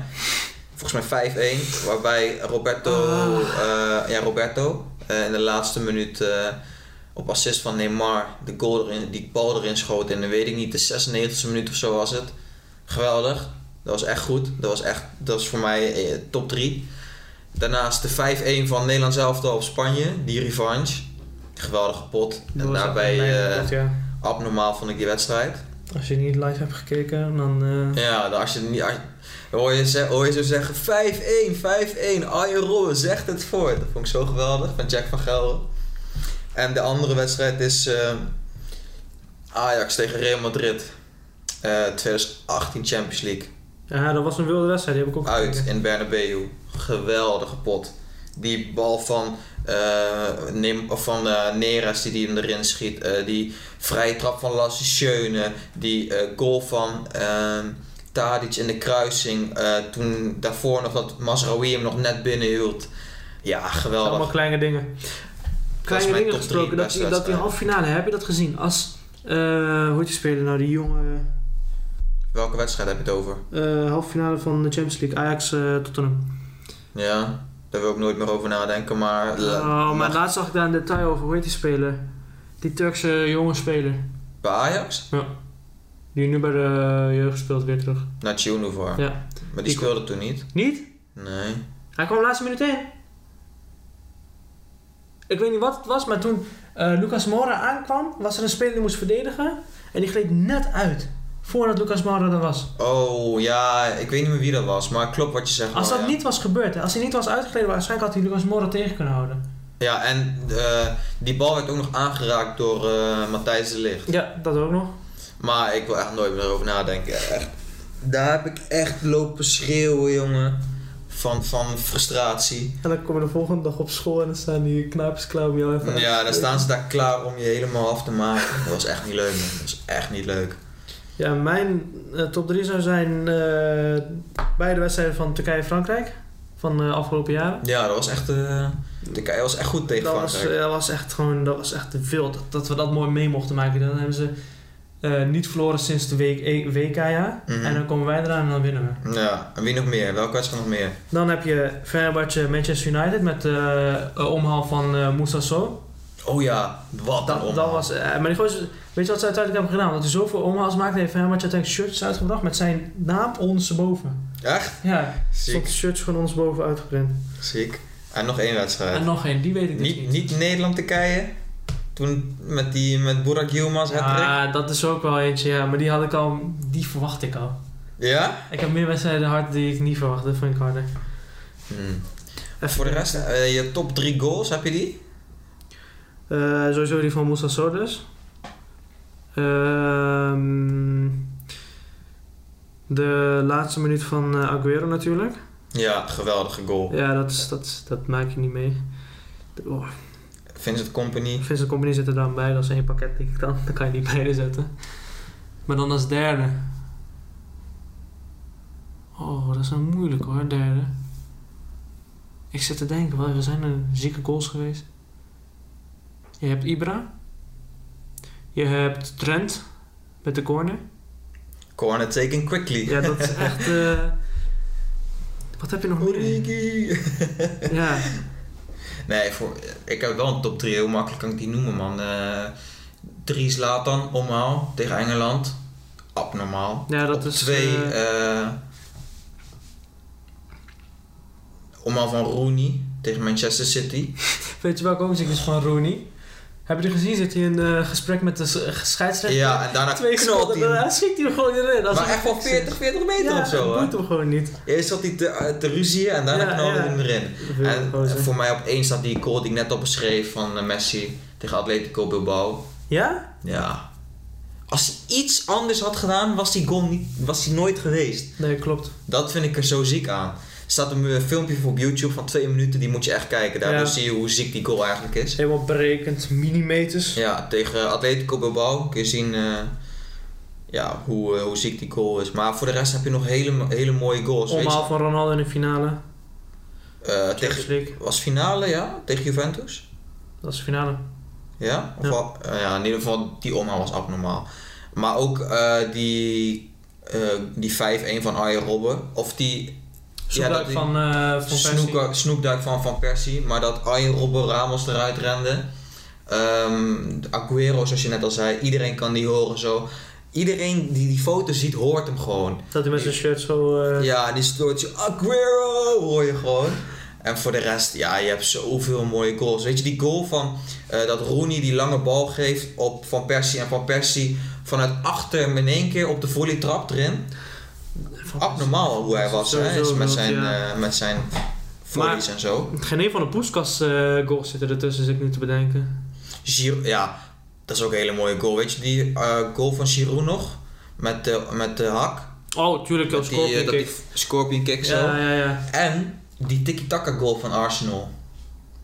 Speaker 1: Volgens mij 5-1, waarbij Roberto, eh, ja, Roberto eh, in de laatste minuut eh, op assist van Neymar de goal erin, die bal erin schoot. En dan weet ik niet, de 96e minuut of zo was het. Geweldig. Dat was echt goed. Dat was, echt, dat was voor mij eh, top 3. Daarnaast de 5-1 van Nederland elftal op Spanje. Die revanche. Geweldige pot.
Speaker 2: Dat
Speaker 1: En
Speaker 2: was
Speaker 1: daarbij
Speaker 2: echt mijn
Speaker 1: eh,
Speaker 2: goed, ja.
Speaker 1: abnormaal vond ik die wedstrijd.
Speaker 2: Als je niet live hebt gekeken, dan. eh,
Speaker 1: Ja, dan als je niet... Als, dan hoor, je, ze- hoor je zo zeggen 5-1, 5-1. Arjen Robben zegt het voor. Dat vond ik zo geweldig van Jack van Gelder. En de andere wedstrijd is eh, Ajax tegen Real Madrid. Eh, 2018 Champions League.
Speaker 2: Ja, dat was een wilde wedstrijd, die heb ik ook
Speaker 1: uit
Speaker 2: gekeken.
Speaker 1: in Bernabeu. Geweldige pot. Die bal van, eh, Nim, of van eh, Neres die, die hem erin schiet. eh, die vrije trap van Lasse Schöne. Die eh, goal van ehm Tadic in de kruising. eh, toen daarvoor nog dat Masraoui hem nog net binnenhield. Ja, geweldig.
Speaker 2: Allemaal kleine dingen. Kleine
Speaker 1: mijn
Speaker 2: dingen
Speaker 1: top drie
Speaker 2: gesproken, dat
Speaker 1: beste
Speaker 2: die, dat die
Speaker 1: wedstrijden.
Speaker 2: halve finale, heb je dat gezien? Als, eh hoe heet je speler nou, die jonge
Speaker 1: Welke wedstrijd heb je het over?
Speaker 2: eh halve finale van de Champions League, Ajax eh Tottenham.
Speaker 1: Ja, daar wil ik nooit meer over nadenken. Maar, eh,
Speaker 2: oh, maar
Speaker 1: maar
Speaker 2: laatst zag ik daar een detail over, hoe heet die speler? Die Turkse jonge speler,
Speaker 1: bij Ajax?
Speaker 2: die nu bij de jeugd speelt weer terug.
Speaker 1: Naar Tjoenu voor.
Speaker 2: Ja.
Speaker 1: Maar die
Speaker 2: Die-
Speaker 1: speelde toen niet.
Speaker 2: Niet?
Speaker 1: Nee.
Speaker 2: Hij kwam de laatste minuut in. Ik weet niet wat het was, maar toen eh, Lucas Moura aankwam, was er een speler die moest verdedigen. En die gleed net uit, voordat Lucas Moura er was.
Speaker 1: Oh ja, ik weet niet meer wie dat was, maar klopt wat je zegt.
Speaker 2: Als
Speaker 1: wel,
Speaker 2: dat
Speaker 1: ja.
Speaker 2: niet was gebeurd, hè, als hij niet was uitgegleden, waarschijnlijk had hij Lucas Moura tegen kunnen houden.
Speaker 1: Ja, en eh, die bal werd ook nog aangeraakt door eh Matthijs de Ligt.
Speaker 2: Ja, dat ook nog.
Speaker 1: Maar ik wil echt nooit meer over nadenken. Echt. Daar heb ik echt lopen schreeuwen, jongen. Van, van frustratie.
Speaker 2: En dan kom je de volgende dag op school en dan staan die knaapjes klaar om jou even
Speaker 1: Ja, dan staan ze daar klaar om je helemaal af te maken. Dat was echt niet leuk, man. Dat was echt niet leuk.
Speaker 2: Ja, mijn eh, top 3 zou zijn eh, beide wedstrijden van Turkije en Frankrijk van de afgelopen jaren.
Speaker 1: Ja, dat was echt. eh Turkije was echt goed tegen
Speaker 2: Dat was, eh,
Speaker 1: Frankrijk.
Speaker 2: dat was echt gewoon, dat was echt te veel dat, dat we dat mooi mee mochten maken. Dan hebben ze eh, niet verloren sinds de week, eh, WK, ja.
Speaker 1: Mhm.
Speaker 2: En dan komen wij eraan en dan winnen we.
Speaker 1: Ja, en wie nog meer? Welke wedstrijd nog meer?
Speaker 2: Dan heb je Fenerbahce Manchester United met eh, een omhaal van eh Moussa Sow.
Speaker 1: Oh ja, wat
Speaker 2: Dat,
Speaker 1: een
Speaker 2: dat
Speaker 1: omhaal.
Speaker 2: was, eh, maar die gozer, weet je wat ze uiteindelijk hebben gedaan? Omdat hij zoveel omhaals maakte, heeft Fenerbahce uiteindelijk shirts uitgebracht met zijn naam ondersteboven.
Speaker 1: Echt?
Speaker 2: Ja,
Speaker 1: Ziek.
Speaker 2: stond shirts gewoon ondersteboven uitgeprint.
Speaker 1: Ziek. En nog één wedstrijd.
Speaker 2: En nog één, die weet ik dus
Speaker 1: Niet, niet Nederland-Turkije. Toen met, die, met Burak Yilmaz hat-trick.
Speaker 2: Ah, dat is ook wel eentje, ja. Maar die had ik al, die verwacht ik al.
Speaker 1: Ja?
Speaker 2: Ik heb meer wedstrijden hard die ik niet verwachtte, dat vind ik harder.
Speaker 1: Hmm.
Speaker 2: Even
Speaker 1: Voor de
Speaker 2: kijken.
Speaker 1: rest, eh, je top 3 goals, heb je die?
Speaker 2: Eh, sowieso die van Moussa Sordes. Ehm, de laatste minuut van eh, Aguero natuurlijk.
Speaker 1: Ja, geweldige goal.
Speaker 2: Ja, dat, is, dat, dat maak je niet mee. Oh,
Speaker 1: Vincent Company.
Speaker 2: Vincent Company zit er dan bij. Dat is één pakket denk ik dan. Dan kan je niet beide zetten. Maar dan als derde. Oh, dat is wel moeilijk hoor, derde. Ik zit te denken, wel, we zijn er zieke goals geweest. Je hebt Ibra. Je hebt Trent met de corner.
Speaker 1: Corner taken quickly.
Speaker 2: Ja, dat is echt. eh, wat heb je nog meer?
Speaker 1: Origi.
Speaker 2: Ja,
Speaker 1: Nee, voor, ik heb wel een top 3. Hoe makkelijk kan ik die noemen, man? Eh drie Zlatan, omhaal, tegen Engeland. Abnormaal.
Speaker 2: ja dat
Speaker 1: Op
Speaker 2: is.
Speaker 1: twee...
Speaker 2: eh,
Speaker 1: eh, omhaal van Rooney tegen Manchester City.
Speaker 2: Weet je welke ook ziek is van Rooney? Heb je die gezien? Zit hij in eh, gesprek met de s- eh, scheidsrechter?
Speaker 1: Ja, en daarna
Speaker 2: Twee
Speaker 1: knalt
Speaker 2: seconden,
Speaker 1: hij.
Speaker 2: daarna schiet hij hem gewoon erin. Als
Speaker 1: Maar
Speaker 2: een
Speaker 1: echt wel 40, 40 meter
Speaker 2: ja,
Speaker 1: of zo,
Speaker 2: dat
Speaker 1: hè?
Speaker 2: doet hem gewoon niet.
Speaker 1: Eerst zat hij te, eh, te ruzieën en daarna
Speaker 2: Ja,
Speaker 1: knalde
Speaker 2: ja.
Speaker 1: hij hem erin. En
Speaker 2: Gozer.
Speaker 1: voor mij op één staat die goal die ik net al beschreef van eh, Messi tegen Atletico Bilbao.
Speaker 2: Ja?
Speaker 1: Ja. Als hij iets anders had gedaan, was die goal niet, was die nooit geweest.
Speaker 2: Nee, klopt.
Speaker 1: Dat vind ik er zo ziek aan. Er staat een eh, filmpje voor op YouTube van twee minuten, die moet je echt kijken. Daardoor
Speaker 2: Ja.
Speaker 1: zie je hoe ziek die goal eigenlijk is.
Speaker 2: Helemaal berekend, millimeters.
Speaker 1: Ja, tegen Atletico Bilbao kun je zien eh, ja, hoe, eh, hoe ziek die goal is. Maar voor de rest heb je nog hele, hele mooie goals. Weet je?
Speaker 2: Omhaal van Ronaldo in de finale.
Speaker 1: Eh, tegen,
Speaker 2: Champions League.
Speaker 1: was finale, ja? Tegen Juventus?
Speaker 2: Dat is de finale.
Speaker 1: Ja? Of
Speaker 2: Ja.
Speaker 1: Al, eh, ja, in ieder geval die omhaal was abnormaal. Maar ook eh, die, eh, die 5-1 van Arjen Robben. Of die
Speaker 2: Zoekduik
Speaker 1: dat-
Speaker 2: van, eh van Persie.
Speaker 1: snoeka- snoekduik van Van Persie. Maar dat Arjen Robben Ramos eruit rende. Ehm, Aguero, zoals je net al zei. Iedereen kan die horen zo. Iedereen die die foto ziet, hoort hem gewoon.
Speaker 2: Dat hij met zijn shirt zo... eh,
Speaker 1: Ja, en die stoortje Aguero hoor je gewoon. En voor de rest, ja, je hebt zoveel mooie goals. Weet je, die goal van eh, dat Rooney die lange bal geeft op Van Persie. En Van Persie vanuit achter hem in één keer op de volley trapt erin.
Speaker 2: van-
Speaker 1: Abnormaal hoe hij was, hè.
Speaker 2: Sowieso
Speaker 1: Met
Speaker 2: wild,
Speaker 1: zijn,
Speaker 2: ja.
Speaker 1: eh, met zijn volleys en zo.
Speaker 2: Geen een van de Poeskas goals zitten ertussen, zit ik nu te bedenken.
Speaker 1: Giro, ja, dat is ook een hele mooie goal. Weet je, die eh, goal van Giroud nog? Met de, met de hak.
Speaker 2: Oh, tuurlijk, dat
Speaker 1: Met die, eh, dat die scorpion kick zo.
Speaker 2: Ja, ja, ja.
Speaker 1: En die tiki-taka goal van Arsenal.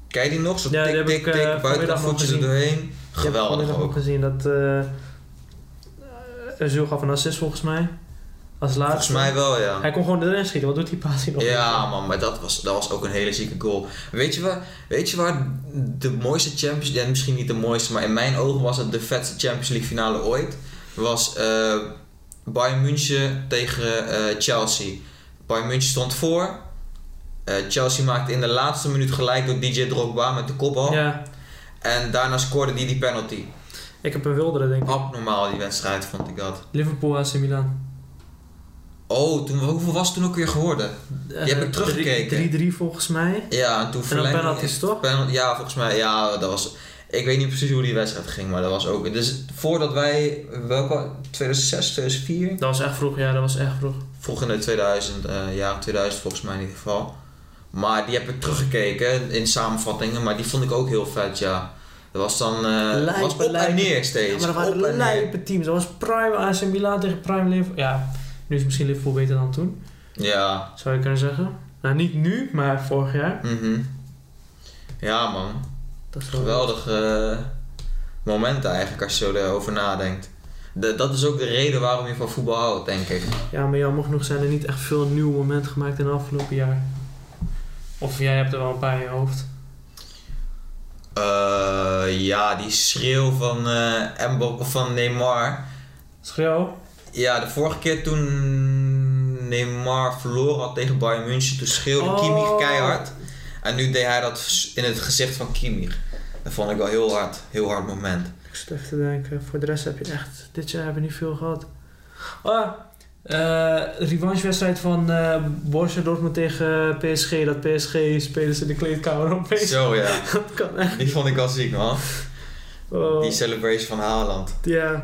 Speaker 1: Kijk die nog? Zo
Speaker 2: Ja, die
Speaker 1: tik,
Speaker 2: heb
Speaker 1: tik,
Speaker 2: ik, eh,
Speaker 1: tik,
Speaker 2: vanmiddag nog
Speaker 1: buitenvoetje er
Speaker 2: gezien.
Speaker 1: doorheen.
Speaker 2: Ik
Speaker 1: Geweldig
Speaker 2: heb ook
Speaker 1: ook.
Speaker 2: gezien dat eh Azul gaf een assist volgens mij. Als laatste.
Speaker 1: Volgens mij wel, ja.
Speaker 2: Hij kon gewoon erin schieten. Wat doet die paas hier nog?
Speaker 1: Ja, man, maar dat was, dat was ook een hele zieke goal. Weet je, waar, weet je waar de mooiste Champions League, ja, misschien niet de mooiste, maar in mijn ogen was het de vetste Champions League finale ooit. Was eh, Bayern München tegen eh, Chelsea. Bayern München stond voor. Eh, Chelsea maakte in de laatste minuut gelijk door DJ Drogba met de kopbal.
Speaker 2: Ja,
Speaker 1: En daarna scoorde die die penalty.
Speaker 2: ik heb een wildere, denk ik.
Speaker 1: Abnormaal die wedstrijd vond ik dat.
Speaker 2: Liverpool AC Milan.
Speaker 1: Oh, toen, hoeveel was het toen ook weer geworden?
Speaker 2: Eh,
Speaker 1: hebt het teruggekeken.
Speaker 2: drie- 3-3 volgens mij.
Speaker 1: Ja, en toen
Speaker 2: En dan
Speaker 1: verlengde
Speaker 2: penalties, toch?
Speaker 1: penal- ja, volgens mij, ja, dat was. Ik weet niet precies hoe die wedstrijd ging, maar dat was ook. Dus voordat wij, welke, 2006, 2004?
Speaker 2: Dat was echt vroeg, ja, dat was echt vroeg.
Speaker 1: Vroeg in de 2000, eh jaren 2000 volgens mij in ieder geval. Maar die heb ik teruggekeken in samenvattingen, maar die vond ik ook heel vet, ja. Dat was dan, eh
Speaker 2: Lijpe,
Speaker 1: was op en
Speaker 2: lijpe.
Speaker 1: neer
Speaker 2: Ja,
Speaker 1: steeds.
Speaker 2: maar dat
Speaker 1: op en
Speaker 2: waren
Speaker 1: neer.
Speaker 2: lijpe teams. Dat was Prime AC Milan tegen Prime Liverpool. Ja, nu is misschien Liverpool beter dan toen,
Speaker 1: Ja,
Speaker 2: zou je kunnen zeggen. Nou, niet nu, maar vorig jaar.
Speaker 1: mhm. Ja, man.
Speaker 2: Dat is wel-
Speaker 1: Geweldige eh, momenten eigenlijk als je erover nadenkt. De- dat is ook de reden waarom je van voetbal houdt, denk ik.
Speaker 2: Ja, maar jammer genoeg zijn er niet echt veel nieuwe momenten gemaakt in het afgelopen jaar. Of jij hebt er wel een paar in je hoofd.
Speaker 1: Eh, ja, die schreeuw van, eh Mbo- van Neymar.
Speaker 2: Schreeuw.
Speaker 1: Ja, de vorige keer toen Neymar verloren had tegen Bayern München, toen schreeuwde
Speaker 2: Oh.
Speaker 1: Kimmich keihard. En nu deed hij dat in het gezicht van Kimmich. Dat vond ik wel heel hard, heel hard moment.
Speaker 2: Ik zit even te denken. Voor de rest heb je echt... Dit jaar hebben we niet veel gehad. Ah, eh revanchewedstrijd van eh Borussia Dortmund tegen eh, PSG. Dat PSG spelers in de kleedkamer opeens.
Speaker 1: Zo ja,
Speaker 2: Dat kan echt.
Speaker 1: die vond ik wel ziek man.
Speaker 2: Oh,
Speaker 1: Die celebration van Haaland.
Speaker 2: Ja.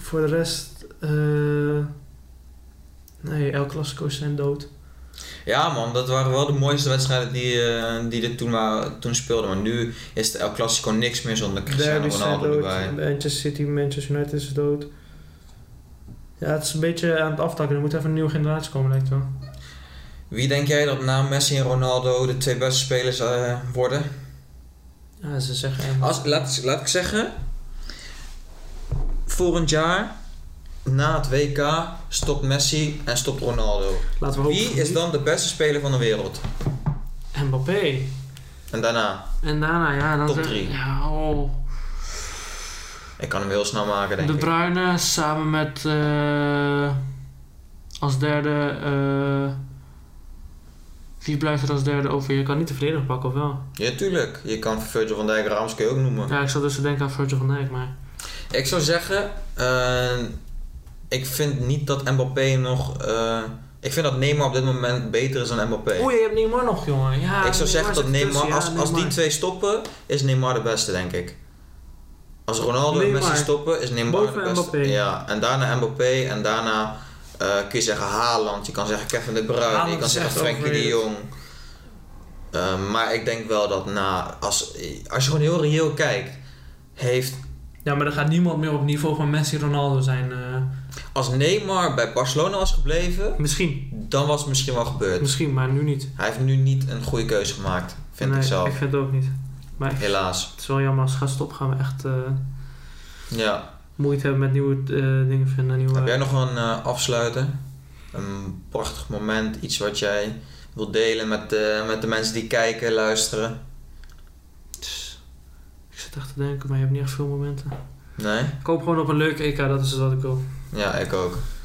Speaker 2: Voor de rest... eh nee, El Clasico's zijn dood.
Speaker 1: Ja man, dat waren wel de mooiste wedstrijden die, eh, die er toen, waren, toen speelden. Maar nu is de El Clasico niks meer zonder Cristiano
Speaker 2: Derby's zijn
Speaker 1: Ronaldo
Speaker 2: dood.
Speaker 1: erbij.
Speaker 2: Manchester City, Manchester United is dood. Ja, het is een beetje aan het aftakken. Er moet even een nieuwe generatie komen, lijkt wel.
Speaker 1: Wie denk jij dat na Messi en Ronaldo de twee beste spelers eh, worden?
Speaker 2: Ja, ze zeggen...
Speaker 1: Als, laat, laat ik zeggen, volgend jaar na het WK stopt Messi en stopt Ronaldo.
Speaker 2: Laten we
Speaker 1: Wie is dan de beste speler van de wereld?
Speaker 2: Mbappé.
Speaker 1: En daarna,
Speaker 2: En daarna, ja... Dan
Speaker 1: Top
Speaker 2: zeg-
Speaker 1: drie.
Speaker 2: Ja, oh.
Speaker 1: ik kan hem heel snel maken denk
Speaker 2: De
Speaker 1: ik.
Speaker 2: Bruyne samen met... eh, als derde... eh, wie blijft er als derde over? Je kan niet de verdediger pakken, of wel?
Speaker 1: Ja, tuurlijk. Je kan Virgil van Dijk en Ramos kun je ook noemen.
Speaker 2: Ja, ik zat dus te denken aan Virgil van Dijk, maar...
Speaker 1: Ik zou zeggen, eh, ik vind niet dat Mbappé nog. eh, ik vind dat Neymar op dit moment beter is dan Mbappé.
Speaker 2: Oei, je hebt Neymar nog, jongen. Ja,
Speaker 1: ik zou zeggen dat
Speaker 2: zit
Speaker 1: Neymar,
Speaker 2: ertussen,
Speaker 1: als,
Speaker 2: ja,
Speaker 1: als die
Speaker 2: Neymar.
Speaker 1: twee stoppen, is Neymar de beste, denk ik. Als Ronaldo en
Speaker 2: Neymar.
Speaker 1: Messi stoppen, is Neymar
Speaker 2: Boven
Speaker 1: de beste.
Speaker 2: Mbappé.
Speaker 1: Ja, en daarna Mbappé en daarna eh, kun je zeggen Haaland, je kan zeggen Kevin de Bruyne,
Speaker 2: Haaland
Speaker 1: je kan
Speaker 2: is
Speaker 1: zeggen
Speaker 2: echt
Speaker 1: Frenkie de
Speaker 2: overrated.
Speaker 1: Jong. Eh, maar ik denk wel dat na, als, als je gewoon heel reëel kijkt, heeft
Speaker 2: Ja, maar er gaat niemand meer op niveau van Messi Ronaldo zijn. eh.
Speaker 1: Als Neymar bij Barcelona was gebleven,
Speaker 2: misschien.
Speaker 1: dan was het misschien wel gebeurd.
Speaker 2: Misschien, maar nu niet.
Speaker 1: Hij heeft nu niet een goede keuze gemaakt, vind
Speaker 2: Nee,
Speaker 1: ik zelf.
Speaker 2: Ik vind het ook niet. Maar ik-
Speaker 1: Helaas.
Speaker 2: het is wel jammer als gast op gaan we echt eh,
Speaker 1: Ja.
Speaker 2: moeite hebben met nieuwe eh, dingen vinden. Nieuwe,
Speaker 1: Heb jij nog een eh afsluiten? Een prachtig moment, iets wat jij wilt delen met, de- met de mensen die kijken, luisteren?
Speaker 2: Tss. Ik zit echt te denken, maar je hebt niet echt veel momenten.
Speaker 1: Nee?
Speaker 2: Ik hoop gewoon op een leuk EK, dat is wat ik wil.
Speaker 1: Ja, ik ook.